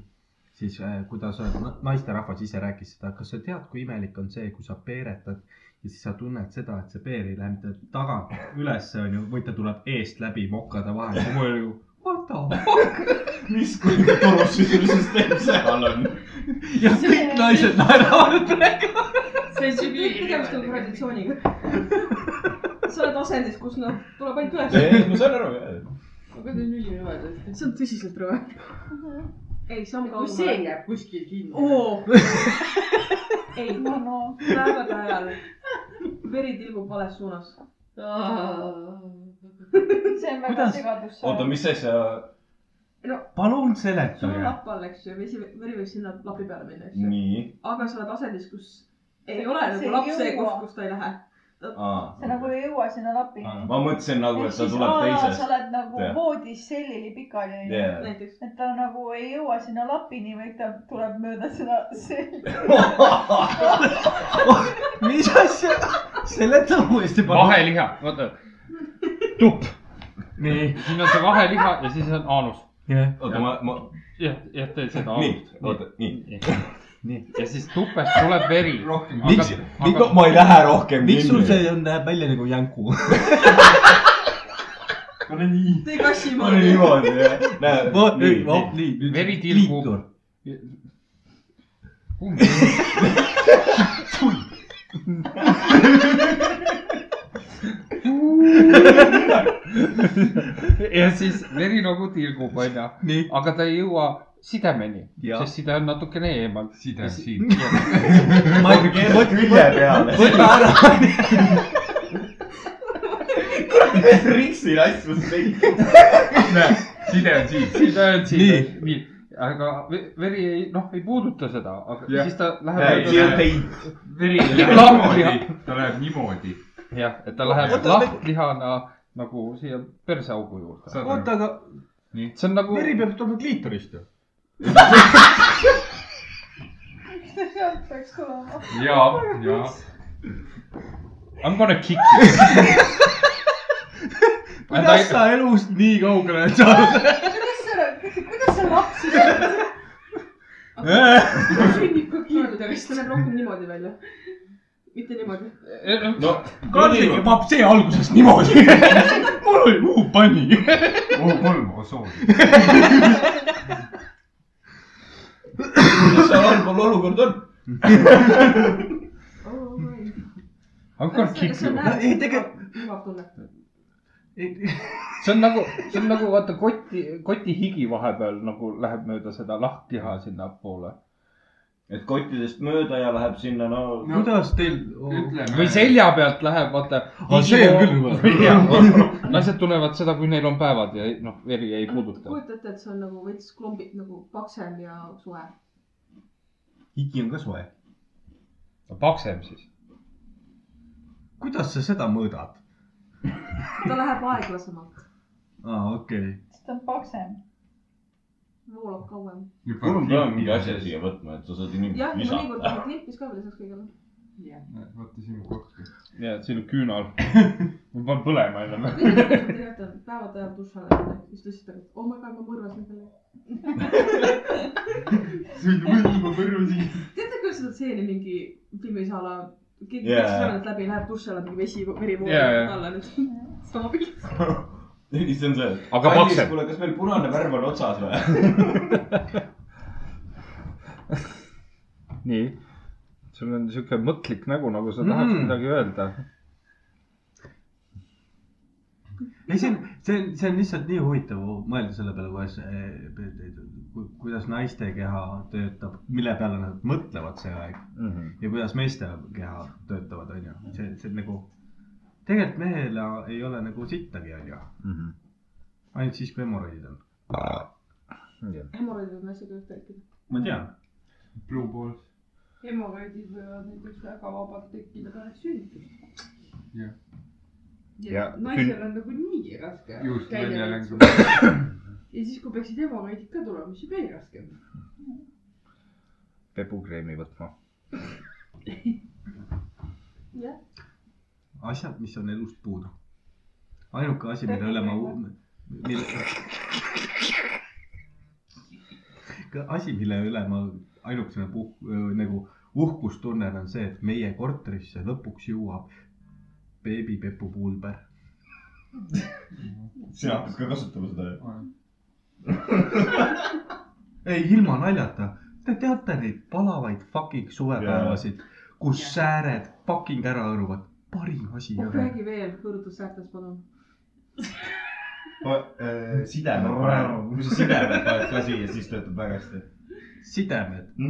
[SPEAKER 6] siis äh, kuidas na- naisterahvas ise rääkis seda , kas sa tead , kui imelik on see , kui sa peeretad ja siis sa tunned seda , et see peer ei lähe mitte tagant ülesse , onju , vaid ta tuleb eest läbi mokade vahelt ja mul oli nagu what the fuck
[SPEAKER 7] mis kuradi torusüsteem seal on ?
[SPEAKER 6] ja kõik naised naeravad praegu .
[SPEAKER 9] see on
[SPEAKER 8] tegemist on
[SPEAKER 9] sügavalt .
[SPEAKER 8] traditsiooniga . sa oled asendis , kus noh , tuleb ainult üles .
[SPEAKER 7] ei , ma saan aru , jah .
[SPEAKER 9] aga see on ülirõve tõesti .
[SPEAKER 8] see on tõsiselt rõve . ei , see on
[SPEAKER 9] kui Mhm. see . jääb kuskil kinni .
[SPEAKER 8] oo . ei , päevade ajal veri tilgub vales suunas .
[SPEAKER 5] see on väga
[SPEAKER 6] Kuidas?
[SPEAKER 5] segadus .
[SPEAKER 7] oota , mis asja ?
[SPEAKER 6] palun
[SPEAKER 8] sul on
[SPEAKER 6] seletage .
[SPEAKER 8] lapp all , eks ju , vesi , veri võiks sinna lapi peale minna , eks ju .
[SPEAKER 7] nii .
[SPEAKER 8] aga sa oled asendis , kus ei
[SPEAKER 5] See-
[SPEAKER 8] ole
[SPEAKER 5] see
[SPEAKER 8] nagu
[SPEAKER 5] ei
[SPEAKER 8] laps see
[SPEAKER 5] jõua.
[SPEAKER 8] koht , kus ta ei lähe .
[SPEAKER 5] sa nagu ei jõua sinna lapi .
[SPEAKER 7] ma mõtlesin nagu , et ta tuleb
[SPEAKER 5] sa
[SPEAKER 7] teisest .
[SPEAKER 5] oled nagu
[SPEAKER 7] Jah.
[SPEAKER 5] voodis sellili pikali onju
[SPEAKER 7] Jah.
[SPEAKER 8] näiteks .
[SPEAKER 5] et ta nagu ei jõua sinna lapini , vaid ta tuleb mööda seda selli .
[SPEAKER 6] mis asja ? seleta uuesti palun .
[SPEAKER 3] vaheliha , vaata . tupp ,
[SPEAKER 6] nii .
[SPEAKER 3] siin on see vaheliha ja siis on aanus .
[SPEAKER 7] oota , ma , ma ,
[SPEAKER 3] jah , jah , tee seda
[SPEAKER 7] nii
[SPEAKER 3] aanust .,
[SPEAKER 7] oota , nii .
[SPEAKER 3] nii , ja siis tupest tuleb veri .
[SPEAKER 2] rohkem .
[SPEAKER 3] Aga-
[SPEAKER 7] miks , miks , ma ei lähe rohkem
[SPEAKER 6] miks sul see on , näeb välja nagu jänku ?
[SPEAKER 2] pane nii .
[SPEAKER 8] tee kassi
[SPEAKER 7] ma olin
[SPEAKER 8] maha .
[SPEAKER 7] niimoodi , jah . näe , nii , nii .
[SPEAKER 6] nii
[SPEAKER 3] Veri tilgub. . kumb ja siis veri nagu tilgub , onju ,
[SPEAKER 6] nii .
[SPEAKER 3] aga ta ei jõua sidemeni ,
[SPEAKER 6] Jah.
[SPEAKER 3] sest side on natukene eemal .
[SPEAKER 2] side siin .
[SPEAKER 6] ma ei
[SPEAKER 7] keerad külje peale .
[SPEAKER 6] võta ära .
[SPEAKER 7] riksin asju seik .
[SPEAKER 2] näe , side on siin .
[SPEAKER 3] side on siin
[SPEAKER 6] Nii. ,
[SPEAKER 3] nii , aga ve- veri ei , noh , ei puuduta seda , aga
[SPEAKER 2] Jah.
[SPEAKER 3] ja. siis ta
[SPEAKER 7] näe ,
[SPEAKER 3] läheb
[SPEAKER 7] siin on teit .
[SPEAKER 2] veri
[SPEAKER 3] läheb
[SPEAKER 2] läheb
[SPEAKER 3] niimoodi.
[SPEAKER 2] niimoodi , ta läheb niimoodi .
[SPEAKER 3] jah , et ta läheb
[SPEAKER 6] Oota,
[SPEAKER 3] lahklihana nagu siia perseaugu juurde .
[SPEAKER 6] oota , aga
[SPEAKER 3] see on nagu ,
[SPEAKER 6] veri peab tulema kliitorist ju .
[SPEAKER 5] sealt peaks tulema .
[SPEAKER 2] ja ,
[SPEAKER 6] Oh,
[SPEAKER 2] ja .
[SPEAKER 3] I m gonna kick you .
[SPEAKER 6] kuidas sa elust nii kaugele oled saanud ?
[SPEAKER 5] kuidas sa , kuidas sa lapsi saad ?
[SPEAKER 6] Äh,
[SPEAKER 8] sünnib ka kiirgudest , ta näeb rohkem niimoodi välja . mitte niimoodi .
[SPEAKER 3] Eh,
[SPEAKER 7] no ,
[SPEAKER 6] Karligi papp see alguses niimoodi . mul oli muu panni .
[SPEAKER 2] oh , kolm osooni .
[SPEAKER 7] mis seal allpool olukord on ?
[SPEAKER 8] Oh
[SPEAKER 3] hakkad kiksuma .
[SPEAKER 6] ei, tegelikult- .
[SPEAKER 8] mugav tunne .
[SPEAKER 3] see on nagu , see on nagu vaata koti , koti higi vahepeal nagu läheb mööda seda lahtliha sinnapoole
[SPEAKER 7] et kottidest mööda ja läheb sinna , no, no. .
[SPEAKER 6] kuidas teil ?
[SPEAKER 2] ütleme .
[SPEAKER 3] või selja pealt läheb , vaata .
[SPEAKER 6] Aa, Äh. Ah, see on küll juba-
[SPEAKER 3] naised tunnevad seda , kui neil on päevad ja noh , veri ei puuduta .
[SPEAKER 8] kujutate , et see on nagu veits klumbi , nagu paksem ja soe .
[SPEAKER 6] higi on ka soe .
[SPEAKER 3] paksem siis .
[SPEAKER 6] kuidas sa seda mõõdad ?
[SPEAKER 8] ta läheb aeglasemalt ,
[SPEAKER 6] aa , okei .
[SPEAKER 5] sest ta on paksem .
[SPEAKER 8] voolab kauem .
[SPEAKER 7] mul on praegu mingi asja siia võtma , et sa saad
[SPEAKER 8] jah ,
[SPEAKER 7] inimest
[SPEAKER 8] ja mõnikord
[SPEAKER 7] visata .
[SPEAKER 8] on klimpis ka veel lisaks kõigele .
[SPEAKER 2] vaata sinu kokku .
[SPEAKER 3] ja siin on küünal . ma panen põlema enne .
[SPEAKER 8] tegelikult on päevade ajal duši all olnud , siis ta ütles , et oh my god , ma mõrvasin selle .
[SPEAKER 2] ma põrmusin .
[SPEAKER 8] teate küll seda stseeni mingi filmis a la , keegi
[SPEAKER 7] Jaa.
[SPEAKER 8] peksab sõrmelt läbi , läheb duši alla , mingi vesi , veri
[SPEAKER 3] Jaa,
[SPEAKER 8] voolab
[SPEAKER 3] jaa.
[SPEAKER 8] talle nüüd . sama pilt .
[SPEAKER 7] ei , see on see .
[SPEAKER 3] Aga paksem.
[SPEAKER 7] kuule , kas meil punane värv on otsas või ?
[SPEAKER 3] nii . sul on sihuke mõtlik nägu , nagu sa tahaks
[SPEAKER 6] Mm.
[SPEAKER 3] midagi öelda .
[SPEAKER 6] ei , see on , see on , see on lihtsalt nii huvitav mõelda selle peale , kuidas , kuidas naiste keha töötab , mille peale nad mõtlevad see aeg
[SPEAKER 3] Mhm,
[SPEAKER 6] ja kuidas meeste keha töötavad , onju . see , see on nagu , tegelikult mehel ei ole nagu sittagi , onju .
[SPEAKER 3] mhm.
[SPEAKER 6] ainult siis , kui hemoroidid on .
[SPEAKER 8] hemoroidid on asjad ühte ikka .
[SPEAKER 6] ma tean .
[SPEAKER 2] Blue ball .
[SPEAKER 9] hemoroidid võivad näiteks väga vabalt tekkida pärast sünnitust .
[SPEAKER 2] Jah.
[SPEAKER 9] ja
[SPEAKER 3] Ja
[SPEAKER 9] naisel on nagunii raske .
[SPEAKER 2] Juust välja längu- .
[SPEAKER 9] ja siis , kui peaksid hemoroidid ka tulema , siis on veel raskem .
[SPEAKER 3] pepukreemi võtma .
[SPEAKER 6] asjad , mis on elust puudu . ainuke asi , mille üle ma , mille . asi , mille üle ma ainukesena puh- , nagu uhkust tunnen , on see , et meie korterisse lõpuks jõuab beebipepu pulber .
[SPEAKER 7] sina hakkad ka kasutama seda ju .
[SPEAKER 6] ei , ilma naljata , te teate neid palavaid fucking suvepäevasid , kus sääred fucking ära hõõruvad , parim asi
[SPEAKER 8] oh ,
[SPEAKER 6] ever .
[SPEAKER 8] räägi veel kõrvutussäärtes , palun .
[SPEAKER 7] sideme parem , kui sa sideme paned ka siia , siis töötab väga hästi .
[SPEAKER 6] sidemed .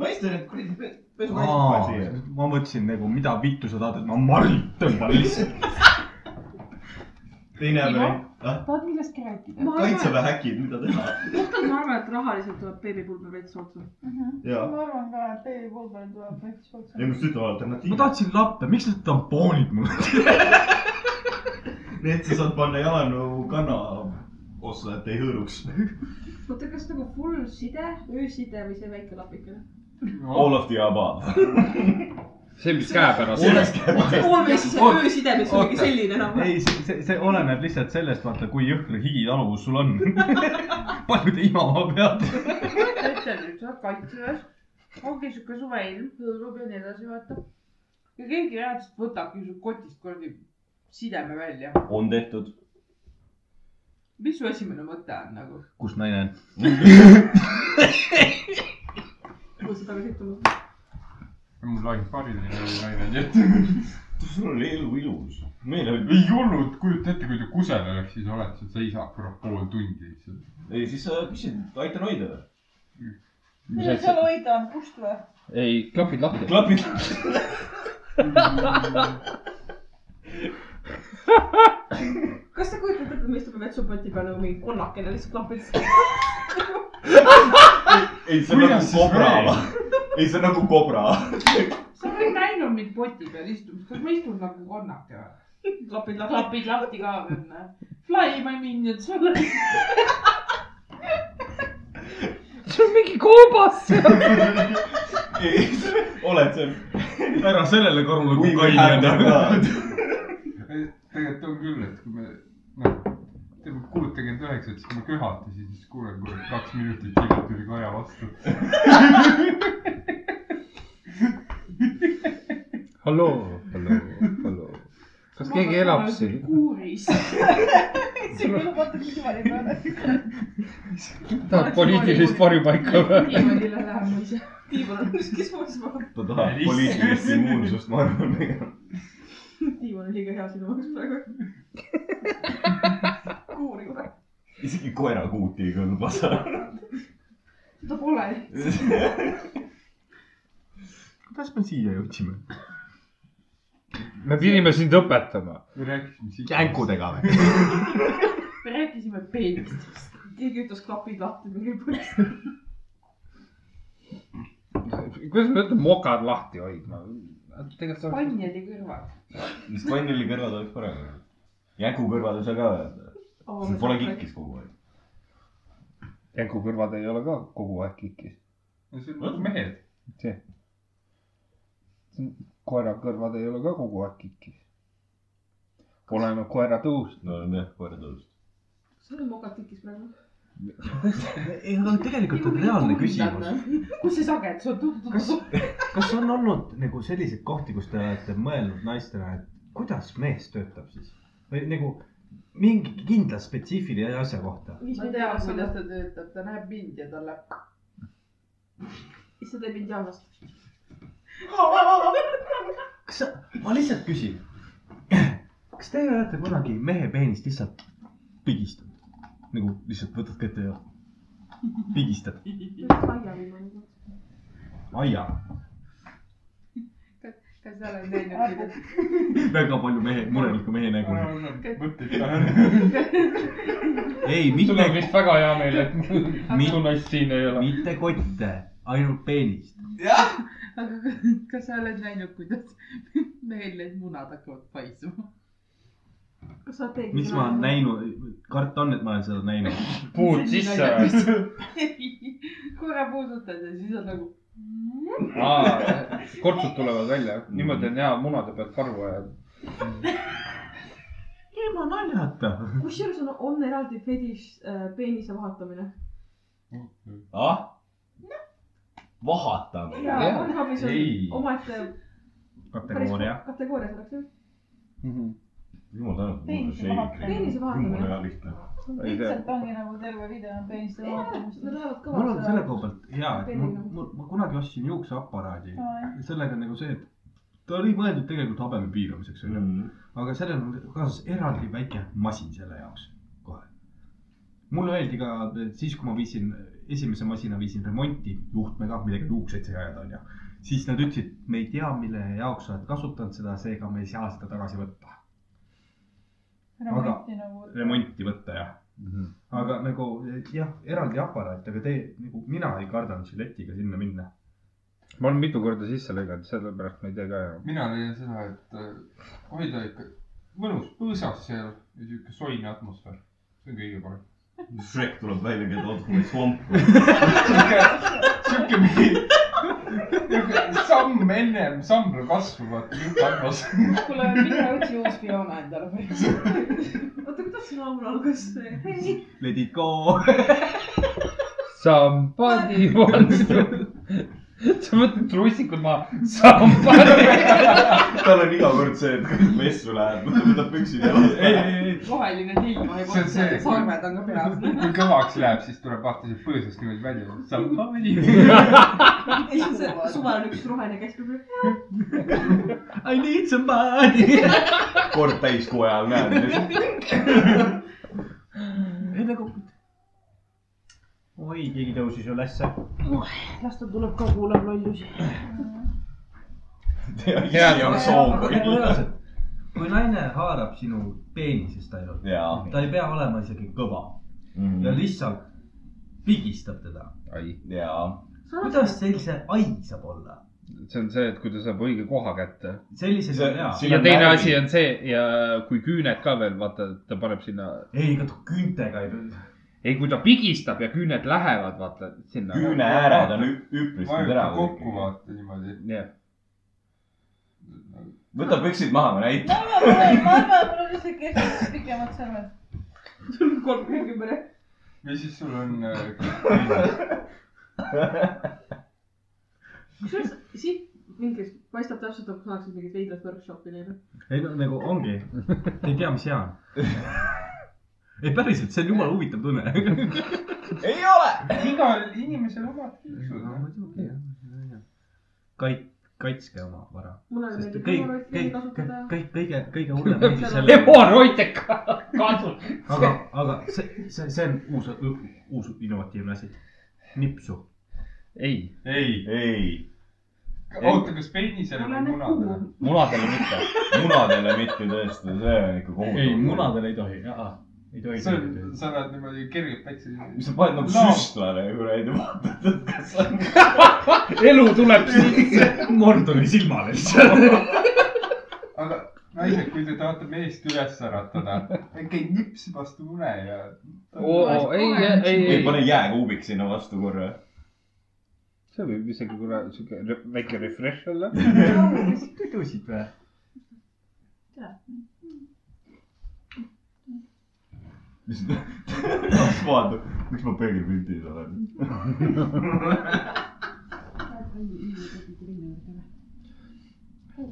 [SPEAKER 7] naistel need kuradi pesukaitsed
[SPEAKER 6] Aa,
[SPEAKER 7] paned siia .
[SPEAKER 6] ma mõtlesin nagu , mida vittu sa tahad , et ma Marit tõmban lihtsalt .
[SPEAKER 7] teine variant , ah ,
[SPEAKER 9] tahad millestki rääkida ?
[SPEAKER 8] ma arvan ,
[SPEAKER 7] kaitseväe häkid , mida teha .
[SPEAKER 8] et , ma arvan , et rahaliselt tuleb beebipulber veits otsa .
[SPEAKER 7] ja ,
[SPEAKER 5] Mhm. ma arvan ka , et Baby Bulber tuleb veits
[SPEAKER 7] ei ma
[SPEAKER 5] otsema .
[SPEAKER 7] just ütlen
[SPEAKER 6] ma
[SPEAKER 7] alternatiivi .
[SPEAKER 6] tahtsin lappe , miks need tampoonid mulle ?
[SPEAKER 7] Need sa saad panna jalanõu kanna ossa , et ei hõõruks .
[SPEAKER 8] oota , kas nagu full side , ööside või see väike lapikene ?
[SPEAKER 7] All of the above . nagu
[SPEAKER 3] see , mis käepärast .
[SPEAKER 8] Always see
[SPEAKER 6] Oota,
[SPEAKER 8] ööside , mis on mingi
[SPEAKER 6] oota.
[SPEAKER 8] selline enam-vähem .
[SPEAKER 6] ei , see , see , see oleneb lihtsalt sellest , vaata , kui jõhker higitaluvus sul on . palju te imama pead ?
[SPEAKER 9] ütle nüüd , sa oled kaitseväes , ongi siuke suveilm , hõõrub ja nii edasi , vaata . ja keegi reaalselt võtabki su kotist kuradi sideme välja .
[SPEAKER 7] on tehtud .
[SPEAKER 9] mis su esimene mõte on nagu ?
[SPEAKER 6] kus naine on ?
[SPEAKER 8] mul seda ka sõltub .
[SPEAKER 2] mul lahin pariline naine , nii et .
[SPEAKER 7] sul oli elu ilus . meil oli ,
[SPEAKER 2] ei olnud , kujuta ette , kui ta kusagil oleks , siis oled sa seisab kurat pool tundi lihtsalt .
[SPEAKER 7] ei siis sa küsid , aitan hoida või ?
[SPEAKER 5] millal seal hoida on , kust või ?
[SPEAKER 3] ei , klapid lahti .
[SPEAKER 7] klapid .
[SPEAKER 8] kas te kujutate ette , et me istume vetsupoti peal nagu mingi konnakene lihtsalt klapis ?
[SPEAKER 7] ei , see on
[SPEAKER 2] Kuidas
[SPEAKER 7] nagu
[SPEAKER 2] siis
[SPEAKER 7] kobra . ei , see on nagu kobra .
[SPEAKER 9] sa oled näinud mind poti peal istumas , kas ma istun nagu konnake või ?
[SPEAKER 8] klapid lahti .
[SPEAKER 9] klapid lahti ka veel , näe . Fly my minions , ole
[SPEAKER 3] sul on mingi koobas seal .
[SPEAKER 7] oled see .
[SPEAKER 6] ära sellele karule , kui kaine
[SPEAKER 7] nagu-
[SPEAKER 6] on .
[SPEAKER 7] ei ,
[SPEAKER 2] tegelikult on küll , et kui me , noh , teeme kuutekümmet üheksat , siis ma köhatasin , siis kuulen , kui kaks minutit hiljem tuli koja vastu .
[SPEAKER 3] halloo , halloo , halloo . kas keegi elab siin ?
[SPEAKER 9] kuuris .
[SPEAKER 5] see küll vaatab niimoodi peale .
[SPEAKER 3] tahad poliitilist varjupaika või ?
[SPEAKER 9] niimoodi lähen ma ise .
[SPEAKER 10] Tiibor on kuskil soovis vaata .
[SPEAKER 7] ta tahab poliitilist immuunsust , ma arvan .
[SPEAKER 10] Tiibor on liiga hea sinu jaoks praegu . kuuri kurat .
[SPEAKER 7] isegi koerakuuti ei kõlba seal .
[SPEAKER 10] seda pole .
[SPEAKER 6] kuidas me siia jõudsime ?
[SPEAKER 3] me pidime sind õpetama .
[SPEAKER 2] me rääkisime siit .
[SPEAKER 6] känkudega või ?
[SPEAKER 4] me rääkisime peenist .
[SPEAKER 10] keegi ütles klapid lahti mingi põhjus .
[SPEAKER 3] kuidas ma ütlen , mokad lahti hoidma ? tegelikult sa oled .
[SPEAKER 4] panjad ja kõrvad .
[SPEAKER 7] Spanieli kõrvad oleks parem . jänku kõrvad ei saa ka öelda . Pole . kikkis kogu aeg .
[SPEAKER 3] Janku kõrvad ei ole ka kogu aeg kikis .
[SPEAKER 2] no see on nagu mehed .
[SPEAKER 3] koera kõrvad ei ole ka kogu aeg kikis . oleneb koera tõust .
[SPEAKER 7] no olen jah , koera tõus .
[SPEAKER 10] kas sul on mokad tikis praegu ?
[SPEAKER 6] ei , aga tegelikult on reaalne küsimus .
[SPEAKER 4] kus see sagedus on tuntud ?
[SPEAKER 6] kas on olnud nagu selliseid kohti , kus te olete mõelnud naistena , et kuidas mees töötab siis või nagu mingi kindla spetsiifilise asja kohta ?
[SPEAKER 10] mis
[SPEAKER 4] ma
[SPEAKER 10] me
[SPEAKER 4] tean ,
[SPEAKER 10] teame ,
[SPEAKER 4] kuidas ta töötab , ta näeb mind ja ta läheb .
[SPEAKER 10] mis ta teeb indiaanlast .
[SPEAKER 6] kas sa , ma lihtsalt küsin . kas teie olete kunagi mehe peenist lihtsalt pigistanud ? nagu lihtsalt võtad kätte ja pigistad .
[SPEAKER 10] aiaviimane .
[SPEAKER 6] aia ,
[SPEAKER 9] kas sa oled näinud ,
[SPEAKER 6] väga palju mehe , murelikke mehe nägu .
[SPEAKER 2] mõtteid ka .
[SPEAKER 3] sul on
[SPEAKER 6] ei , mitte ,
[SPEAKER 3] vist väga hea meel , et minu naist siin ei ole .
[SPEAKER 6] mitte kotte , ainult peenist .
[SPEAKER 9] aga kas sa oled näinud , kuidas mehel need munad hakkavad paisuma ?
[SPEAKER 10] kas sa teed ?
[SPEAKER 6] mis ma olen . näinud , karta on , et ma olen seda näinud .
[SPEAKER 3] puud sisse või ?
[SPEAKER 9] korra puudutad ja siis on nagu ,
[SPEAKER 3] kortsud tulevad välja , niimoodi on hea munade pealt karvu ajada .
[SPEAKER 6] ilma naljata .
[SPEAKER 10] kusjuures on , on eraldi fetiš äh, peenise vahatamine .
[SPEAKER 7] ah ? vahatame .
[SPEAKER 10] ja
[SPEAKER 3] Jaa.
[SPEAKER 10] Pornhubis on
[SPEAKER 7] Ei.
[SPEAKER 10] omaette päris
[SPEAKER 6] kategooria .
[SPEAKER 10] kategooria selleks jah .
[SPEAKER 3] Mhm.
[SPEAKER 7] jumal tänatud , mul on
[SPEAKER 5] Peenise vahatamine.
[SPEAKER 7] šeik .
[SPEAKER 10] Peenise vahatamine.
[SPEAKER 7] jumala hea lihtne .
[SPEAKER 3] Ei tea.
[SPEAKER 5] lihtsalt ongi nagu terve video on peeniste vaatamist .
[SPEAKER 10] Nad lähevad
[SPEAKER 6] mul on selle koha
[SPEAKER 10] kõvasti .
[SPEAKER 6] pealt hea , et mul , mul , ma kunagi ostsin juukseaparaadi
[SPEAKER 5] Aa, jah.
[SPEAKER 6] ja sellega on nagu see , et ta oli mõeldud tegelikult habeme piiramiseks , onju , aga sellel on kaasas eraldi väike masin selle jaoks kohe . mulle öeldi ka , et siis , kui ma viisin , esimese masina viisin remonti juhtmega , millega juukseid sai ajada , onju , siis nad ütlesid , me ei tea , mille jaoks sa oled kasutanud seda , seega me ei saa seda tagasi võtta ,
[SPEAKER 5] remonti nagu .
[SPEAKER 6] remonti võtta , jah . aga nagu jah , eraldi aparaat , aga te nagu mina ei kardanud žiletiga sinna minna .
[SPEAKER 3] ma olen mitu korda sisse lõiganud , sellepärast ma ei tee ka enam .
[SPEAKER 2] mina leian seda , et äh, hoida ikka mõnus põõsas seal ja sihuke soine atmosfäär . see on kõige parem .
[SPEAKER 7] Shrek tuleb välja , keda ootame svampu .
[SPEAKER 2] sihuke , sihuke mingi , sihuke samm ennem sambla kasvu , vaata , sihuke atmos .
[SPEAKER 4] kuule , mine otsi uus Fiona endale või ?
[SPEAKER 10] oota , kuidas see laul algas ?
[SPEAKER 6] Let it go .
[SPEAKER 3] Somebody wants to . sa mõtled russikud maha , somebody .
[SPEAKER 7] tal on iga kord see , et kui messu läheb , võtab püksid jalast
[SPEAKER 2] ei ,
[SPEAKER 7] ära .
[SPEAKER 2] ei , ei ,
[SPEAKER 4] roheline tilma ei
[SPEAKER 2] See on
[SPEAKER 4] polnud ,
[SPEAKER 2] see-
[SPEAKER 4] sarved on ka peas .
[SPEAKER 2] kui kõvaks läheb , siis tuleb vaata sealt põõsast niimoodi välja . Somebody .
[SPEAKER 10] ei , see suvel on üks roheline käskub .
[SPEAKER 6] I need somebody .
[SPEAKER 7] kord täiskoja all näed .
[SPEAKER 6] ei nagu . oi , keegi tõusis ülesse .
[SPEAKER 4] las ta tuleb ka , kuulab lollusi .
[SPEAKER 3] Hea
[SPEAKER 7] ja soov .
[SPEAKER 6] kui naine haarab sinu peenisest ainult ,
[SPEAKER 7] jaa .
[SPEAKER 6] ta ei pea olema isegi kõva ja lihtsalt pigistab teda .
[SPEAKER 3] ai ,
[SPEAKER 7] jaa .
[SPEAKER 6] kuidas teil see ai saab olla ?
[SPEAKER 3] see on see , et kui ta saab õige koha kätte .
[SPEAKER 6] sellisel
[SPEAKER 7] See-
[SPEAKER 6] on hea .
[SPEAKER 7] see-
[SPEAKER 3] ja teine asi on see ja kui küüned ka veel , vaata , ta paneb sinna ,
[SPEAKER 6] ei , ega ta küüntega ei pea .
[SPEAKER 3] ei , kui ta pigistab ja küüned lähevad , vaata sinna .
[SPEAKER 7] küüne ääred on ü- üpris
[SPEAKER 2] vajuta
[SPEAKER 7] teravad .
[SPEAKER 2] kokku , vaata niimoodi .
[SPEAKER 3] jah ,
[SPEAKER 7] võta püksid maha , ma näitan .
[SPEAKER 5] ma arvan , ma arvan , mul on lihtsalt keskmisest pikemad sõrmed .
[SPEAKER 10] kolmkümmend kümme .
[SPEAKER 2] või siis sul on äh,
[SPEAKER 10] kusjuures siit mingis paistab täpselt , nagu sa oleksid mingit veidrat workshopi teinud .
[SPEAKER 6] ei no nagu ongi , ei tea , mis hea on . ei päriselt , see on jumala huvitav tunne .
[SPEAKER 7] ei ole .
[SPEAKER 2] igal inimesel omad noh. kiksud .
[SPEAKER 6] muidugi jah . kait- , kaitske oma vara .
[SPEAKER 10] Mulle
[SPEAKER 6] sest
[SPEAKER 10] meeldib
[SPEAKER 6] kõik ,
[SPEAKER 10] hemoroide
[SPEAKER 6] kõik , kõik
[SPEAKER 10] kasutada. ,
[SPEAKER 6] kõik , kõige , kõige hullem asi selle .
[SPEAKER 3] hemoroide ka- kasu .
[SPEAKER 6] aga , aga see , see , see on uus , uus innovatiivne asi . nipsu .
[SPEAKER 3] ei ,
[SPEAKER 2] ei ,
[SPEAKER 7] ei ,
[SPEAKER 2] oota , kas peenisele või munadele ?
[SPEAKER 3] munadele mitte .
[SPEAKER 7] munadele mitte tõesti , see on ikka kohutav .
[SPEAKER 11] ei , munadele ei tohi , ahah , ei tohi .
[SPEAKER 2] see on , sa oled niimoodi kergelt pätsi .
[SPEAKER 7] sa paned nagu
[SPEAKER 2] No.
[SPEAKER 7] süstlale kuradi , vaatad , et kas on .
[SPEAKER 3] elu tuleb sisse .
[SPEAKER 6] Mordoni silmale lihtsalt .
[SPEAKER 2] aga naised , kui te tahate meest üles äratada , käi nips vastu une ja .
[SPEAKER 3] ei , ei ,
[SPEAKER 7] ei ,
[SPEAKER 3] ei ,
[SPEAKER 7] pane jääkuubik sinna vastu korra .
[SPEAKER 3] see võib isegi kuradi siuke re- väike refresh olla .
[SPEAKER 6] pidusid või ?
[SPEAKER 7] las vaatab , miks ma peegelpildis olen .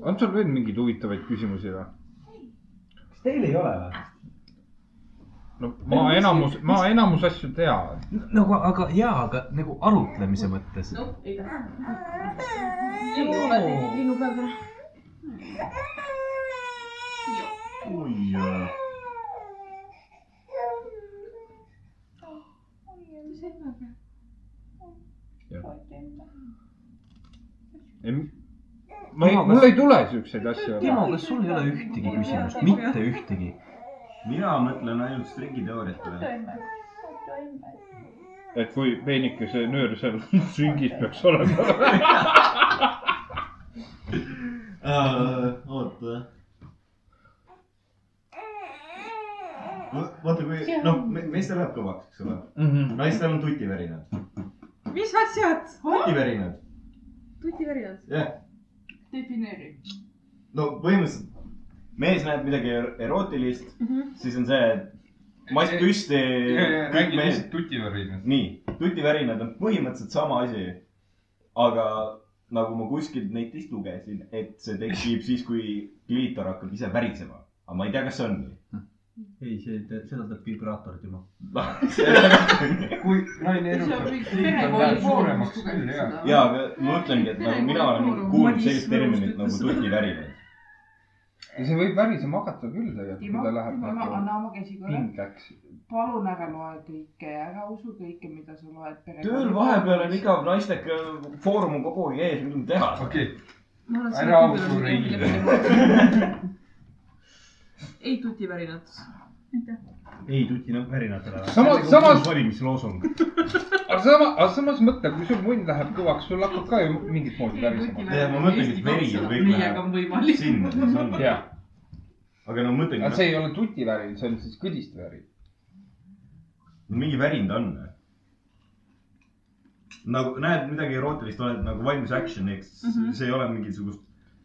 [SPEAKER 3] on sul veel mingeid huvitavaid küsimusi või ?
[SPEAKER 6] kas teil ei ole või ?
[SPEAKER 3] no ma enamus , ma enamus asju tean .
[SPEAKER 6] nagu , aga jaa , aga nagu arutlemise mõttes .
[SPEAKER 10] noh , ei taha .
[SPEAKER 6] oi
[SPEAKER 10] linnupäev .
[SPEAKER 7] jaa .
[SPEAKER 6] Ei,
[SPEAKER 3] mul
[SPEAKER 6] kas-
[SPEAKER 3] ei tule siukseid asju .
[SPEAKER 6] Timo , kas sul ei ole ühtegi küsimust , mitte ühtegi ?
[SPEAKER 7] mina mõtlen ainult stringiteooriatele .
[SPEAKER 3] et kui peenikese nöör seal süngis peaks olema .
[SPEAKER 7] oota . vaata , kui , noh , meestel läheb kõvaks , eks ole .
[SPEAKER 3] Mhm.
[SPEAKER 7] naistel on tutivärinad .
[SPEAKER 8] mis asjad ?
[SPEAKER 7] tutivärinad ,
[SPEAKER 8] tutivärinad .
[SPEAKER 7] jah .
[SPEAKER 9] defineeri .
[SPEAKER 7] no põhimõtteliselt mees näeb midagi er- erootilist mm , -hmm. siis on see , et mass püsti , kõik
[SPEAKER 2] räägi
[SPEAKER 7] mehed
[SPEAKER 2] lihtsalt . tutivärinast .
[SPEAKER 7] nii , tutivärinad on põhimõtteliselt sama asi . aga nagu ma kuskilt netist lugesin , et see tekib siis , kui kliitor hakkab ise värisema . aga ma ei tea , kas see on
[SPEAKER 6] ei , see , seda teeb vibraator , Timo .
[SPEAKER 7] nii .
[SPEAKER 2] kui naine erutab . suuremaks küll , jaa .
[SPEAKER 7] ja , aga ma mõtlengi , et nagu mina olen kuulnud sellist terminit nagu tutivärinad .
[SPEAKER 3] see võib värisema hakata küll tegelikult , kui
[SPEAKER 9] Timo ,
[SPEAKER 3] ta läheb
[SPEAKER 9] Timo ,
[SPEAKER 3] nagu
[SPEAKER 9] anna oma käsi korra .
[SPEAKER 3] pingeks .
[SPEAKER 9] palun ära loe kõike , ära usu kõike , mida sa loed .
[SPEAKER 7] tööl vahepeal on igav naistega foorum on kogu aeg ees , mida teha saab .
[SPEAKER 2] okei , ära usu reile .
[SPEAKER 8] ei tutivärinad .
[SPEAKER 6] ei , tutina värinatele .
[SPEAKER 3] Sama- samas-
[SPEAKER 6] valimisloosung .
[SPEAKER 3] aga sama , aga samas mõtle , kui sul munn läheb kõvaks , sul hakkab ka ju mingit moodi värisema .
[SPEAKER 7] jah, ma mõtlengi, et veri ju kõik
[SPEAKER 9] meiega on võimalik .
[SPEAKER 7] sinna , mis on .
[SPEAKER 3] jah ,
[SPEAKER 7] aga no mõtlengi .
[SPEAKER 3] aga see ei ole tutivärin , see on siis kõdistvärin .
[SPEAKER 7] no mingi värin ta on . nagu näed midagi erootilist , oled nagu valmis action'iks mm ,
[SPEAKER 5] Mhm.
[SPEAKER 7] -hmm. see ei ole mingisugust ,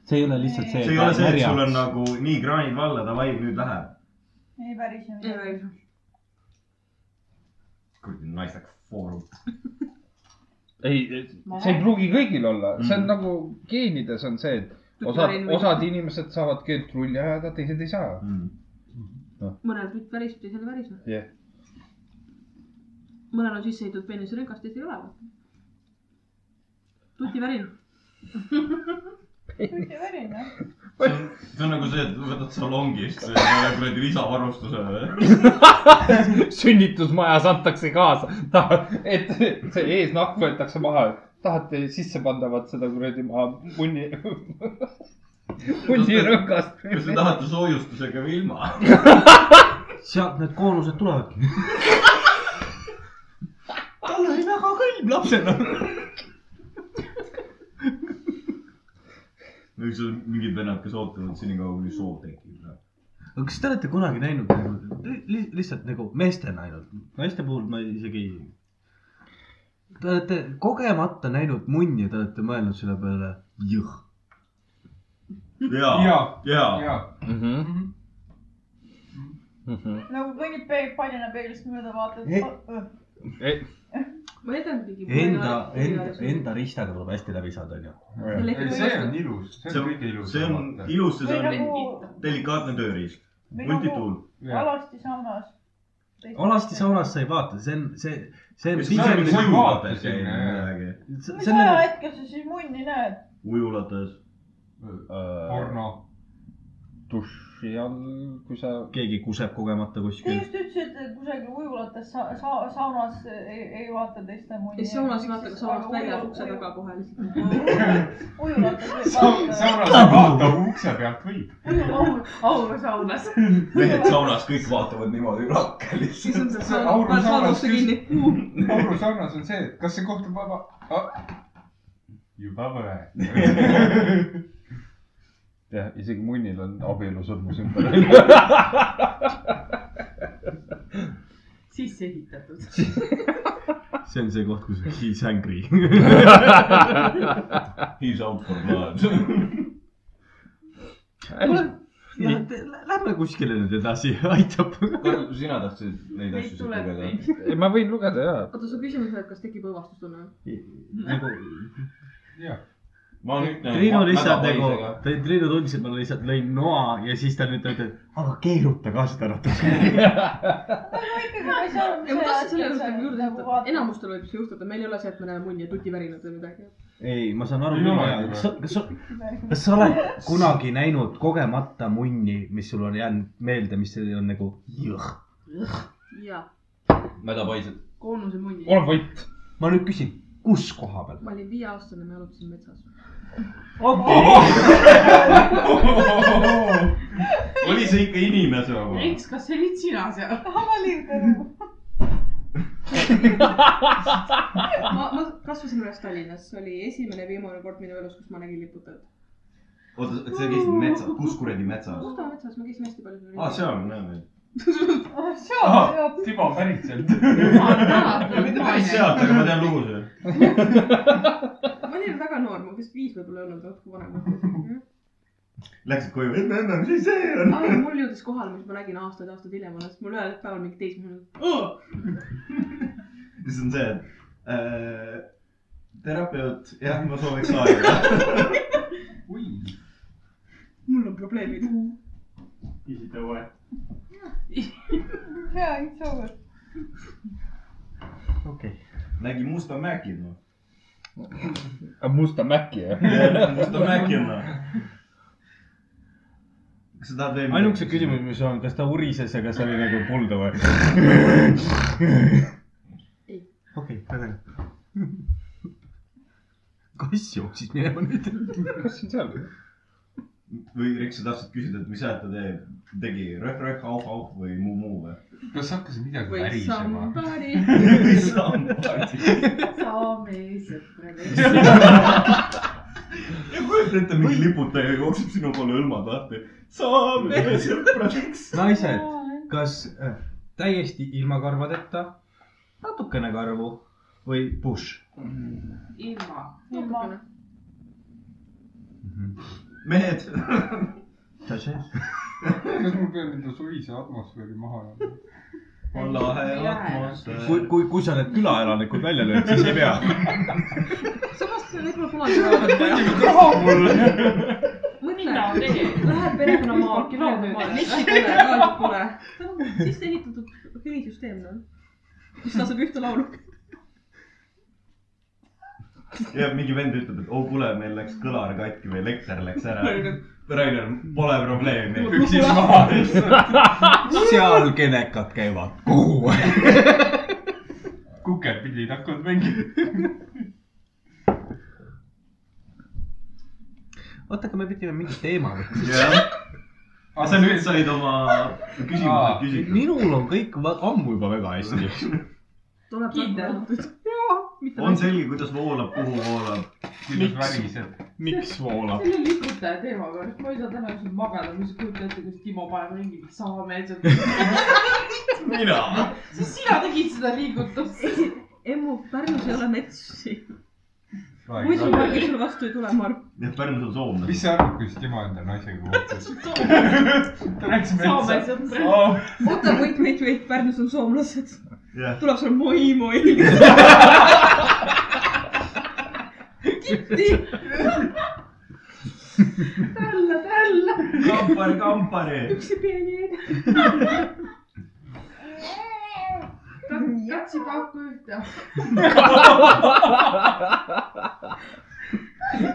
[SPEAKER 6] see ei ole lihtsalt see .
[SPEAKER 7] see ei ole see , et sul on . nagu nii kraanid valla , davai , nüüd läheb .
[SPEAKER 5] ei päris ei midagi .
[SPEAKER 7] kuradi naistakas foorum .
[SPEAKER 3] ei , see ei pruugi kõigil olla , see on nagu geenides on see , et osad , osad inimesed saavad keelt trulli ajada , teised ei saa .
[SPEAKER 8] mõnel tütt väriseb , teisel ei värise .
[SPEAKER 3] jah ,
[SPEAKER 8] mõnel on sisse heidetud peenisrõngast , teisel ei ole . tutivärin .
[SPEAKER 5] tutivärin , jah .
[SPEAKER 7] see on nagu see , et võtad salongist selle kuradi lisavarustuse või ?
[SPEAKER 3] sünnitusmajas antakse kaasa , et see eesnahk võetakse maha , tahate sisse pandavat seda kuradi maha munni , munnirõngast .
[SPEAKER 7] kas te tahate soojustusega või ilma ?
[SPEAKER 6] sealt need koonused tulevadki . tal oli väga kõlb lapsena .
[SPEAKER 7] või sul mingid vennad , kes ootavad senikaua , kuni soov tekib ?
[SPEAKER 6] aga kas te olete kunagi näinud nagu li, li, lihtsalt nagu meestena ainult , naiste puhul ma isegi . Te olete kogemata näinud munni ja te olete mõelnud selle peale , jõh ,
[SPEAKER 7] jaa ,
[SPEAKER 2] jaa ,
[SPEAKER 7] jaa .
[SPEAKER 2] jaa .
[SPEAKER 3] Mhm.
[SPEAKER 5] nagu kõnnib pe- , paljana peeglist mööda , vaatad
[SPEAKER 6] Ei. .
[SPEAKER 8] ma edan mingi .
[SPEAKER 6] enda , enda , enda ristaga tuleb hästi läbi saada , onju .
[SPEAKER 2] ei , see on ilus , see on kõige ilusam .
[SPEAKER 7] see on ilus ja
[SPEAKER 5] või
[SPEAKER 7] see on
[SPEAKER 5] nagu ,
[SPEAKER 7] delikaatne tööriist ,
[SPEAKER 5] või nagu
[SPEAKER 7] multituul .
[SPEAKER 5] alasti saunas .
[SPEAKER 6] alasti . saunas sa ei vaata , see on , see , see on
[SPEAKER 2] Kas see on
[SPEAKER 6] pigem
[SPEAKER 2] nagu
[SPEAKER 6] nagu ,
[SPEAKER 2] mõju-
[SPEAKER 7] mõjuvaate siin
[SPEAKER 2] Jaa.
[SPEAKER 7] midagi .
[SPEAKER 6] see
[SPEAKER 5] mis
[SPEAKER 6] on nagu ,
[SPEAKER 5] ajahetkel sa siis munni näed ?
[SPEAKER 7] ujulates .
[SPEAKER 2] porno .
[SPEAKER 3] duši all , kui sa .
[SPEAKER 6] keegi kuseb kogemata
[SPEAKER 5] Te
[SPEAKER 6] kuskil .
[SPEAKER 5] just ütlesite , et kusagil ujulates sa- , sa- , saunas ei, ei vaata teiste mundi .
[SPEAKER 8] ei , saunas ei vaata , kas saunast väljas ukse taga kohe
[SPEAKER 5] lihtsalt . ujulates võib
[SPEAKER 2] Sa-
[SPEAKER 5] vaadata .
[SPEAKER 2] saunas ei vaata , aga ukse pealt võib .
[SPEAKER 4] aurasaunas .
[SPEAKER 7] mehed saunas kõik vaatavad niimoodi rakke
[SPEAKER 8] siis on
[SPEAKER 7] lihtsalt .
[SPEAKER 8] see
[SPEAKER 2] Auru
[SPEAKER 8] saun-
[SPEAKER 2] saunas
[SPEAKER 8] saunasse kinni .
[SPEAKER 2] küs- , Auru saunas on see , et kas see koht on vaba . juba võe .
[SPEAKER 3] jah , isegi munnil on abielusõrmus ümber .
[SPEAKER 4] sisse ehitatud .
[SPEAKER 6] see on see koht , kus he is angry .
[SPEAKER 7] He is out for blood .
[SPEAKER 6] nii , lähme kuskile nüüd edasi , aitab .
[SPEAKER 7] Karl , sina tahtsid neid asju siit
[SPEAKER 8] tuleb
[SPEAKER 7] lugeda ?
[SPEAKER 3] ma võin lugeda ja .
[SPEAKER 8] oota , su küsimus oli , et kas tekib õõvastustunne ?
[SPEAKER 6] nagu
[SPEAKER 7] ma nüüd näen .
[SPEAKER 6] Triinu lihtsalt nagu , Triinu tundis , et ma lihtsalt lõin noa ja siis ta nüüd ütleb , aga keeruta ka seda natuke .
[SPEAKER 5] ikkagi ma ei saa aru ,
[SPEAKER 8] ja ma tahtsin selle
[SPEAKER 5] mis
[SPEAKER 8] juurde
[SPEAKER 5] see
[SPEAKER 8] nagu juurde
[SPEAKER 5] nagu
[SPEAKER 8] öelda ,
[SPEAKER 5] vaatab .
[SPEAKER 8] enamustel võib see juhtuda , meil ei ole see , et me näeme munni ja tutivärinat või midagi .
[SPEAKER 6] ei , ma saan aru
[SPEAKER 2] Ei ole
[SPEAKER 6] küll ,
[SPEAKER 2] ju
[SPEAKER 6] kas sa , kas sa , kas sa oled kunagi näinud kogemata munni , mis sul on jäänud meelde , mis sul on nagu jõh ?
[SPEAKER 8] jaa ,
[SPEAKER 7] mädapaised .
[SPEAKER 4] koonuse munni .
[SPEAKER 3] ole vait .
[SPEAKER 6] ma nüüd küsin , kus koha peal ?
[SPEAKER 8] ma olin viieaastane , me jalutasime metsas .
[SPEAKER 7] oli see ikka inimese oma ?
[SPEAKER 4] eks , kas see olid sina seal ?
[SPEAKER 5] avaliiv nagu .
[SPEAKER 8] ma , ma kasvasin üles Tallinnas , see oli esimene ja viimane kord minu elus , kus ma nägin liputajat .
[SPEAKER 7] oota , et sa käisid metsas , kus kuradi Ah, metsas ?
[SPEAKER 8] Musta metsas me käisime hästi palju .
[SPEAKER 7] aa , seal me näeme .
[SPEAKER 5] Ah,
[SPEAKER 3] Ah.
[SPEAKER 5] seal , seal .
[SPEAKER 2] Timo pärit sealt .
[SPEAKER 7] mitte päris sealt , aga ma tean lugu seal .
[SPEAKER 8] ma olin väga noor , ma vist viis võib-olla ei olnud , natuke vanem .
[SPEAKER 7] Läksid koju , emme , emme , mis asi see on ?
[SPEAKER 8] aga mul jõudis kohale , mis ma nägin aastaid-aastaid hiljem alles , mul ühel päeval mingi teismeline .
[SPEAKER 7] siis on see , et äh, terapeut , jah , ma sooviks aega .
[SPEAKER 8] mul on probleemid .
[SPEAKER 11] isite õue .
[SPEAKER 5] jaa , it's over .
[SPEAKER 6] okei .
[SPEAKER 7] nägi musta mäki , noh .
[SPEAKER 3] musta mäki jah ?
[SPEAKER 7] musta mäki on , noh . kas sa tahad veel ?
[SPEAKER 6] ainukese küsimus , mis on , kas ta urises ja kas ta oli nagu mulda või ? okei , väga hea . kass jooksis minema nüüd .
[SPEAKER 3] kas see on seal ?
[SPEAKER 7] või Rick , sa tahtsid küsida , et mis häält ta teeb , tegi röh-röh , auh-auh või muu-muu või ?
[SPEAKER 2] kas hakkas midagi
[SPEAKER 8] või
[SPEAKER 2] värisema ?
[SPEAKER 8] somebody .
[SPEAKER 7] või sambad ?
[SPEAKER 4] saame sõpradeks .
[SPEAKER 7] ja kujuta ette , mingi liputaja jookseb sinu poole õlmad lahti . saame sõpradeks .
[SPEAKER 6] naised , kas äh, täiesti ilma karvadeta , natukene karvu või push ?
[SPEAKER 4] ilma .
[SPEAKER 5] ilma .
[SPEAKER 7] Mhm. mehed ,
[SPEAKER 2] kas mul peab enda suvise atmosfääri maha jääma ?
[SPEAKER 7] on lahe atmosfäär .
[SPEAKER 6] kui , kui , kui sa need külaelanikud välja lööd , siis ei pea .
[SPEAKER 8] samas , need mul kunagi ei olnud .
[SPEAKER 4] mina
[SPEAKER 8] mõtle ,
[SPEAKER 4] teen .
[SPEAKER 8] lähed perekonna maal ,
[SPEAKER 4] Kilomeetrit.
[SPEAKER 8] kilomeetrit pole , raadiot pole . ta on sisse ehitatud helisüsteem , noh . mis laseb ühte laulu .
[SPEAKER 7] ja mingi vend ütleb , et oo kuule , meil läks kõlar katki või elekter läks ära . Rainer , pole probleemi .
[SPEAKER 2] püksis maha .
[SPEAKER 6] seal kenekad käivad kogu aeg .
[SPEAKER 2] kukerpillid hakkavad mängima .
[SPEAKER 6] oota , aga me pidime mingi teema võtma .
[SPEAKER 7] jah , aga sa nüüd said oma
[SPEAKER 2] Aa.
[SPEAKER 7] küsimused küsitud .
[SPEAKER 6] minul on kõik va- ammu juba väga hästi .
[SPEAKER 8] tuleb
[SPEAKER 4] Kindel.
[SPEAKER 8] rahutud .
[SPEAKER 7] on selge , kuidas voolab , kuhu voolab .
[SPEAKER 2] kuidas väriseb ?
[SPEAKER 6] miks voolab ?
[SPEAKER 4] selle liputaja teema peale , ma ei saa täna ükskord magada , kui sa kujutad ette , kuidas Timo paneb ringi , saame sealt .
[SPEAKER 7] mina .
[SPEAKER 4] siis sina tegid seda liigutust .
[SPEAKER 8] emmu , Pärnus ei ole metsi . muidu ma sul vastu ei tule , ma arvan .
[SPEAKER 7] jah , Pärnus on soomlane .
[SPEAKER 2] mis sa arvad , kuidas Timo enda naisega kohtus ? ta läks
[SPEAKER 4] saame
[SPEAKER 2] metsa .
[SPEAKER 4] sõpradeks .
[SPEAKER 8] oota , wait , wait , wait , Pärnus on soomlased .
[SPEAKER 7] jah ,
[SPEAKER 8] tuleb sulle moi , moi . kitti . tälla , tälla .
[SPEAKER 7] kampar , kampari .
[SPEAKER 8] üksi peeni .
[SPEAKER 4] katsi pauku ühte .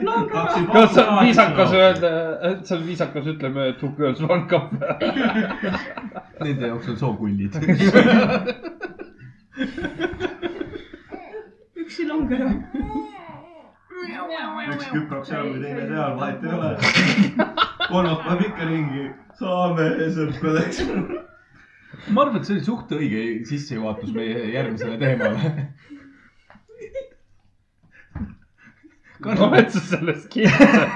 [SPEAKER 8] loom
[SPEAKER 3] kas see on viisakas öelda , see on viisakas , ütleme , two girls one cup .
[SPEAKER 6] Nende jaoks on sookullid .
[SPEAKER 8] üks silong ära .
[SPEAKER 1] üks küprab seal või teine seal , vahet ei ole .
[SPEAKER 7] kolmapäev ikka ringi , saame sõpradeks .
[SPEAKER 6] ma arvan , et see oli suht õige sissejuhatus meie järgmisele teemale .
[SPEAKER 3] oled sa selles kindel ?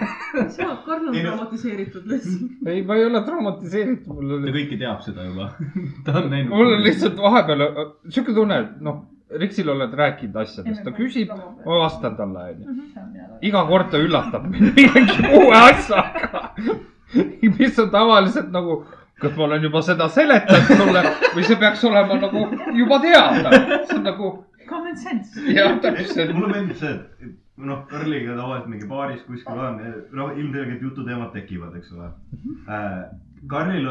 [SPEAKER 8] sa , Karl on
[SPEAKER 3] Ei, no-
[SPEAKER 8] traumatiseeritud lihtsalt .
[SPEAKER 3] ei , ma ei ole traumatiseeritud , mul oli .
[SPEAKER 6] ta kõike teab seda juba . ta on näinud .
[SPEAKER 3] mul on lihtsalt vahepeal sihuke tunne , et noh , Riksil oled rääkinud asjadest , ta küsib , Oh. ma vastan talle , onju . iga kord ta üllatab mind mingi uue asjaga , mis on tavaliselt nagu , kas ma olen juba seda seletanud sulle või see peaks olema nagu juba teada . see on nagu ,
[SPEAKER 5] Common sense .
[SPEAKER 3] jah , täpselt .
[SPEAKER 7] Eh, mulle meeldib see , et noh , Karliga tavaliselt mingi baaris kuskil oleme , noh , ilmselgelt jututeemad tekivad , eks ole äh, . Karlil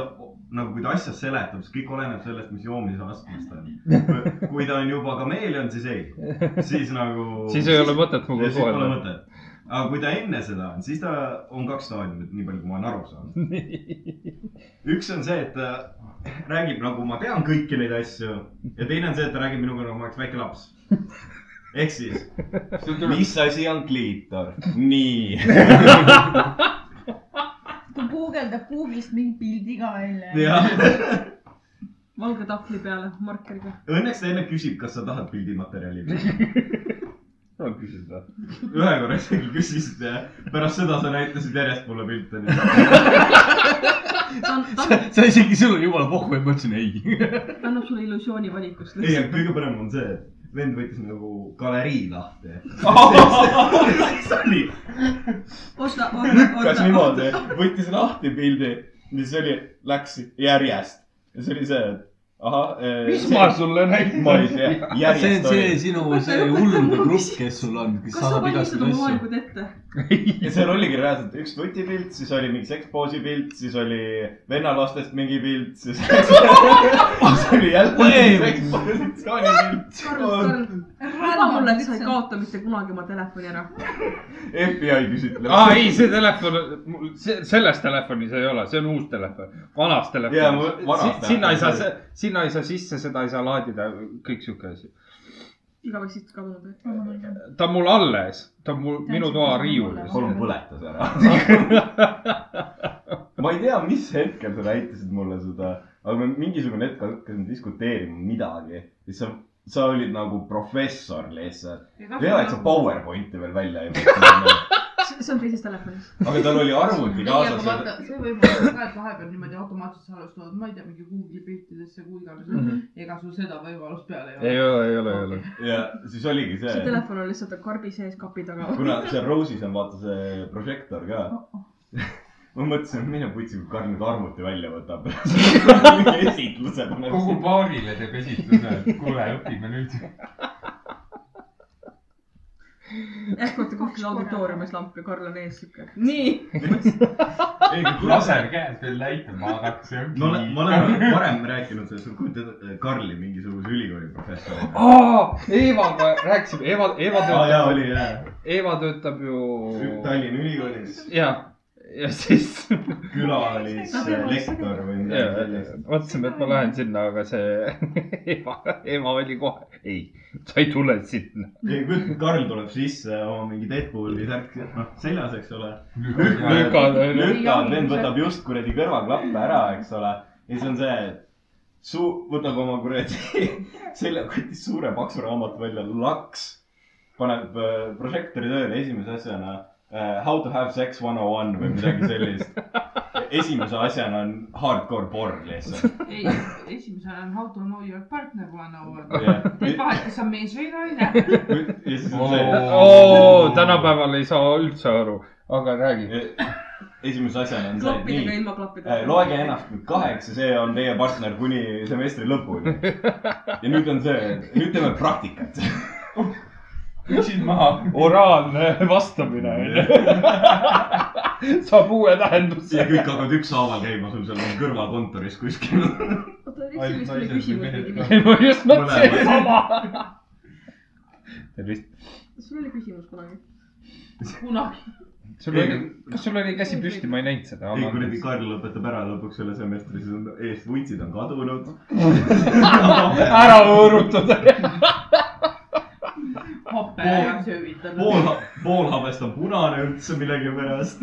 [SPEAKER 7] nagu , kui ta asja seletab , siis kõik oleneb sellest , mis joomise astmes ta on . kui ta on juba kameelion , siis ei , siis nagu .
[SPEAKER 3] Siis ei ole mõtet minuga
[SPEAKER 7] siis pole
[SPEAKER 3] suhelda.
[SPEAKER 7] mõtet . aga kui ta enne seda on , siis ta on kaks staadiumit , nii palju , kui ma olen aru saanud . üks on see , et ta räägib nagu ma tean kõiki neid asju ja teine on see , et ta räägib minuga nagu ma oleks väike laps . ehk siis , mis asi on kliitor ? nii .
[SPEAKER 5] ta guugeldab Google'ist mingi pildi ka välja .
[SPEAKER 8] valge tahvli peale markeriga .
[SPEAKER 7] Õnneks ta enne küsib , kas sa tahad pildimaterjali või .
[SPEAKER 3] ma küsin seda .
[SPEAKER 7] ühe korra isegi küsisid ja pärast seda sa näitasid järjest mulle pilte .
[SPEAKER 6] sa isegi , sul oli jumala pohhu , et ma ütlesin ei .
[SPEAKER 8] ta annab sulle illusiooni valikust .
[SPEAKER 7] ei , aga kõige parem on see , et vend võttis nagu galerii lahti . siis oli ,
[SPEAKER 8] oota ,
[SPEAKER 7] lükkas
[SPEAKER 8] oota , oota .
[SPEAKER 7] niimoodi , võttis lahti pildi ja siis oli , läks järjest . ja siis oli see , et ahah .
[SPEAKER 3] Mis ma sulle näitan?
[SPEAKER 7] ma ei tea ,
[SPEAKER 6] see
[SPEAKER 7] järjest
[SPEAKER 6] on see sinu , see hullude grupp , kes sul on , kes
[SPEAKER 8] kas sa
[SPEAKER 6] saadab
[SPEAKER 8] valmistad
[SPEAKER 6] igasuguseid
[SPEAKER 8] oma
[SPEAKER 6] asju .
[SPEAKER 8] vaevikud ette ?
[SPEAKER 7] ja seal oligi reaalselt üks tutipilt , siis oli mingi sekspoosi pilt , siis oli vennalastest mingi pilt , siis siis oli jälle mingi sekspositsiooni
[SPEAKER 8] Karl ,
[SPEAKER 7] pilt .
[SPEAKER 8] luba mulle , et sa ei kaota mitte kunagi oma telefoni ära .
[SPEAKER 7] FBI küsitleb .
[SPEAKER 3] aa , Ah, ei , see telefon , selles telefonis ei ole , see on uus telefon , vanas
[SPEAKER 7] Jaa, mu- vanas
[SPEAKER 3] telefonis .
[SPEAKER 7] telefon.
[SPEAKER 3] sinna ei saa , sinna ei saa sisse , seda ei saa laadida , kõik sihuke asi .
[SPEAKER 8] igaveseks istud kadunud või ?
[SPEAKER 5] nagu
[SPEAKER 3] ta on mul alles , ta on mul minu toa riiulis .
[SPEAKER 7] palun põletas ära . ma ei tea , mis hetkel sa näitasid mulle seda , aga me mingisugune hetk hakkasime diskuteerima midagi ja sa , sa olid nagu professor lihtsalt . hea , et sa PowerPointi veel välja ei mõtelnud ,
[SPEAKER 8] see on teises telefonis .
[SPEAKER 7] aga tal oli arvuti kaasas .
[SPEAKER 9] see võib olla ka , et vahepeal niimoodi automaatselt salvestavad , ma ei tea , mingi Google'i piltidesse , kuhu iganes . ega sul seda võimalust peal ei
[SPEAKER 3] Mhm. ei
[SPEAKER 9] ole .
[SPEAKER 3] ole , ei ole , ei ole .
[SPEAKER 7] ja siis oligi see,
[SPEAKER 8] see telefon on lihtsalt karbi sees kapi taga .
[SPEAKER 7] kuna seal Rose'is on vaata see prožektor ka .
[SPEAKER 8] Oh,
[SPEAKER 7] ma mõtlesin , et mine putsi , kui Karl nüüd arvuti välja võtab . esitluse paneb
[SPEAKER 2] kogu . baarile teeb esitluse , et kuule , õpime nüüd .
[SPEAKER 8] ehk vaata kuskil auditooriumis lamp ja Karl on ees siuke . nii .
[SPEAKER 2] laser käes veel näitama , aga see
[SPEAKER 7] ma
[SPEAKER 2] on
[SPEAKER 7] olen , ma olen varem rääkinud sellest , sa kujutad Karli mingisuguse ülikooli professorina .
[SPEAKER 3] aa , Eevaga rääkisime , Eeva , Eeva
[SPEAKER 7] aa jaa , oli
[SPEAKER 3] töötab ,
[SPEAKER 7] jah .
[SPEAKER 3] Eeva töötab ju .
[SPEAKER 7] Tallinna Ülikoolis
[SPEAKER 3] jah , ja siis
[SPEAKER 7] külalis lektor või midagi
[SPEAKER 3] Jaa,
[SPEAKER 7] sellist .
[SPEAKER 3] mõtlesime , et ma lähen sinna , aga see Eva , Eva oli kohe , ei , sa ei tule sinna .
[SPEAKER 7] ei , kui Karl tuleb sisse oma mingi Deadpooli särk , noh seljas , eks ole .
[SPEAKER 3] Lükad, on ju.
[SPEAKER 7] lükad , vend võtab just kuradi kõrvaklappe ära , eks ole . ja siis on see , et suu , võtab oma kuradi seljakotist suure paksu raamatu välja , laks . paneb äh, prožektori tööle esimese asjana äh, How to have sex one on one või midagi sellist . esimese asjana on hardcore porn lihtsalt .
[SPEAKER 9] ei , esimesena on how to know your partner
[SPEAKER 4] nagu
[SPEAKER 9] one hour .
[SPEAKER 7] Jah.
[SPEAKER 9] teeb vahet , kas sa on mees või naine .
[SPEAKER 7] ja siis on see .
[SPEAKER 3] oo , tänapäeval ei saa üldse aru , aga räägi .
[SPEAKER 7] esimese asjana on see , et nii ,
[SPEAKER 8] klappidega , ilma klappidega .
[SPEAKER 7] Äh, loege ennast nüüd kaheks ja see on teie partner kuni semestri lõpuni . ja nüüd on see , nüüd teeme praktikat .
[SPEAKER 2] üksin maha .
[SPEAKER 3] oraalne vastamine onju . saab uue
[SPEAKER 7] ja
[SPEAKER 3] tähenduse .
[SPEAKER 7] kõik hakkavad ükshaaval käima sul seal kõrvalkontoris kuskil .
[SPEAKER 8] oota , Riksil vist oli küsimus mingi .
[SPEAKER 3] ma just mõtlesin sama . tervist .
[SPEAKER 8] sul oli küsimus kunagi ?
[SPEAKER 9] kunagi .
[SPEAKER 3] sul oli , kas sul oli käsi püsti , ma ei näinud seda .
[SPEAKER 7] ei kuradi , Karl lõpetab ära lõpuks selle semestri , siis on eest vuntsid on kadunud .
[SPEAKER 3] ära võõrutada .
[SPEAKER 4] happe ära söövitanud .
[SPEAKER 7] pool , pool habest on punane üldse millegipärast .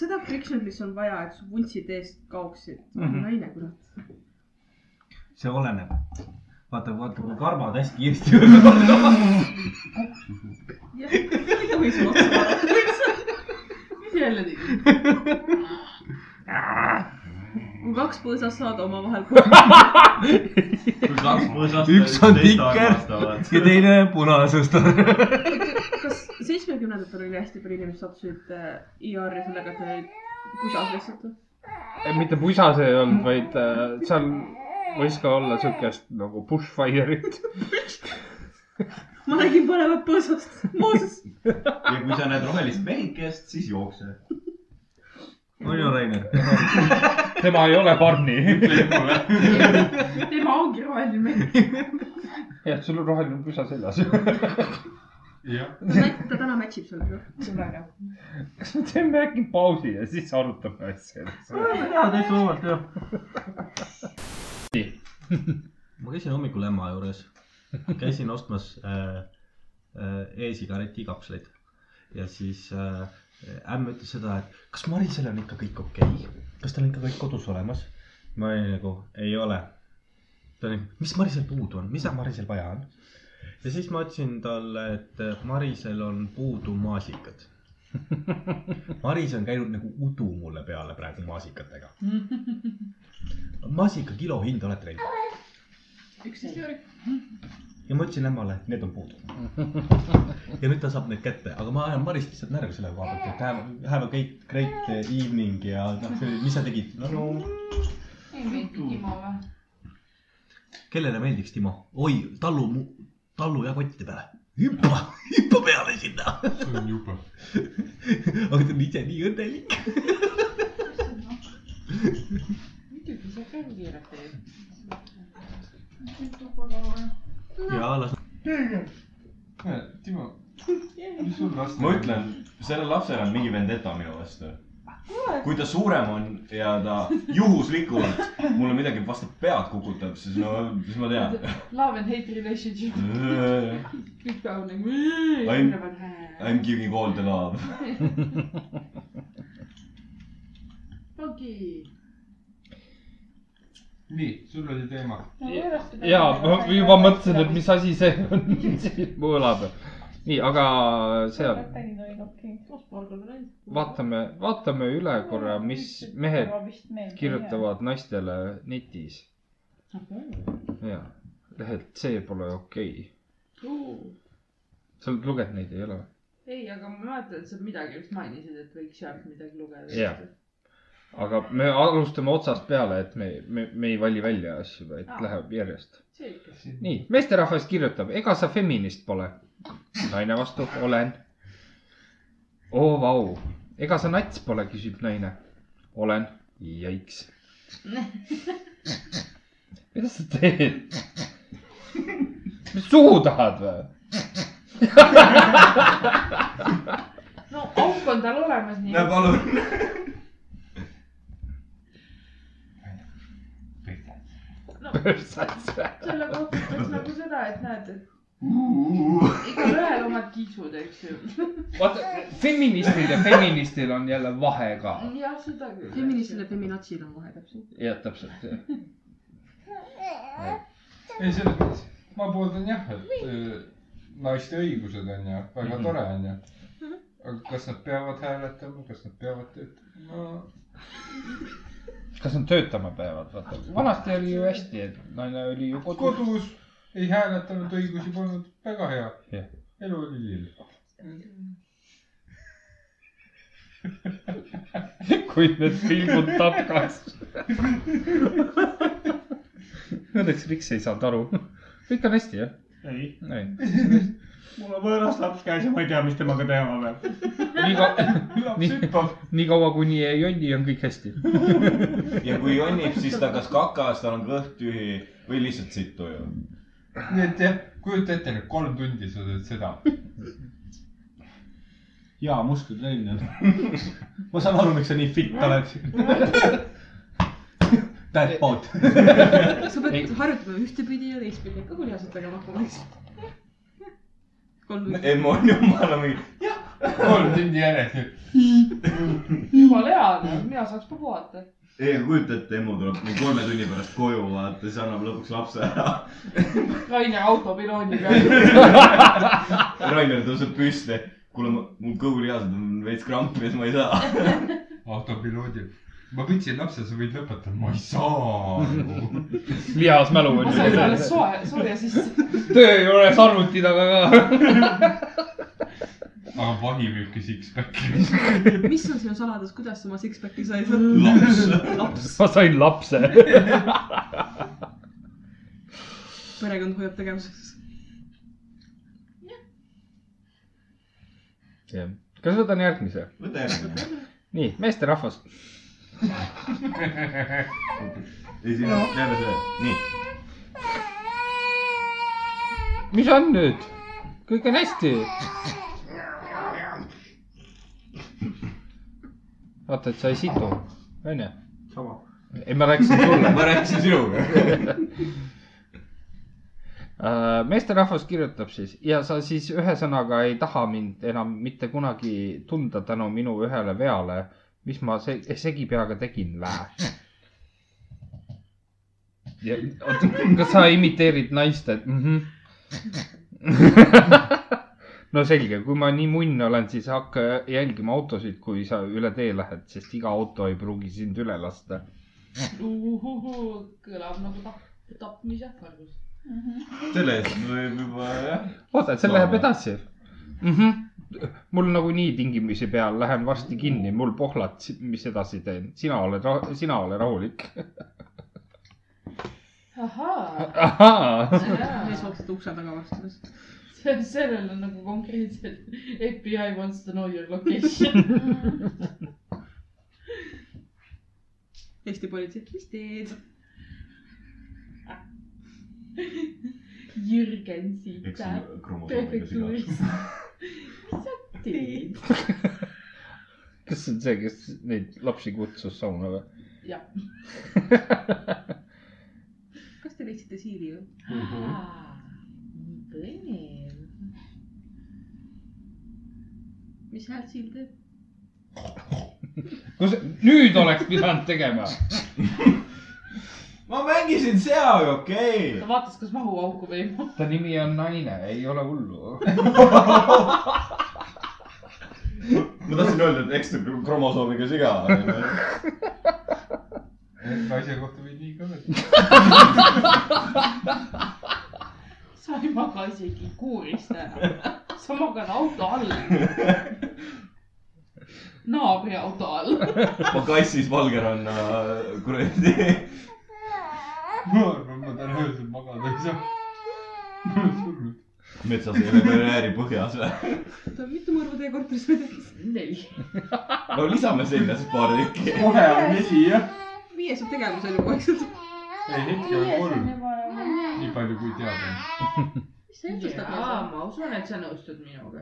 [SPEAKER 8] seda friction'it , mis on vaja , et su vuntsid eest kaoksid mm .
[SPEAKER 6] Mhm.
[SPEAKER 8] -hmm. naine , kurat .
[SPEAKER 6] see oleneb . vaata , vaata kui karvad hästi kiiresti võtavad .
[SPEAKER 8] jah , ei tohi sul otsa vaadata .
[SPEAKER 4] mis jälle tegid ?
[SPEAKER 8] kui kaks põõsast saad omavahel kokku .
[SPEAKER 6] üks on tikker ja teine punasõstar .
[SPEAKER 8] kas seitsmekümnendatel oli hästi palju inimesi sattusid äh, IR-i sellega , et neil olid kusas lihtsalt või ?
[SPEAKER 3] Eh, mitte pusas ei olnud , vaid äh, seal võis ka olla siukest nagu bushfire'it .
[SPEAKER 8] ma nägin põnevat põõsast , Mooses .
[SPEAKER 7] ja kui sa näed rohelist mehikest , siis jookse .
[SPEAKER 6] on ju , Rainer ?
[SPEAKER 3] tema ei ole Barney .
[SPEAKER 4] tema ongi roheline mees .
[SPEAKER 3] jah , sul on roheline pusa seljas .
[SPEAKER 2] jah ,
[SPEAKER 8] ta täna match ib sellega .
[SPEAKER 3] kas me teeme äkki pausi ja siis arutame asja ?
[SPEAKER 6] jaa , täitsa vabalt jah . ma käisin hommikul ema juures , käisin ostmas äh, äh, e-sigareti kapsleid ja siis äh, ämm ütles seda , et kas Marisel on ikka kõik okei okay? , kas tal on ikka kõik kodus olemas ? ma olin nagu , ei ole . ta oli , mis Marisel puudu on , mida Marisel vaja on ? ja siis ma ütlesin talle , et äh, Marisel on puudu maasikad . Maris on käinud nagu udu mulle peale praegu maasikatega . maasika kilo hind olete leidnud
[SPEAKER 9] üksteist euri .
[SPEAKER 6] ja ma ütlesin ämmale , need on puudu . ja nüüd ta saab need kätte , aga ma ajan Marist lihtsalt närvi selle koha pealt , et have, have a great , great eh, evening ja noh , mis sa tegid no, ?
[SPEAKER 9] ei meeldi Timo või ?
[SPEAKER 6] kellele meeldiks , Timo ? oi , tallu , tallu ja kottide peale . hüppa , hüppa peale sinna .
[SPEAKER 2] see on jube .
[SPEAKER 6] aga ta on ise nii õnnelik .
[SPEAKER 9] muidugi , sa ka keerad teed .
[SPEAKER 6] ja las .
[SPEAKER 2] Äh, Timo , mis sul last
[SPEAKER 7] ma ütlen , sellel lapsel on mingi vendeta minu vastu . kui ta suurem on ja ta juhuslikult mulle midagi vastu pead kukutab , siis no , siis ma tean .
[SPEAKER 9] Love and hate relationship . kõik peavad nagu .
[SPEAKER 7] I'm- I m giving all the love .
[SPEAKER 9] okei .
[SPEAKER 2] nii , sul oli teema .
[SPEAKER 3] ja ma juba mõtlesin , et mis asi see on , siin mu õla peal . nii , aga seal
[SPEAKER 5] Lätid olid okei .
[SPEAKER 3] vaatame , vaatame üle korra , mis mehed kirjutavad naistele netis . ja lehelt see pole okei okay. . sa oled lugenud neid , ei ole või ?
[SPEAKER 9] ei , aga ma mäletan , et sa midagi vist mainisid , et võiks sealt midagi lugeda .
[SPEAKER 3] Jah. aga me alustame otsast peale , et me , me , me ei vali välja asju , vaid
[SPEAKER 9] Aa.
[SPEAKER 3] läheb järjest .
[SPEAKER 9] selge .
[SPEAKER 3] nii , meesterahvas kirjutab , ega sa feminist pole . naine vastu , olen . oo vau , ega sa nats pole , küsib naine . olen , jaiks . mida sa teed ? mis suhu tahad või ?
[SPEAKER 9] no auk on tal olemas nii .
[SPEAKER 7] näe palun .
[SPEAKER 9] no selle kohta ütleks nagu seda , et näed , et igalühel omad kiisud , eks ju .
[SPEAKER 3] vaata , feministil ja feministil on jälle vahe ka .
[SPEAKER 9] jah , seda küll .
[SPEAKER 8] feministil ja feminatsil on vahe täpselt .
[SPEAKER 3] jah , täpselt .
[SPEAKER 2] ei , selles mõttes , ma pooldan jah , et öö, naiste õigused on ju väga
[SPEAKER 7] Mhm.
[SPEAKER 2] tore on ju . aga kas nad peavad hääletama , kas nad peavad töötama ?
[SPEAKER 3] kas nad töötama peavad , vaata . vanasti oli ju hästi , et naine oli ju kodus .
[SPEAKER 2] kodus ei hääletanud , õigusi polnud , väga hea
[SPEAKER 3] Jah. .
[SPEAKER 2] elu oli lill .
[SPEAKER 3] kui need pilgud tapkas . Õnneks Riks ei saanud aru . kõik on hästi , jah ?
[SPEAKER 11] ei ,
[SPEAKER 3] ei .
[SPEAKER 11] mul on võõras laps käes ja ma ei tea , mis temaga teha peab .
[SPEAKER 3] nii kaua ,
[SPEAKER 11] laps hüppab .
[SPEAKER 3] nii kaua , kuni ei jonni , on kõik hästi .
[SPEAKER 7] ja kui jonnib , siis ta kas kakas , tal on kõht tühi või lihtsalt sitt tuju .
[SPEAKER 2] nii et jah , kujuta ette nüüd kolm tundi sa teed seda .
[SPEAKER 11] hea muskelitrenn on . ma saan aru , miks sa nii fitt oled . That boat .
[SPEAKER 8] sa pead harjutama ühtepidi ja teistpidi , ka kui heasid tegema hakkama .
[SPEAKER 7] Emma on jumala mingi ,
[SPEAKER 2] kolm tundi järjest .
[SPEAKER 9] jumala hea , mina saaks ka puhata .
[SPEAKER 7] ei aga kujuta ette , Emma tuleb mingi kolme tunni pärast koju , vaata , siis annab lõpuks lapse ära .
[SPEAKER 9] Rainer autopiloodi peal .
[SPEAKER 7] Rainer tõuseb püsti . kuule , mul kõhulihased on veits krampi ja siis ma ei saa .
[SPEAKER 2] autopiloodil . ma võtsin lapse , sa võid lõpetada . ma ei saa .
[SPEAKER 3] lihas mälu
[SPEAKER 9] ma
[SPEAKER 3] on
[SPEAKER 9] sain alles
[SPEAKER 3] ju .
[SPEAKER 9] soe , sooja sisse .
[SPEAKER 3] töö juures arvuti taga ka .
[SPEAKER 2] aga vahimüüki six-pack'i .
[SPEAKER 8] mis on sinu saladus , kuidas sa oma six-pack'i said ?
[SPEAKER 7] laps .
[SPEAKER 8] laps ,
[SPEAKER 3] ma sain lapse .
[SPEAKER 8] perekond hoiab tegevuses .
[SPEAKER 3] kas võtan järgmise ?
[SPEAKER 7] võta järgmine .
[SPEAKER 3] nii , meesterahvas .
[SPEAKER 7] ei , siin on , jääme selle , nii .
[SPEAKER 3] mis on nüüd ? kõik on hästi . vaata , et sa ei situ , onju .
[SPEAKER 6] sama .
[SPEAKER 3] ei , ma rääkisin sulle .
[SPEAKER 7] ma rääkisin sinuga .
[SPEAKER 3] Äh, meesterahvas kirjutab siis ja sa siis ühesõnaga ei taha mind enam mitte kunagi tunda tänu minu ühele veale , mis ma se segi peaga tegin , vä ? ja oota , kas sa imiteerid naist , et mhmh no selge , kui ma nii munn olen , siis hakka jälgima autosid , kui sa üle tee lähed , sest iga auto ei pruugi sind üle lasta .
[SPEAKER 9] kõlab nagu tap- , tapmise ähvardus .
[SPEAKER 7] selle eest võib juba jah .
[SPEAKER 3] oota , see
[SPEAKER 7] No.
[SPEAKER 3] läheb edasi mm . -hmm. mul nagunii tingimisi peal , lähen varsti kinni , mul pohlad , mis edasi teen , sina oled , sina ole rahulik .
[SPEAKER 9] ahhaa ,
[SPEAKER 3] ahhaa ,
[SPEAKER 8] mees vaatas ukse taga vastu .
[SPEAKER 9] sellel on nagu konkreetselt FBI wants to know your location .
[SPEAKER 8] Eesti politsei , mis teed ?
[SPEAKER 9] Jürgen siit
[SPEAKER 7] eks
[SPEAKER 9] läheb
[SPEAKER 7] kromosoomiga
[SPEAKER 9] prefektuurist .
[SPEAKER 7] sigadus .
[SPEAKER 9] mis sa teed ?
[SPEAKER 3] kas see on see , kes neid lapsi kutsus sauna või ?
[SPEAKER 9] jah .
[SPEAKER 8] kas te leidsite siili või ?
[SPEAKER 9] nii põnev .
[SPEAKER 8] mis häält siil teeb ?
[SPEAKER 3] kus , nüüd oleks pidanud tegema .
[SPEAKER 7] ma mängisin seal , okei
[SPEAKER 9] ta vaatas , kas mahuauku või ei mahu .
[SPEAKER 3] ta nimi on naine , ei ole hullu .
[SPEAKER 7] ma tahtsin öelda , et eks ta kromosoomiga siga on .
[SPEAKER 2] asja kohta võid nii ka öelda .
[SPEAKER 9] sa ei maga isegi kuurist ära . sa magad auto all . naabri auto all .
[SPEAKER 7] ma kassis Valgeranna kuradi .
[SPEAKER 2] ma arvan , ma täna öösel magada ei saa . ma olen surnud .
[SPEAKER 7] metsas ei ole karjääri põhjas .
[SPEAKER 8] oota , mitu mõrva teie korteris veel tekkis ?
[SPEAKER 9] neli .
[SPEAKER 7] no lisame seljast paar tükki .
[SPEAKER 11] kohe on vesi jah .
[SPEAKER 8] viies on tegevusel juba , eks ju .
[SPEAKER 2] ei , hetkel on kolm , nii palju kui teada .
[SPEAKER 8] mis sa jutustad
[SPEAKER 9] jaa ,
[SPEAKER 8] meile ?
[SPEAKER 9] ma usun , et sa nõustud minuga .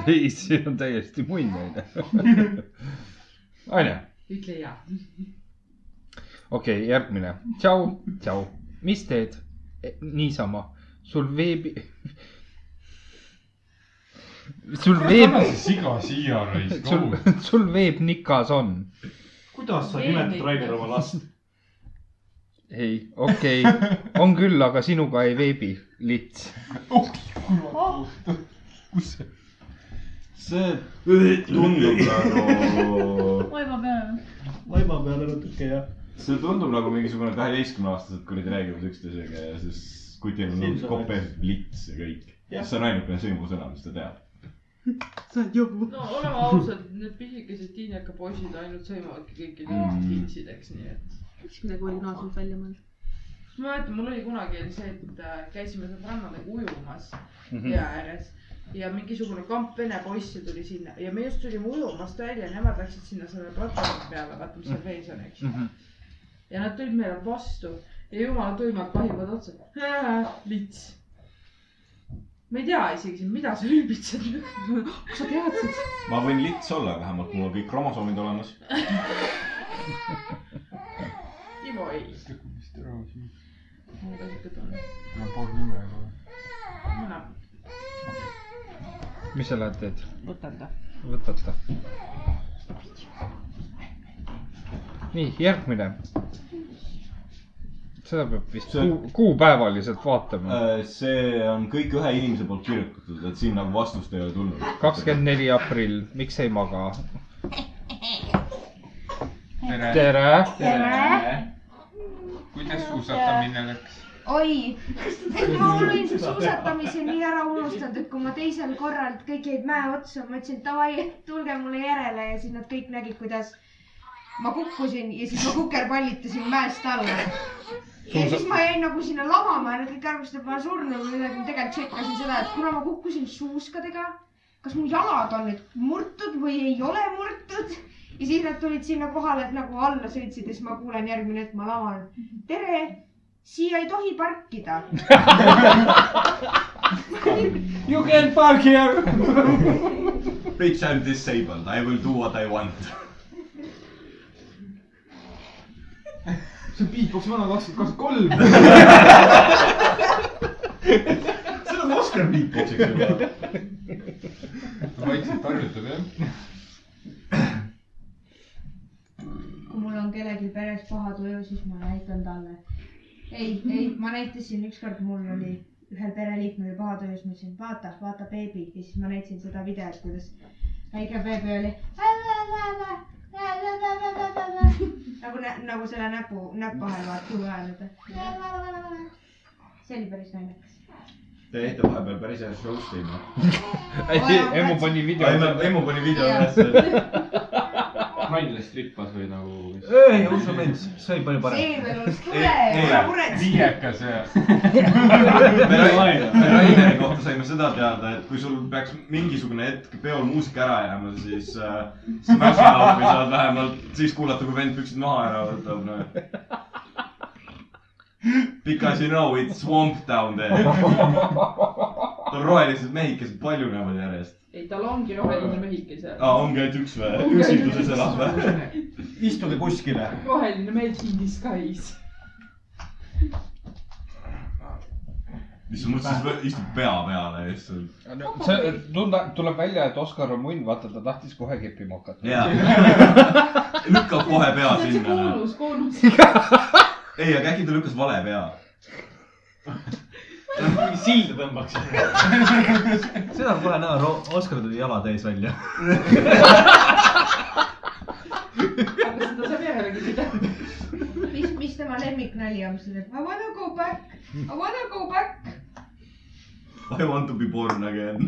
[SPEAKER 3] ei , see on täiesti muin naine . onju ,
[SPEAKER 9] ütle jaa .
[SPEAKER 3] okei okay, , järgmine . tšau , tšau . mis teed ? niisama . sul veebi . sul veeb
[SPEAKER 2] pane . see siga siia raisk ,
[SPEAKER 3] sul
[SPEAKER 2] kohut .,
[SPEAKER 3] sul veeb nikas on .
[SPEAKER 6] kuidas sa nimetad Rainer oma last ?
[SPEAKER 3] ei , okei okay. , on küll , aga sinuga ei veebi , lits .
[SPEAKER 2] kus see ?
[SPEAKER 6] see
[SPEAKER 7] tundub nagu ,
[SPEAKER 5] vaiba peal .
[SPEAKER 6] vaiba peale natuke ja .
[SPEAKER 7] see tundub nagu mingisugune kaheteistkümneaastased kuradi räägivad üksteisega ja siis kutil on umbes kopees lits ja kõik . see on ainukene sõimusõna , mis ta teab .
[SPEAKER 8] sa oled jobu .
[SPEAKER 9] no oleme ausad , need pisikesed tiineka poisid ainult sõimavadki kõiki
[SPEAKER 7] Mhm.
[SPEAKER 9] neid tintsideks , nii et .
[SPEAKER 8] võiks midagi originaalselt välja mõelda .
[SPEAKER 9] ma mäletan , mul oli kunagi oli see , et äh, käisime sõbrannadega ujumas
[SPEAKER 3] Mhm.
[SPEAKER 9] jää ääres ja mingisugune kamp vene poisse tuli sinna ja me just tulime ujumast välja ja nemad läksid sinna selle platvormi peale , vaata , mis seal vees on , eks ju .
[SPEAKER 3] Mhm.
[SPEAKER 9] ja nad tulid meile vastu ja jumala tuimad vahivad otsa . lits . ma ei tea isegi siin , mida sa ülbitsed . kas sa teadsid ?
[SPEAKER 6] ma võin lits olla vähemalt , mul on kõik kromosoomid olemas .
[SPEAKER 9] Timo ei .
[SPEAKER 12] vist ära siin .
[SPEAKER 9] mul ka siuke tunne .
[SPEAKER 12] mul on paar nime juba .
[SPEAKER 9] mina
[SPEAKER 3] mis sa lähed teed ?
[SPEAKER 9] võtan ta .
[SPEAKER 3] võtad ta . nii , järgmine . seda peab vist
[SPEAKER 6] See on- Äh,
[SPEAKER 3] kuu , kuupäevaliselt vaatama .
[SPEAKER 6] see on kõik ühe inimese poolt kirjutatud , et siin nagu vastust ei ole tulnud .
[SPEAKER 3] kakskümmend neli aprill , miks ei maga ?
[SPEAKER 12] tere,
[SPEAKER 3] Tere.
[SPEAKER 2] Äh?
[SPEAKER 12] tere. . kuidas suusatamine läks ?
[SPEAKER 13] oi , ma olin su suusatamise nii ära unustanud , et kui ma teisel korral kõik jäid mäe otsa , ma ütlesin davai , tulge mulle järele ja siis nad kõik nägid , kuidas ma kukkusin ja siis ma kukerpallitasin mäest alla . ja siis ma jäin nagu sinna lamama ja nad kõik arvasid , et ma olen surnud või midagi , tegelikult tšekkasin seda , et kuna ma kukkusin suuskadega , kas mu jalad on nüüd murtud või ei ole murtud ja siis nad tulid sinna kohale , et nagu alla sõitsid ja siis ma kuulen järgmine hetk , ma laval . tere , siia ei tohi parkida .
[SPEAKER 6] You can park here . Bitch I am disabled , I will do what I want .
[SPEAKER 14] see on Beatboxi vana kakskümmend kakskümmend kolm .
[SPEAKER 6] see on Oscar Beatboxiks juba .
[SPEAKER 12] vaikselt harjutab jah .
[SPEAKER 13] kui mul on kellelgi peres paha tuju , siis ma näitan talle . ei , ei , ma näitasin ükskord , mul oli ühel pereliikmel oli paha tuju , siis ma ütlesin , vaata , vaata beebi ja siis ma näitasin seda videot , kuidas väike beebi oli . nagu , nagu selle näpu , näpp vahel vaata , tulu ajal , et . see oli päris naljakas .
[SPEAKER 6] Te jäite vahepeal päris hea show teema .
[SPEAKER 3] Emmu pani video
[SPEAKER 6] üles . Emmu pani video üles .
[SPEAKER 2] Rainlast rippas või nagu .
[SPEAKER 14] ei , usu mind , see oli palju parem .
[SPEAKER 13] see veel oleks tore , ära muretse .
[SPEAKER 12] viiekas ja .
[SPEAKER 6] me Rain- me Raineri kohta saime seda teada , et kui sul peaks mingisugune hetk peol muusika ära jääma , siis äh, Smash Mouth'i saad vähemalt siis kuulata , kui vend püksid maha ära võtab noh. no. . Because you know it's swamp down there . tal rohelised mehikesed paljunevad järjest .
[SPEAKER 9] ei , tal ongi roheline mehike seal .
[SPEAKER 6] aa , ongi ainult üks või ? üksituses elab või ?
[SPEAKER 14] istuge kuskile .
[SPEAKER 9] roheline mees in disguise .
[SPEAKER 6] mis sa mõtlesid , istub pea peale lihtsalt .
[SPEAKER 3] see tunda , tuleb välja , et Oskar on munn , vaata , ta tahtis kohe keppima hakata .
[SPEAKER 6] jaa . lükkab kohe pea sinna .
[SPEAKER 9] koonus , koonus .
[SPEAKER 6] ei , aga äkki ta lükkas vale pea .
[SPEAKER 2] mingi silda tõmbaks .
[SPEAKER 14] seda on kohe näha , Oskar tuli jala täis välja .
[SPEAKER 9] aga seda saab järele küsida .
[SPEAKER 13] mis , mis tema lemmiknali on , mis ta teeb ? I wanna go back , I wanna go back .
[SPEAKER 6] I want to be born again .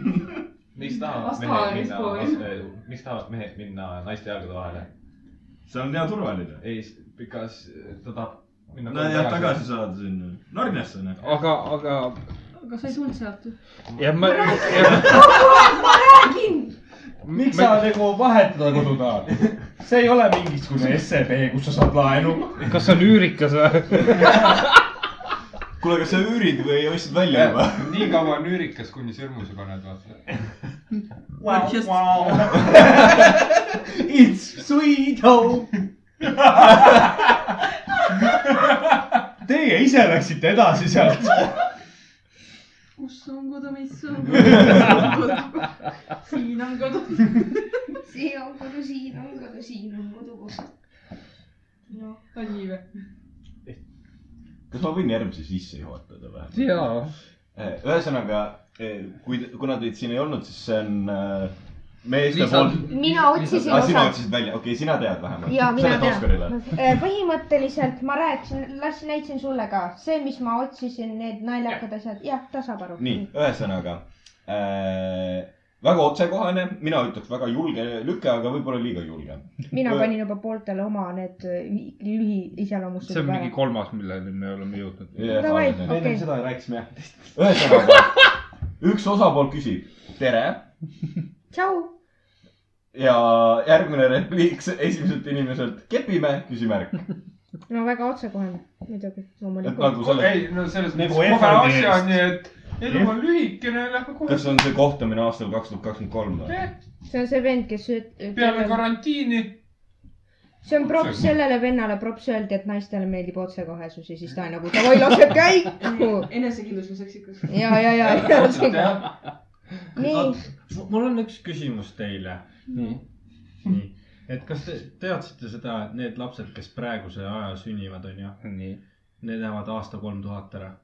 [SPEAKER 2] miks tahavad
[SPEAKER 9] Las
[SPEAKER 2] mehed
[SPEAKER 9] tahavad
[SPEAKER 2] minna
[SPEAKER 9] eespool.
[SPEAKER 2] laste , miks tahavad mehed minna naiste jalgade vahele ?
[SPEAKER 6] see on hea turvaline .
[SPEAKER 2] ei , because ta tahab minna .
[SPEAKER 6] nojah , tagasi saada sinna . Narniasse on ju .
[SPEAKER 3] aga , aga
[SPEAKER 8] aga sa ei tulnud sealt ju .
[SPEAKER 3] ja ma ,
[SPEAKER 13] ma räägin .
[SPEAKER 7] miks sa nagu vahetada kodu tahad ? see ei ole mingisugune SEB , kus sa saad laenu .
[SPEAKER 3] kas see on üürikas või ?
[SPEAKER 6] kuule , kas sa üürid või ostsid välja juba ?
[SPEAKER 12] nii kaua on üürikas , kuni sõrmuse paned , vaata .
[SPEAKER 14] It's sweet home .
[SPEAKER 7] Teie ise läksite edasi sealt .
[SPEAKER 8] kus on kodu , mis on kodu .
[SPEAKER 9] siin on kodu .
[SPEAKER 13] see on kodu , siin on kodu , siin on kodu , kus . noh ,
[SPEAKER 9] on nii või ?
[SPEAKER 6] kas ma võin järgmise sisse juhatada või ?
[SPEAKER 3] jaa .
[SPEAKER 6] ühesõnaga , kui , kuna teid siin ei olnud , siis see on äh, meeste
[SPEAKER 3] Lisa-
[SPEAKER 6] poolt .
[SPEAKER 13] mina otsisin
[SPEAKER 6] aa , sina
[SPEAKER 13] osa .
[SPEAKER 6] otsisid välja , okei okay, , sina tead vähemalt .
[SPEAKER 13] ja mina
[SPEAKER 6] Oskarile .
[SPEAKER 13] tean . põhimõtteliselt ma rääkisin , las näitasin sulle ka see , mis ma otsisin , need naljakad asjad , jah , ta saab aru .
[SPEAKER 6] nii , ühesõnaga äh, väga otsekohane , mina ütleks väga julge lüke , aga võib-olla liiga julge .
[SPEAKER 3] Äh,
[SPEAKER 13] mina panin juba pooltele oma need äh, lühi iseloomustused
[SPEAKER 3] see on mingi . kolmas , milleni me oleme jõudnud .
[SPEAKER 13] Davai,
[SPEAKER 6] ei ,
[SPEAKER 13] okei.
[SPEAKER 6] seda rääkisime jah . ühesõnaga , üks osapool küsib tere
[SPEAKER 13] tšau ,
[SPEAKER 6] ja järgmine repliik se- esimeselt inimeselt kepime , küsimärk .
[SPEAKER 13] no väga otsekohene muidugi ,
[SPEAKER 6] et
[SPEAKER 13] loomulikult .
[SPEAKER 6] nagu selle .
[SPEAKER 12] ei , no selles
[SPEAKER 7] Nagu
[SPEAKER 12] mõttes kohe
[SPEAKER 7] effort'i
[SPEAKER 12] asja on
[SPEAKER 7] eest.
[SPEAKER 12] nii , et
[SPEAKER 2] elu on lühikene , lähme kohe .
[SPEAKER 7] kas on see kohtumine aastal kaks tuhat kakskümmend kolm või ?
[SPEAKER 13] see on see vend , kes üt- .
[SPEAKER 2] peale karantiini .
[SPEAKER 13] see on props sellele vennale , props öeldi , et naistele meeldib otsekohesus ja siis ta nagu davai , laseb
[SPEAKER 8] Nagu
[SPEAKER 13] käiku .
[SPEAKER 8] enesekindlus on seksikas .
[SPEAKER 13] ja , ja , ja , ja laseb käiku . nii ,
[SPEAKER 15] mul on üks küsimus teile . nii . nii , et kas te teadsite seda , et need lapsed , kes praeguse aja sünnivad , on ju ? nii . Need lähevad aasta kolm tuhat ära .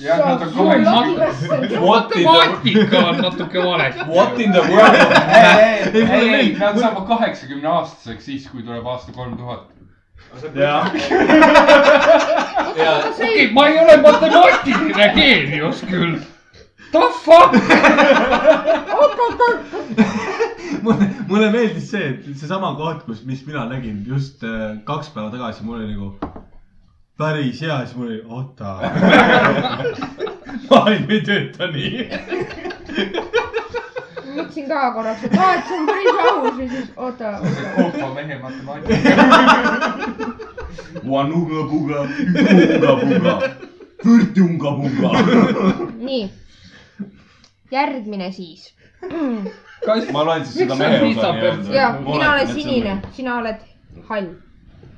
[SPEAKER 2] jah , nad on kogu aeg
[SPEAKER 11] What
[SPEAKER 2] matemaatika on natuke valesti .
[SPEAKER 11] What in the world of
[SPEAKER 2] ei , ei ,
[SPEAKER 11] math?
[SPEAKER 2] ei , ei , nad saavad kaheksakümne aastaseks siis , kui tuleb aasta kolm tuhat .
[SPEAKER 11] Jah.
[SPEAKER 2] okei okay, , ma ei ole matemaatiline geenius küll . The fuck ?
[SPEAKER 6] mulle , mulle meeldis see , et seesama koht , kus , mis mina nägin just äh, kaks päeva tagasi , mul oli nagu päris hea , siis mul oli oota . maailm ei tööta nii .
[SPEAKER 13] mõtlesin ka korraks , et aa , et see on päris aus ja siis oota , oota .
[SPEAKER 2] koopa mehe matemaatika .
[SPEAKER 7] Vanuga-puga , puga-puga , pürtjunga-puga .
[SPEAKER 13] nii , järgmine siis .
[SPEAKER 7] kas ma loen siis
[SPEAKER 2] miks
[SPEAKER 7] seda
[SPEAKER 2] sa
[SPEAKER 7] mehe osa
[SPEAKER 2] piisab
[SPEAKER 7] nii-öelda ?
[SPEAKER 13] ja , mina olen sinine , sina oled hall .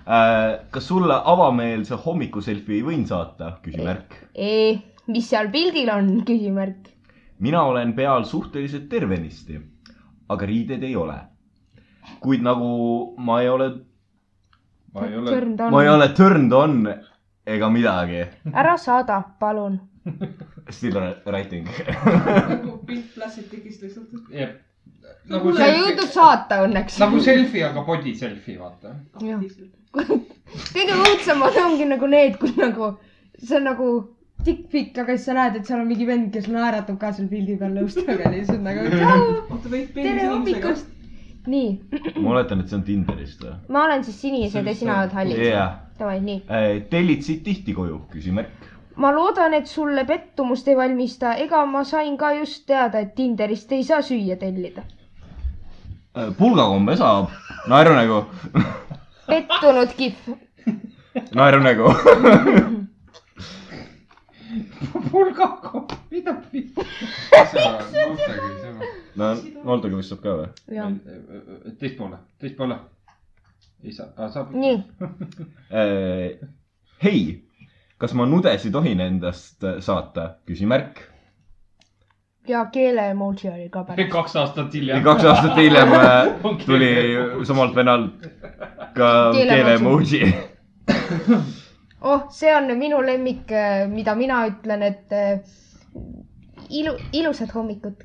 [SPEAKER 7] Äh, kas sulle avameelse hommikuselfi võin saata ? küsimärk .
[SPEAKER 13] ei , mis seal pildil on , küsimärk .
[SPEAKER 7] mina olen peal suhteliselt tervenisti , aga riideid ei ole . kuid nagu ma ei ole ,
[SPEAKER 3] ma ei
[SPEAKER 13] Turned on.
[SPEAKER 7] ma ei ole turned on ega midagi .
[SPEAKER 13] ära saada , palun .
[SPEAKER 7] Still writing .
[SPEAKER 8] nagu pilt plastik tekist lihtsalt .
[SPEAKER 3] jep .
[SPEAKER 8] Nagu
[SPEAKER 13] sa ei jõudnud saata õnneks .
[SPEAKER 3] nagu selfie , aga body selfie , vaata .
[SPEAKER 13] kõige õudsemad ongi nagu need , kus nagu , see on nagu tikk-pikk , aga siis sa näed , et seal on mingi vend , kes naeratab ka seal pildi peal lõustaga lihtsalt nagu tšau ,
[SPEAKER 8] oota , võib
[SPEAKER 13] tere hommikust . nii ,
[SPEAKER 7] ma oletan , et see on Tinderist või ?
[SPEAKER 13] ma olen siis sinised ja sina oled hallid
[SPEAKER 7] Jah. .
[SPEAKER 13] Davai , nii .
[SPEAKER 7] Eh, tellid siit tihti koju , küsimärk .
[SPEAKER 13] ma loodan , et sulle pettumust ei valmista , ega ma sain ka just teada , et Tinderist ei saa süüa tellida .
[SPEAKER 7] pulgakomme Eh, saab , nagu. naerunägu ,
[SPEAKER 13] pettunud kihv .
[SPEAKER 7] naerunägu .
[SPEAKER 3] pulgakopp , mida
[SPEAKER 7] no Noldaga vist saab ka või ?
[SPEAKER 13] Jah.
[SPEAKER 3] teistpoole , teistpoole . ei saa , saab .
[SPEAKER 13] nii ,
[SPEAKER 7] hei , kas ma nudesid tohin endast saata , küsimärk .
[SPEAKER 13] ja keele emoji oli ka pärast .
[SPEAKER 3] kaks aastat hiljem .
[SPEAKER 7] kaks aastat hiljem äh, tuli samalt vennalt ka
[SPEAKER 13] Keele
[SPEAKER 7] keele
[SPEAKER 13] emoji.
[SPEAKER 7] emoji .
[SPEAKER 13] oh , see on minu lemmik , mida mina ütlen , et eh, ilu , ilusat hommikut .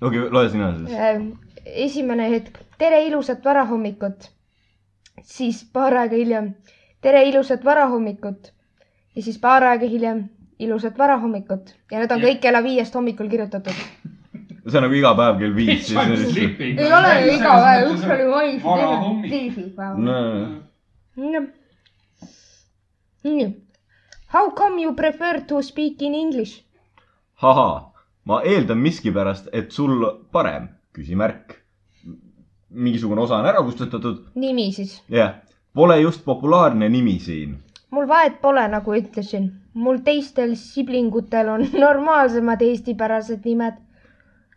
[SPEAKER 7] okei , loe sina siis .
[SPEAKER 13] esimene hetk , tere ilusat varahommikut . siis paar aega hiljem , tere ilusat varahommikut . ja siis paar aega hiljem , ilusat varahommikut ja need on kõik kella viiest hommikul kirjutatud .
[SPEAKER 7] see on nagu iga päev kell viis .
[SPEAKER 13] ei ole ju iga päev , üks oli mais , teine on teisipäev . jah . nii . How come you prefer to speak in english ?
[SPEAKER 7] ahaa , ma eeldan miskipärast , et sul parem , küsimärk . mingisugune osa on ära kustutatud ,
[SPEAKER 13] nimi siis .
[SPEAKER 7] jah yeah. . Pole just populaarne nimi siin .
[SPEAKER 13] mul vahet pole , nagu ütlesin . mul teistel siblingutel on normaalsemad eestipärased nimed .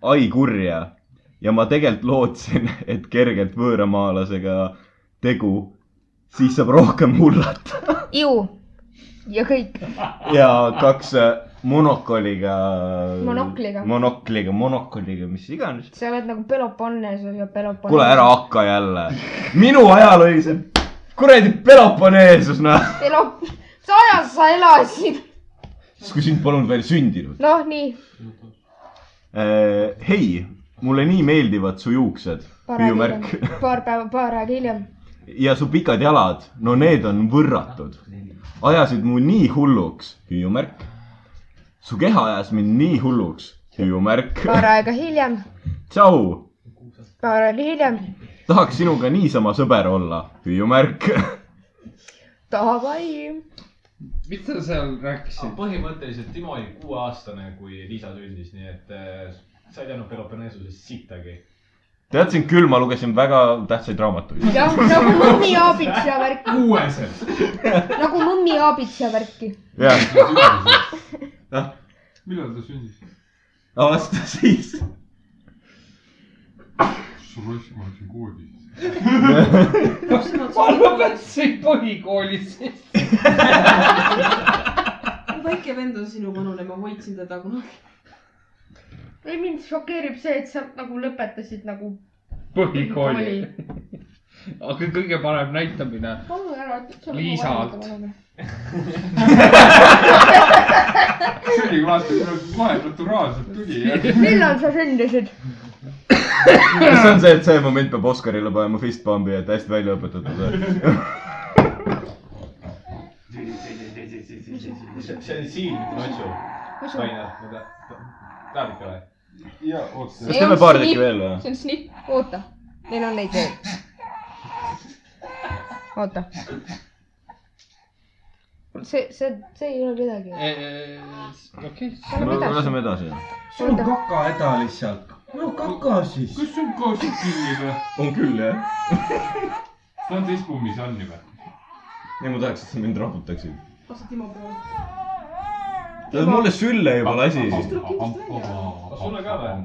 [SPEAKER 7] ai kurja . ja ma tegelikult lootsin , et kergelt võõramaalasega tegu , siis saab rohkem hullata .
[SPEAKER 13] ju ja kõik .
[SPEAKER 7] ja kaks äh, monokoliga .
[SPEAKER 13] Monokliga.
[SPEAKER 7] monokliga , monokoliga , mis iganes .
[SPEAKER 13] sa oled nagu Peloponnes ja Peloponnes .
[SPEAKER 7] kuule , ära . hakka jälle . minu ajal oli see kuradi Peloponneesus , noh .
[SPEAKER 13] Pelop- , sa ajas sa elasid .
[SPEAKER 7] siis kui sind polnud veel sündinud .
[SPEAKER 13] noh , nii .
[SPEAKER 7] Äh, hei , mulle nii meeldivad su juuksed ,
[SPEAKER 13] paar aega
[SPEAKER 7] hüüumärk ,
[SPEAKER 13] hiljem , paar päeva , paar aega hiljem .
[SPEAKER 7] ja su pikad jalad , no need on võrratud . ajasid mu nii hulluks , hüüumärk . su keha ajas mind nii hulluks , hüüumärk .
[SPEAKER 13] paar aega hiljem ,
[SPEAKER 7] tšau ,
[SPEAKER 13] paar aega hiljem .
[SPEAKER 7] tahaks sinuga niisama sõber olla , hüüumärk .
[SPEAKER 13] Davai .
[SPEAKER 3] mis sa seal rääkisid ?
[SPEAKER 16] põhimõtteliselt Timo oli kuueaastane , kui Liisa sündis , nii et äh, sa ei teadnud Peloponneesusest sittagi .
[SPEAKER 7] teadsin küll , ma lugesin väga tähtsaid raamatuid .
[SPEAKER 13] jah , nagu mõmmi aabits ja värki ,
[SPEAKER 7] kuueselt .
[SPEAKER 13] nagu mõmmi aabits ja värki .
[SPEAKER 7] jah ,
[SPEAKER 2] millal ta sündis ?
[SPEAKER 7] aasta siis .
[SPEAKER 2] Suross , ma läksin kooli .
[SPEAKER 9] Valdo läksin põhikooli siis .
[SPEAKER 8] mu väike vend on sinu vanune , ma võitsin teda kunagi .
[SPEAKER 17] ei , mind šokeerib see , et sa nagu lõpetasid nagu .
[SPEAKER 3] põhikooli . aga kõige parem näitamine .
[SPEAKER 17] palun ära ütle , et sa
[SPEAKER 3] Liisalt. .
[SPEAKER 2] see oli vaata , kohe naturaalselt tuli .
[SPEAKER 13] millal sa sündisid ?
[SPEAKER 7] see on see , et see moment peab Oscarile panema fist pump'i , et hästi välja õpetatud .
[SPEAKER 16] see oli siin , Notsu .
[SPEAKER 13] Notsu.
[SPEAKER 16] Rainer , mida ? tahad ikka või ?
[SPEAKER 2] ja oota .
[SPEAKER 7] Kas teeme paar tükki veel või?
[SPEAKER 13] see on snipp , oota , meil on neid veel . oota . see , see , see ei ole midagi .
[SPEAKER 3] E, okei .
[SPEAKER 13] Lähme edasi.
[SPEAKER 7] laseme edasi .
[SPEAKER 6] sul on kakahäda lihtsalt . no kaka siis .
[SPEAKER 2] kas sul kaasas kinni või ?
[SPEAKER 7] on küll jah .
[SPEAKER 2] ta on teist kummis on juba .
[SPEAKER 7] ja ma tahaks , et sa mind raputaksid .
[SPEAKER 8] pasta Timo poole .
[SPEAKER 7] ta on mulle sülle juba lasi .
[SPEAKER 16] sulle ka või ?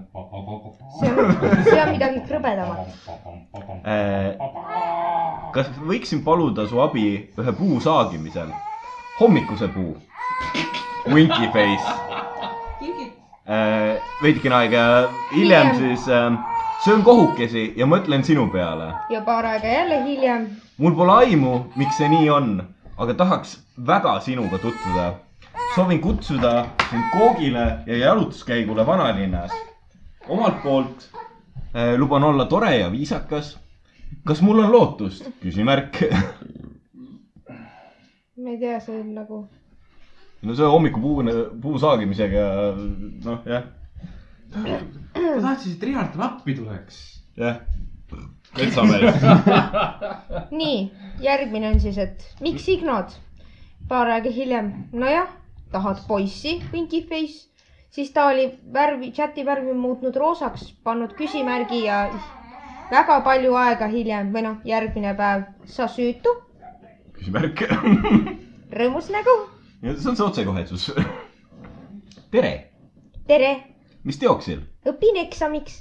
[SPEAKER 13] see on , see on midagi krõbedamat .
[SPEAKER 7] Äh, kas võiksin paluda su abi ühe puu saagimisel ? hommikuse puu . Winky face .
[SPEAKER 8] kingid .
[SPEAKER 7] Äh, veidikene aega hiljem
[SPEAKER 13] Hiljem.
[SPEAKER 7] siis äh, söön kohukesi ja mõtlen sinu peale .
[SPEAKER 13] ja paar aega jälle hiljem
[SPEAKER 7] mul pole aimu , miks see nii on , aga tahaks väga sinuga tutvuda . soovin kutsuda sind koogile ja jalutuskäigule vanalinnas . omalt poolt äh, luban olla tore ja viisakas . kas mul on lootust ? küsimärk .
[SPEAKER 13] ma ei tea , see on nagu ,
[SPEAKER 7] no see hommikupuu , puu saagimisega , noh jah ,
[SPEAKER 11] ma tahtsin , et Riiard talle appi tuleks .
[SPEAKER 7] jah . metsamees .
[SPEAKER 13] nii , järgmine on siis , et miks Ignod ? paar aega hiljem , nojah , tahad poissi , Winky Face , siis ta oli värvi , chati värvi muutnud roosaks , pannud küsimärgi ja väga palju aega hiljem või noh , järgmine päev , sa süütu ,
[SPEAKER 7] küsimärk .
[SPEAKER 13] rõõmus nägu ,
[SPEAKER 7] see on see otsekohesus . tere
[SPEAKER 13] tere ,
[SPEAKER 7] mis teoksil ,
[SPEAKER 13] õpin eksamiks ,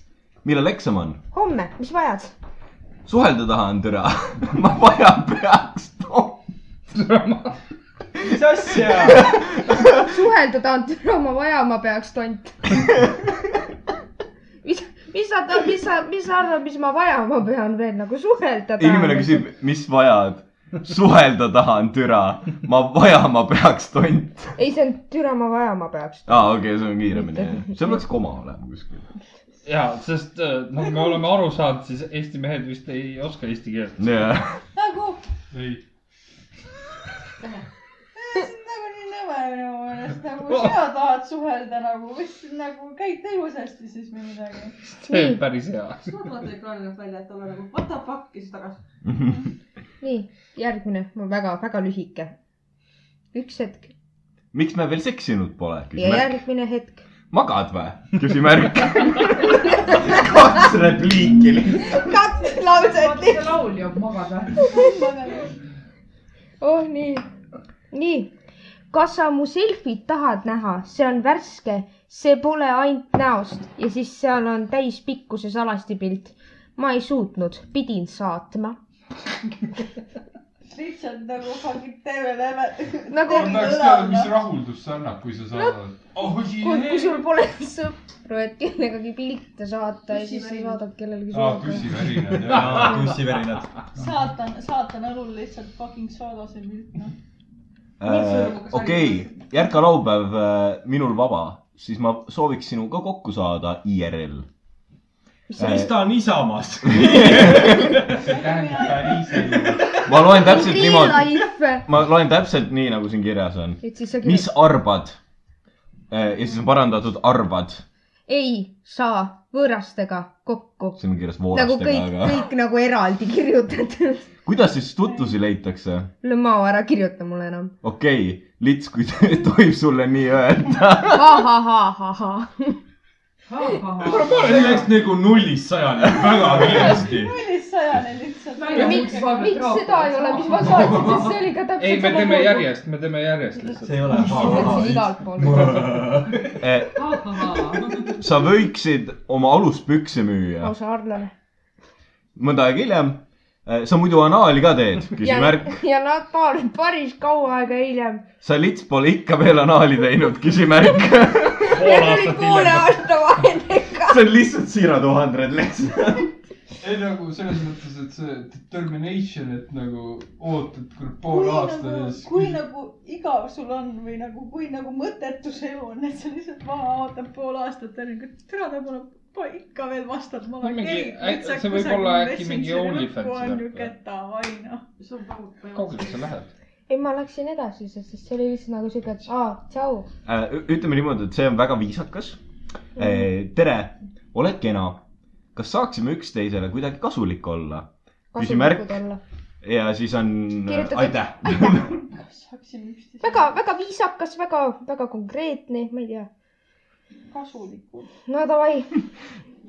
[SPEAKER 7] millal eksam on ?
[SPEAKER 13] homme , mis vajad ?
[SPEAKER 7] suhelda tahan , türa . ma vajan peaks . mis asja ?
[SPEAKER 13] suhelda tahan , türa ma vajama peaks , tont . mis , mis sa , mis sa , mis sa arvad , mis ma vajama pean veel nagu suhelda tahan ?
[SPEAKER 7] inimene küsib , mis vajad ? suhelda tahan , türa . ma vajama peaks tont .
[SPEAKER 13] ei , see on türa ma vajama peaks .
[SPEAKER 7] aa , okei okay, , see on kiiremini . seal peaks koma olema kuskil .
[SPEAKER 3] ja , sest äh, nagu me oleme aru saanud , siis eesti mehed vist ei oska eesti keelt .
[SPEAKER 7] jah .
[SPEAKER 5] nagu ,
[SPEAKER 2] ei ,
[SPEAKER 5] see on nagu nii nõme minu meelest , nagu sina tahad suhelda nagu , mis nagu käite ilusasti siis või midagi .
[SPEAKER 3] see
[SPEAKER 7] Hmm.
[SPEAKER 3] on päris hea .
[SPEAKER 8] siis ma vaatan ekraanilt välja , et olla nagu what the fuck ja siis tagasi .
[SPEAKER 13] nii , järgmine , mul väga-väga lühike . üks hetk
[SPEAKER 7] miks me veel seksinud pole ?
[SPEAKER 13] ja
[SPEAKER 7] küsimärk .
[SPEAKER 13] järgmine hetk .
[SPEAKER 7] magad või ? küsimärk . kaks repliiki lihtsalt .
[SPEAKER 13] kaks lauset
[SPEAKER 4] vaata , see laulja magab ära .
[SPEAKER 13] oh nii , nii . kas sa mu selfit tahad näha , see on värske , see pole ainult näost ja siis seal on täispikkuses alasti pilt . ma ei suutnud , pidin saatma .
[SPEAKER 5] lihtsalt nagu fucking teeme läbi .
[SPEAKER 13] Nagu-
[SPEAKER 2] ma tahaks teada , mis rahuldus see annab , kui sa saadad . oh
[SPEAKER 13] kui , kui
[SPEAKER 2] jee .
[SPEAKER 13] sul pole sõpru , et kellegagi pilte saata ja siis sa
[SPEAKER 5] Püssivärinad.
[SPEAKER 13] saadad
[SPEAKER 7] Ah,
[SPEAKER 13] kellelegi
[SPEAKER 2] aa ,
[SPEAKER 13] sulle .
[SPEAKER 2] püssivärinad ,
[SPEAKER 6] jaa ,
[SPEAKER 2] jaa .
[SPEAKER 6] püssivärinad .
[SPEAKER 5] saatan , saatan õlul lihtsalt nagu fucking soola see pilt , noh .
[SPEAKER 13] nagu
[SPEAKER 7] Äh, okei , järka laupäev , minul vaba , siis ma sooviks sinuga kokku saada IRL .
[SPEAKER 6] siis ta on Isamaast .
[SPEAKER 2] see tähendab , ta ei ise .
[SPEAKER 7] ma loen täpselt niimoodi ,
[SPEAKER 13] life .
[SPEAKER 7] ma loen täpselt nii , nagu siin kirjas on .
[SPEAKER 13] et siis sa
[SPEAKER 7] mis
[SPEAKER 13] kirjutad ,
[SPEAKER 7] arvad ? ja siis on parandatud arvad ,
[SPEAKER 13] ei saa võõrastega kokku .
[SPEAKER 7] siin on kirjas
[SPEAKER 13] nagu
[SPEAKER 7] voorastega ,
[SPEAKER 13] kõik ,
[SPEAKER 7] aga
[SPEAKER 13] kõik nagu eraldi kirjutatud .
[SPEAKER 7] kuidas siis tutvusi leitakse ?
[SPEAKER 13] üle mao ära kirjuta mulle enam .
[SPEAKER 7] okei okay, , lits , kui tohib sulle nii öelda .
[SPEAKER 13] ahahahahah .
[SPEAKER 18] see läks nagu nullist sajani väga kiiresti .
[SPEAKER 5] nullist sajani lihtsalt . nagu-
[SPEAKER 13] miks , miks seda ei ole , mis ma saatsin , sest see oli ka täpselt .
[SPEAKER 3] ei , me teeme . järjest , me teeme järjest lihtsalt .
[SPEAKER 19] see ei ole
[SPEAKER 13] võtsin igalt poolt .
[SPEAKER 7] Äh,
[SPEAKER 6] sa võiksid oma aluspükse müüa
[SPEAKER 13] lausa harlane .
[SPEAKER 6] mõnda aega hiljem . sa muidu anaali ka teed , küsimärk .
[SPEAKER 13] ja nad paar , päris kaua aega hiljem .
[SPEAKER 6] sa lits pole ikka veel anaali teinud , küsimärk .
[SPEAKER 13] Need olid poole aasta vahedega .
[SPEAKER 6] see on lihtsalt siira tuhandred lihtsalt .
[SPEAKER 2] ei nagu selles mõttes , et see determination , et nagu ootad kurat pool
[SPEAKER 5] kui
[SPEAKER 2] aastat ja
[SPEAKER 5] nagu ,
[SPEAKER 2] siis
[SPEAKER 5] kui nagu igav sul on või nagu , kui nagu mõttetu see elu on , et sa lihtsalt maha ootad pool aastat ja nagu türa ta pole pole ikka veel vastanud , ma olen
[SPEAKER 3] mingi-
[SPEAKER 5] kellik
[SPEAKER 3] äk-
[SPEAKER 5] metsa
[SPEAKER 3] see võib olla äkki mingi OnlyFans
[SPEAKER 5] on ju
[SPEAKER 3] värk või?
[SPEAKER 5] ketavaino .
[SPEAKER 3] kaugele sa lähed ?
[SPEAKER 13] ei , ma läksin edasi , sest sest see oli lihtsalt nagu siuke , et aa , tšau .
[SPEAKER 6] Äh, ütleme niimoodi , et see on väga viisakas . Äh, tere , oled kena . kas saaksime üksteisele kuidagi kasulik olla ? küsimärk ja siis on äh,
[SPEAKER 13] Kirjutatud.
[SPEAKER 6] aitäh .
[SPEAKER 13] väga , väga viisakas , väga , väga konkreetne , ma ei tea .
[SPEAKER 5] kasulikud .
[SPEAKER 13] no davai ,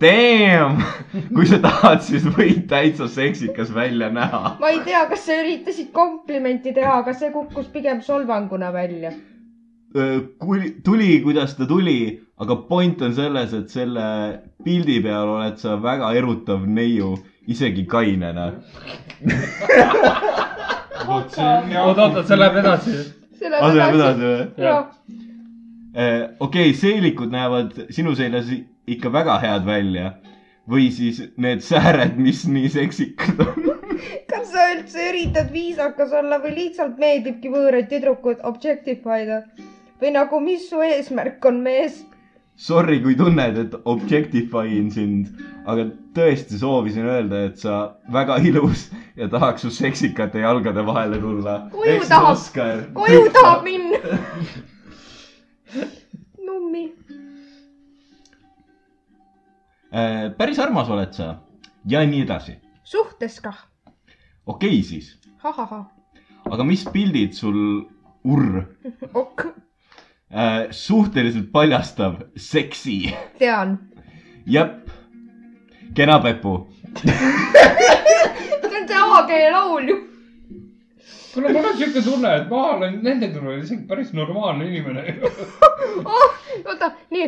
[SPEAKER 6] Damn , kui sa tahad , siis võid täitsa seksikas välja näha .
[SPEAKER 13] ma ei tea , kas sa üritasid komplimenti teha , aga see kukkus pigem solvanguna välja .
[SPEAKER 6] kui tuli , kuidas ta tuli , aga point on selles , et selle pildi peal oled sa väga erutav neiu , isegi kainena .
[SPEAKER 3] oota , oota , see läheb edasi .
[SPEAKER 13] see
[SPEAKER 6] Aa, see läheb Ah, edasi või ?
[SPEAKER 13] jah ,
[SPEAKER 6] Äh, okei , seelikud näevad sinu seljas i- ikka väga head välja või siis need sääred , mis nii seksikad on .
[SPEAKER 13] kas sa üldse üritad viisakas olla või lihtsalt meeldibki võõraid tüdrukuid objectify da ? või nagu , mis su eesmärk on , mees ?
[SPEAKER 6] Sorry , kui tunned , et objectify in sind , aga tõesti soovisin öelda , et sa väga ilus ja tahaks su seksikate jalgade vahele tulla .
[SPEAKER 13] koju tahab , koju tahab minna . nummi .
[SPEAKER 6] Äh, päris armas oled sa ja nii edasi .
[SPEAKER 13] suhtes kah ,
[SPEAKER 6] okei okay, siis ,
[SPEAKER 13] ahahah ,
[SPEAKER 6] aga mis pildid sul urr ,
[SPEAKER 13] ok ,
[SPEAKER 6] suhteliselt paljastav , seksi ,
[SPEAKER 13] tean .
[SPEAKER 6] jep , kena pepu .
[SPEAKER 13] see on see avakeele laul ju .
[SPEAKER 3] kuule , mul on siuke tunne , et ma olen nende kõrval isegi päris normaalne inimene .
[SPEAKER 13] oh, . oota , nii ,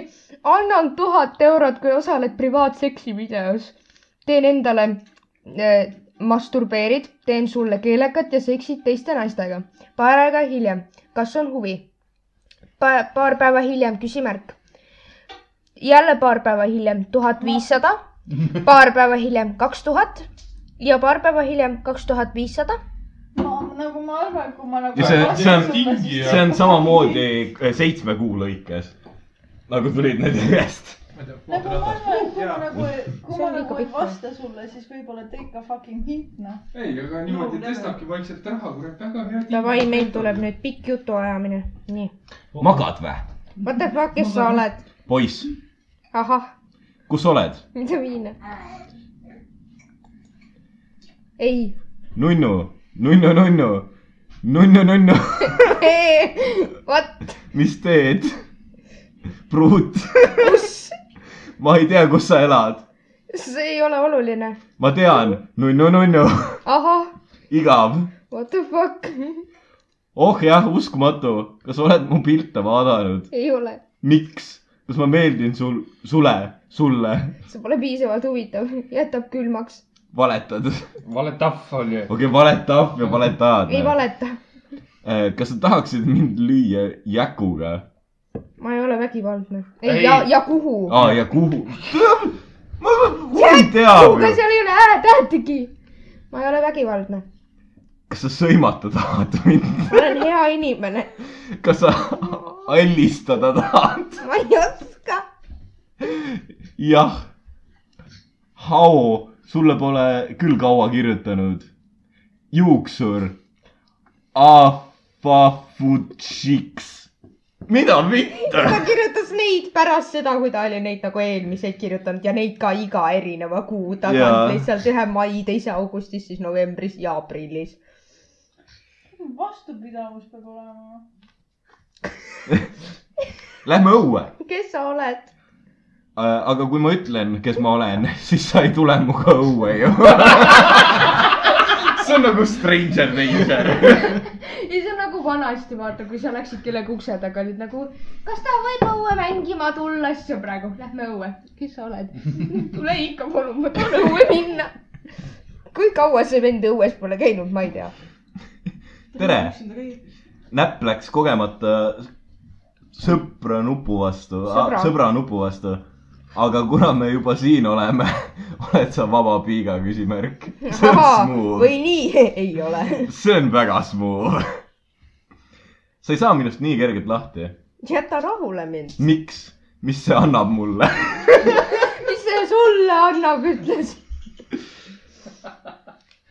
[SPEAKER 13] annan tuhat eurot , kui osaled privaatseksi videos . teen endale äh, , masturbeerid , teen sulle keelekat ja seksid teiste naistega . paar aega hiljem , kas on huvi pa ? paar päeva hiljem küsimärk . jälle paar päeva hiljem tuhat viissada , paar päeva hiljem kaks tuhat ja paar päeva hiljem kaks tuhat viissada .
[SPEAKER 5] ma nagu ma arvan , et kui ma nagu .
[SPEAKER 6] ja see , see on , see on samamoodi äh, seitsme kuu lõikes , nagu tulid need järjest .
[SPEAKER 5] nagu ma arvan , et kui ma nagu , kui
[SPEAKER 13] See
[SPEAKER 5] ma
[SPEAKER 13] on liiga
[SPEAKER 5] nagu ei
[SPEAKER 13] pikk.
[SPEAKER 5] vasta sulle , siis võib-olla ta ikka fucking hint noh .
[SPEAKER 2] ei , aga niimoodi tõstabki vaikselt raha , kurat , väga hea .
[SPEAKER 13] Davai , meil tuleb nüüd pikk jutuajamine , nii .
[SPEAKER 6] magad või ,
[SPEAKER 13] What the fuck , kes sa oled ?
[SPEAKER 6] poiss ,
[SPEAKER 13] ahah ,
[SPEAKER 6] kus oled ?
[SPEAKER 13] mida viina ? ei ,
[SPEAKER 6] nunnu , nunnu , nunnu , nunnu , nunnu ,
[SPEAKER 13] what ,
[SPEAKER 6] mis teed ? pruut ,
[SPEAKER 13] kus ,
[SPEAKER 6] ma ei tea , kus sa elad ,
[SPEAKER 13] see ei ole oluline .
[SPEAKER 6] ma tean , nunnu , nunnu ,
[SPEAKER 13] ahah ,
[SPEAKER 6] igav .
[SPEAKER 13] what the fuck ,
[SPEAKER 6] oh jah , uskumatu , kas oled mu pilte vaadanud ,
[SPEAKER 13] ei ole ,
[SPEAKER 6] miks , kas ma meeldin sul , sule , sulle ,
[SPEAKER 13] see pole piisavalt huvitav , jätab külmaks ,
[SPEAKER 6] valetad ?
[SPEAKER 3] valetahv oli .
[SPEAKER 6] okei okay, , valetav ja valetajad
[SPEAKER 13] ei . valeta ,
[SPEAKER 6] kas sa tahaksid mind lüüa jäkuga ?
[SPEAKER 13] ma ei ole vägivaldne .
[SPEAKER 6] Ei.
[SPEAKER 13] ei ja , ja kuhu ?
[SPEAKER 6] aa , ja kuhu ? ma , ma ei tea
[SPEAKER 13] kuhuga
[SPEAKER 6] ju .
[SPEAKER 13] seal ei ole hääletähtegi . ma ei ole vägivaldne ,
[SPEAKER 6] kas sa sõimata tahad mind ?
[SPEAKER 13] ma olen hea inimene ,
[SPEAKER 6] kas sa allistada tahad ?
[SPEAKER 13] ma ei oska ,
[SPEAKER 6] jah . Hao , sulle pole küll kaua kirjutanud . juuksur . Afafutsiks . mida
[SPEAKER 13] ta
[SPEAKER 6] mitte ?
[SPEAKER 13] kirjutas neid pärast seda , kui ta oli neid nagu eelmiseid kirjutanud ja neid ka iga erineva kuu
[SPEAKER 6] Jaa.
[SPEAKER 13] tagant , lihtsalt ühe mai , teise augustis , siis novembris ja aprillis .
[SPEAKER 5] vastupidavus peab olema .
[SPEAKER 6] Lähme õue . Eh,
[SPEAKER 13] kes sa oled ?
[SPEAKER 7] aga kui ma ütlen , kes ma olen , siis sa ei tule minuga õue ju . see on nagu Stranger Danger .
[SPEAKER 6] ja see on nagu vanasti , vaata , kui sa läksid kellegi ukse taga , olid nagu , kas ta võib õue mängima tulla , siis on praegu , lähme õue . kes sa oled ? tule ikka palun , ma tahan õue minna . kui kaua see vend õues pole käinud , ma ei tea .
[SPEAKER 7] tere , näpp läks kogemata sõpra nupu vastu ,
[SPEAKER 6] Sõbra.
[SPEAKER 7] sõbra nupu vastu . aga kuna me juba siin oleme , oled sa vaba piiga , küsimärk . see on smooth ,
[SPEAKER 6] või nii , ei ole .
[SPEAKER 7] see on väga smooth . sa ei saa minust nii kergelt lahti .
[SPEAKER 6] jäta rahule mind .
[SPEAKER 7] miks , mis see annab mulle ?
[SPEAKER 6] mis see sulle annab , ütles .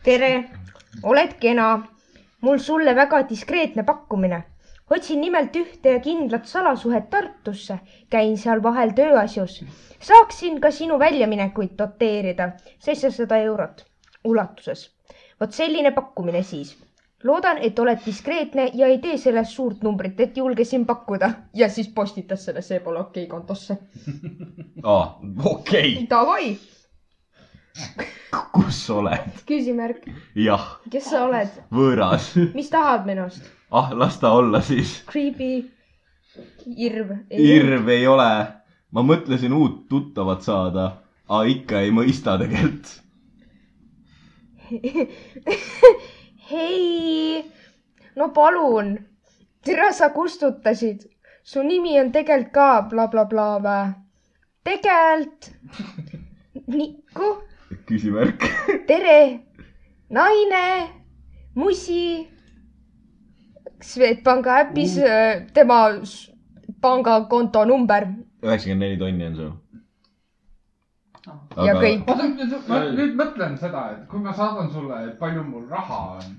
[SPEAKER 13] tere , oled kena . mul sulle väga diskreetne pakkumine . otsin nimelt ühte ja kindlat salasuhet Tartusse , käin seal vahel tööasjus . saaksin ka sinu väljaminekuid doteerida seitsesada eurot ulatuses . vot selline pakkumine siis . loodan , et oled diskreetne ja ei tee sellest suurt numbrit , et julgesin pakkuda ja siis postitas selle seepool okei okay kontosse .
[SPEAKER 7] aa , okei ,
[SPEAKER 6] Davai ,
[SPEAKER 7] kus sa oled ?
[SPEAKER 6] küsimärk ,
[SPEAKER 7] jah ,
[SPEAKER 6] kes sa oled ,
[SPEAKER 7] võõras .
[SPEAKER 6] mis tahad minust ?
[SPEAKER 7] ah , las ta olla siis .
[SPEAKER 6] Creepy , irv .
[SPEAKER 7] Irv ei ole , ma mõtlesin uut tuttavat saada , aga ikka ei mõista tegelikult .
[SPEAKER 13] hei , no palun , tere , sa kustutasid , su nimi on tegelikult ka blablabla vä ? tegelikult , Nikku ,
[SPEAKER 7] küsimärk .
[SPEAKER 13] tere , naine , musi . Swedbanka äpis
[SPEAKER 7] Uh.
[SPEAKER 13] äh, tema s- pangakonto number
[SPEAKER 7] üheksakümmend neli tonni on sul .
[SPEAKER 13] ja kõik .
[SPEAKER 3] oota , nüüd , nüüd mõtlen seda , et kui ma saadan sulle , et palju mul raha on ,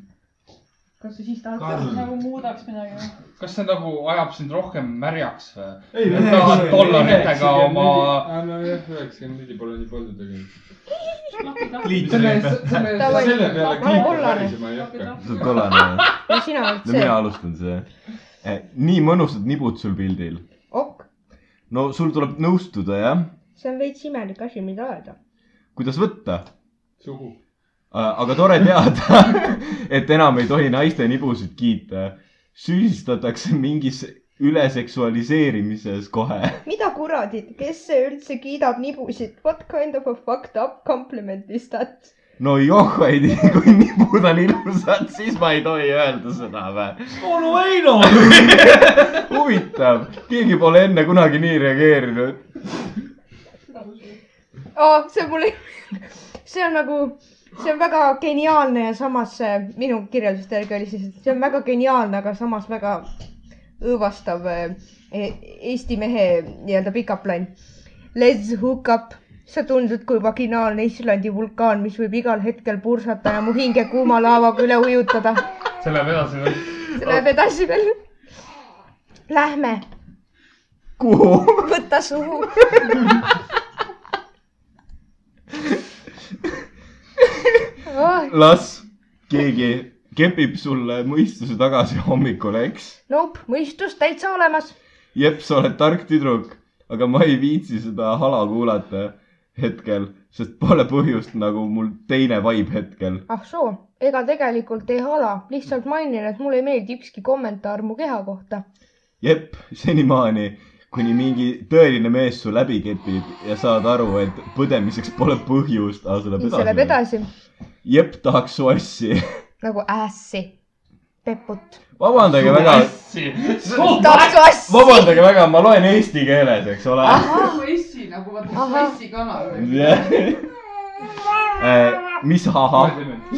[SPEAKER 20] kas sa siis tahad ,
[SPEAKER 3] Karl.
[SPEAKER 20] et nagu muudaks midagi või ?
[SPEAKER 3] kas see nagu ajab sind rohkem märjaks või ?
[SPEAKER 2] Ei,
[SPEAKER 3] et
[SPEAKER 2] üheksa-
[SPEAKER 3] tahad dollaritega oma
[SPEAKER 2] nojah , Ah, üheksakümmend neli pole nii palju tegelikult .
[SPEAKER 3] selle , selle ,
[SPEAKER 13] Davai.
[SPEAKER 2] selle peale
[SPEAKER 13] Ma olen
[SPEAKER 2] kliipu
[SPEAKER 13] kollane.
[SPEAKER 2] värisema ei hakka .
[SPEAKER 7] sa oled kollane .
[SPEAKER 13] ja sina oled
[SPEAKER 7] no mina
[SPEAKER 13] see .
[SPEAKER 7] alustan seda . nii mõnusad nibud sul pildil .
[SPEAKER 13] Ok.
[SPEAKER 7] no sul tuleb nõustuda , jah ,
[SPEAKER 13] see on veits imelik asi , mida öelda .
[SPEAKER 7] kuidas võtta .
[SPEAKER 2] suhu .
[SPEAKER 7] aga tore teada , et enam ei tohi naiste nibusid kiita . süüdistatakse mingis üleseksualiseerimises kohe
[SPEAKER 13] mida kuradit , kes see üldse kiidab nibusid ? What kind of a fucked up compliment is that ?
[SPEAKER 7] no joh , ei tea , kui nipud on ilusad , siis ma ei tohi öelda seda või ? onu Heino . huvitav , keegi pole enne kunagi nii reageerinud .
[SPEAKER 13] Oh, see on mulle , see on nagu , see on väga geniaalne ja samas see minu kirjelduste järgi oli siis , et see on väga geniaalne , aga samas väga õõvastav eh, Eesti mehe nii-öelda pickup line . Let's hook up , sa tundud kui vaginaalne Islandi vulkaan , mis võib igal hetkel pursata ja mu hinge kuuma laevaga üle ujutada
[SPEAKER 3] see läheb edasi või ?
[SPEAKER 13] see läheb edasi veel . Lähme .
[SPEAKER 7] kuhu ?
[SPEAKER 13] võta suhu . Oh,
[SPEAKER 7] las keegi kepib sulle mõistuse tagasi hommikul , eks .
[SPEAKER 13] Nope , mõistus täitsa olemas .
[SPEAKER 7] jep , sa oled tark tüdruk , aga ma ei viitsi seda hala kuulata hetkel , sest pole põhjust nagu mul teine vibe hetkel .
[SPEAKER 13] ah soo , ega tegelikult ei hala , lihtsalt mainin , et mulle ei meeldi ükski kommentaar mu keha kohta .
[SPEAKER 7] jep , senimaani , kuni mingi tõeline mees su läbi kepib ja saad aru , et põdemiseks pole põhjust , aga see
[SPEAKER 13] see läheb
[SPEAKER 7] läheb edasi .
[SPEAKER 13] edasi
[SPEAKER 7] jep , tahaks su assi .
[SPEAKER 13] nagu ässi , peput .
[SPEAKER 7] vabandage väga ,
[SPEAKER 13] tahaks su assi .
[SPEAKER 7] vabandage väga , ma loen eesti keeles , eks ole .
[SPEAKER 9] nagu essi , nagu vaata Suessi kana .
[SPEAKER 7] Äh, mis ahah ,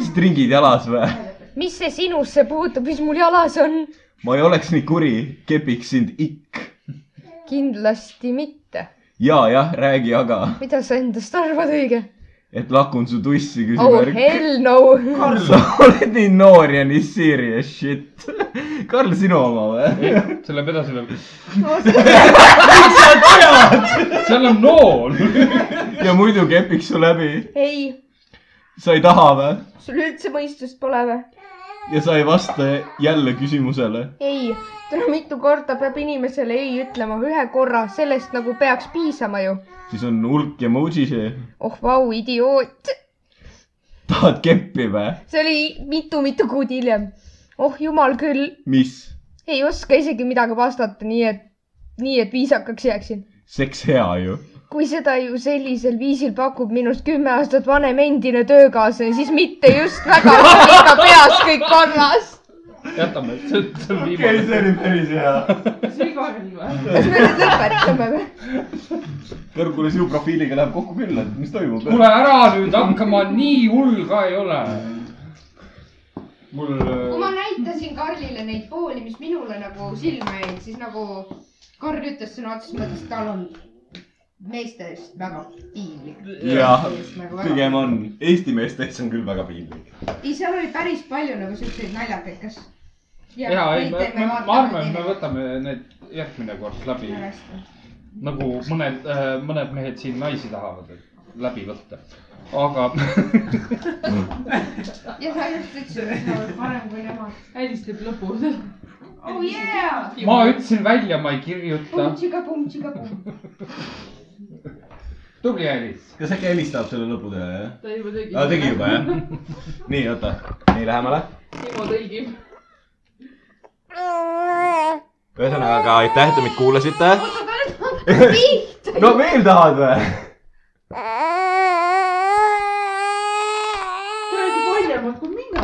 [SPEAKER 7] stringid jalas või ?
[SPEAKER 13] mis see sinusse puutub , mis mul jalas on ?
[SPEAKER 7] ma ei oleks nii kuri , kepiks sind ikk
[SPEAKER 13] kindlasti mitte .
[SPEAKER 7] ja jah , räägi aga ,
[SPEAKER 13] mida sa endast arvad õige ?
[SPEAKER 7] et lakun su tussi ,
[SPEAKER 13] oh
[SPEAKER 7] küsimärk .
[SPEAKER 13] hell no .
[SPEAKER 7] sa oled nii noor ja nii serious shit . Karl , sinu oma või ?
[SPEAKER 3] see läheb edasi veel .
[SPEAKER 7] miks sa tead ?
[SPEAKER 3] seal on nool .
[SPEAKER 7] ja muidu kepiks su läbi ,
[SPEAKER 13] ei ,
[SPEAKER 7] sa ei taha või ?
[SPEAKER 13] sul üldse mõistust pole või ?
[SPEAKER 21] ja sa ei vasta jälle küsimusele .
[SPEAKER 13] ei , täna mitu korda peab inimesele ei ütlema , ühe korra , sellest nagu peaks piisama ju .
[SPEAKER 21] siis on hulk emoji see .
[SPEAKER 13] oh vau , idioot ,
[SPEAKER 21] tahad keppi või ?
[SPEAKER 13] see oli mitu-mitu kuud hiljem . oh jumal küll ,
[SPEAKER 21] mis ?
[SPEAKER 13] ei oska isegi midagi vastata , nii et , nii et viisakaks jääksin .
[SPEAKER 21] seks hea ju .
[SPEAKER 13] kui seda ju sellisel viisil pakub minust kümme aastat vanem endine töökaaslane , siis mitte just väga , ikka peas kõik korras .
[SPEAKER 3] jätame , see on
[SPEAKER 7] okei , see oli päris hea .
[SPEAKER 9] kas see oli Kaarel või ?
[SPEAKER 13] kas me nüüd lõpetame või ?
[SPEAKER 21] kõrgule sinu profiiliga läheb kokku küll , et mis toimub .
[SPEAKER 3] kuule ära nüüd hakka , ma nii hull ka ei ole . mul .
[SPEAKER 5] kui ma näitasin Karlile neid pooli , mis minule nagu silma jäid , siis nagu Karl ütles sõna otseses mõttes , et tal on meestest väga piinlik .
[SPEAKER 21] jah , pigem on . Eesti meestest on küll väga piinlik .
[SPEAKER 5] ei , seal oli päris palju nagu siukseid naljakaid , kas .
[SPEAKER 3] ja ei , ma , ma , ma arvan , et me võtame need järgmine kord läbi . nagu mõned , mõned mehed siin naisi tahavad et läbi võtta , aga
[SPEAKER 5] ja sa just ütlesid , et sa oled parem kui nemad .
[SPEAKER 9] Alice teeb lõpus .
[SPEAKER 5] oh yeah .
[SPEAKER 3] ma . ütlesin välja , ma ei kirjuta .
[SPEAKER 5] Pum-tšiga-pum , tšiga-pum .
[SPEAKER 3] tubli , Alice .
[SPEAKER 7] kas äkki helistab selle lõpu teha , jah ?
[SPEAKER 9] ta juba tegi .
[SPEAKER 7] aa , tegi juba , jah ? nii , oota , nii lähemale .
[SPEAKER 9] Timo tõlgib .
[SPEAKER 7] ühesõnaga , aga aitäh , et te mind kuulasite .
[SPEAKER 5] oota , ta nüüd on pihta .
[SPEAKER 7] no veel tahad või ?
[SPEAKER 9] kuradi valjemad kui mina .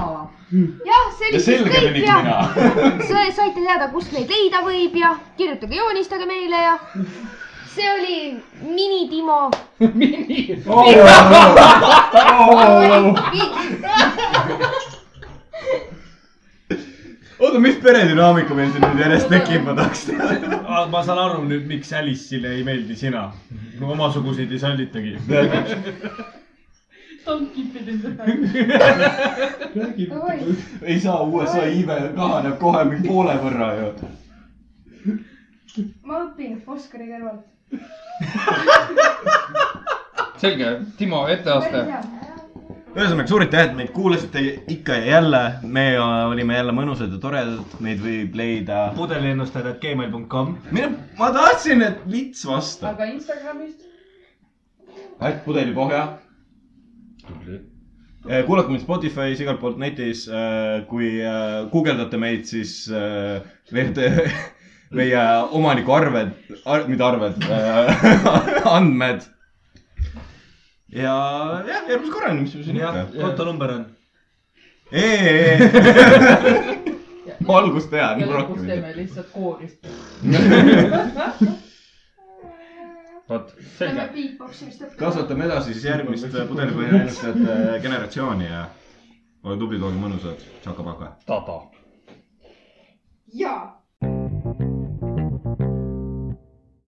[SPEAKER 13] jah , see
[SPEAKER 7] Ja
[SPEAKER 13] oli siis
[SPEAKER 7] selge
[SPEAKER 13] kõik
[SPEAKER 7] menik
[SPEAKER 13] ja
[SPEAKER 7] mina.
[SPEAKER 13] Sa- saite teada , kust meid leida võib ja kirjutage , joonistage meile ja see oli mini-Timo .
[SPEAKER 7] oota , mis peredünaamika meil siin nüüd järjest tekib , ma tahaks teada .
[SPEAKER 6] Ah, ma saan aru nüüd , miks Alice'ile ei meeldi sina . no omasuguseid ei sallitagi .
[SPEAKER 9] Tom kipid enda .
[SPEAKER 7] ei saa , USA iive kahaneb kohe mingi poole võrra ju .
[SPEAKER 5] ma õpin Oskari kõrvalt .
[SPEAKER 3] selge , Timo , etteaste .
[SPEAKER 7] ühesõnaga , suur aitäh , et meid kuulasite ikka ja jälle . me olime jälle mõnusad ja toredad , meid võib leida . pudeliennustajad.gmail.com . mine , ma tahtsin , et vits vastab .
[SPEAKER 9] aga Instagramist ?
[SPEAKER 7] äkki pudelipohja . Eh, kuulake meid Spotify's , igalt poolt netis . kui äh, guugeldate meid , siis äh, leiate meie omaniku arved ar, , mitte arved äh, , andmed . ja jah , järgmise korrani , mis me siin
[SPEAKER 22] Jah, kontonumber
[SPEAKER 7] on . ma algust tean ,
[SPEAKER 9] ja
[SPEAKER 7] ma rohkem
[SPEAKER 9] lõpus
[SPEAKER 7] ei tea .
[SPEAKER 9] teeme lihtsalt koorist .
[SPEAKER 3] vot ,
[SPEAKER 5] teeme beatboximist õppida .
[SPEAKER 7] kasvatame edasi siis järgmist pudelipõhja ennustajate generatsiooni ja olge tublid , olge mõnusad , tšakapaka .
[SPEAKER 3] tada .
[SPEAKER 5] jaa .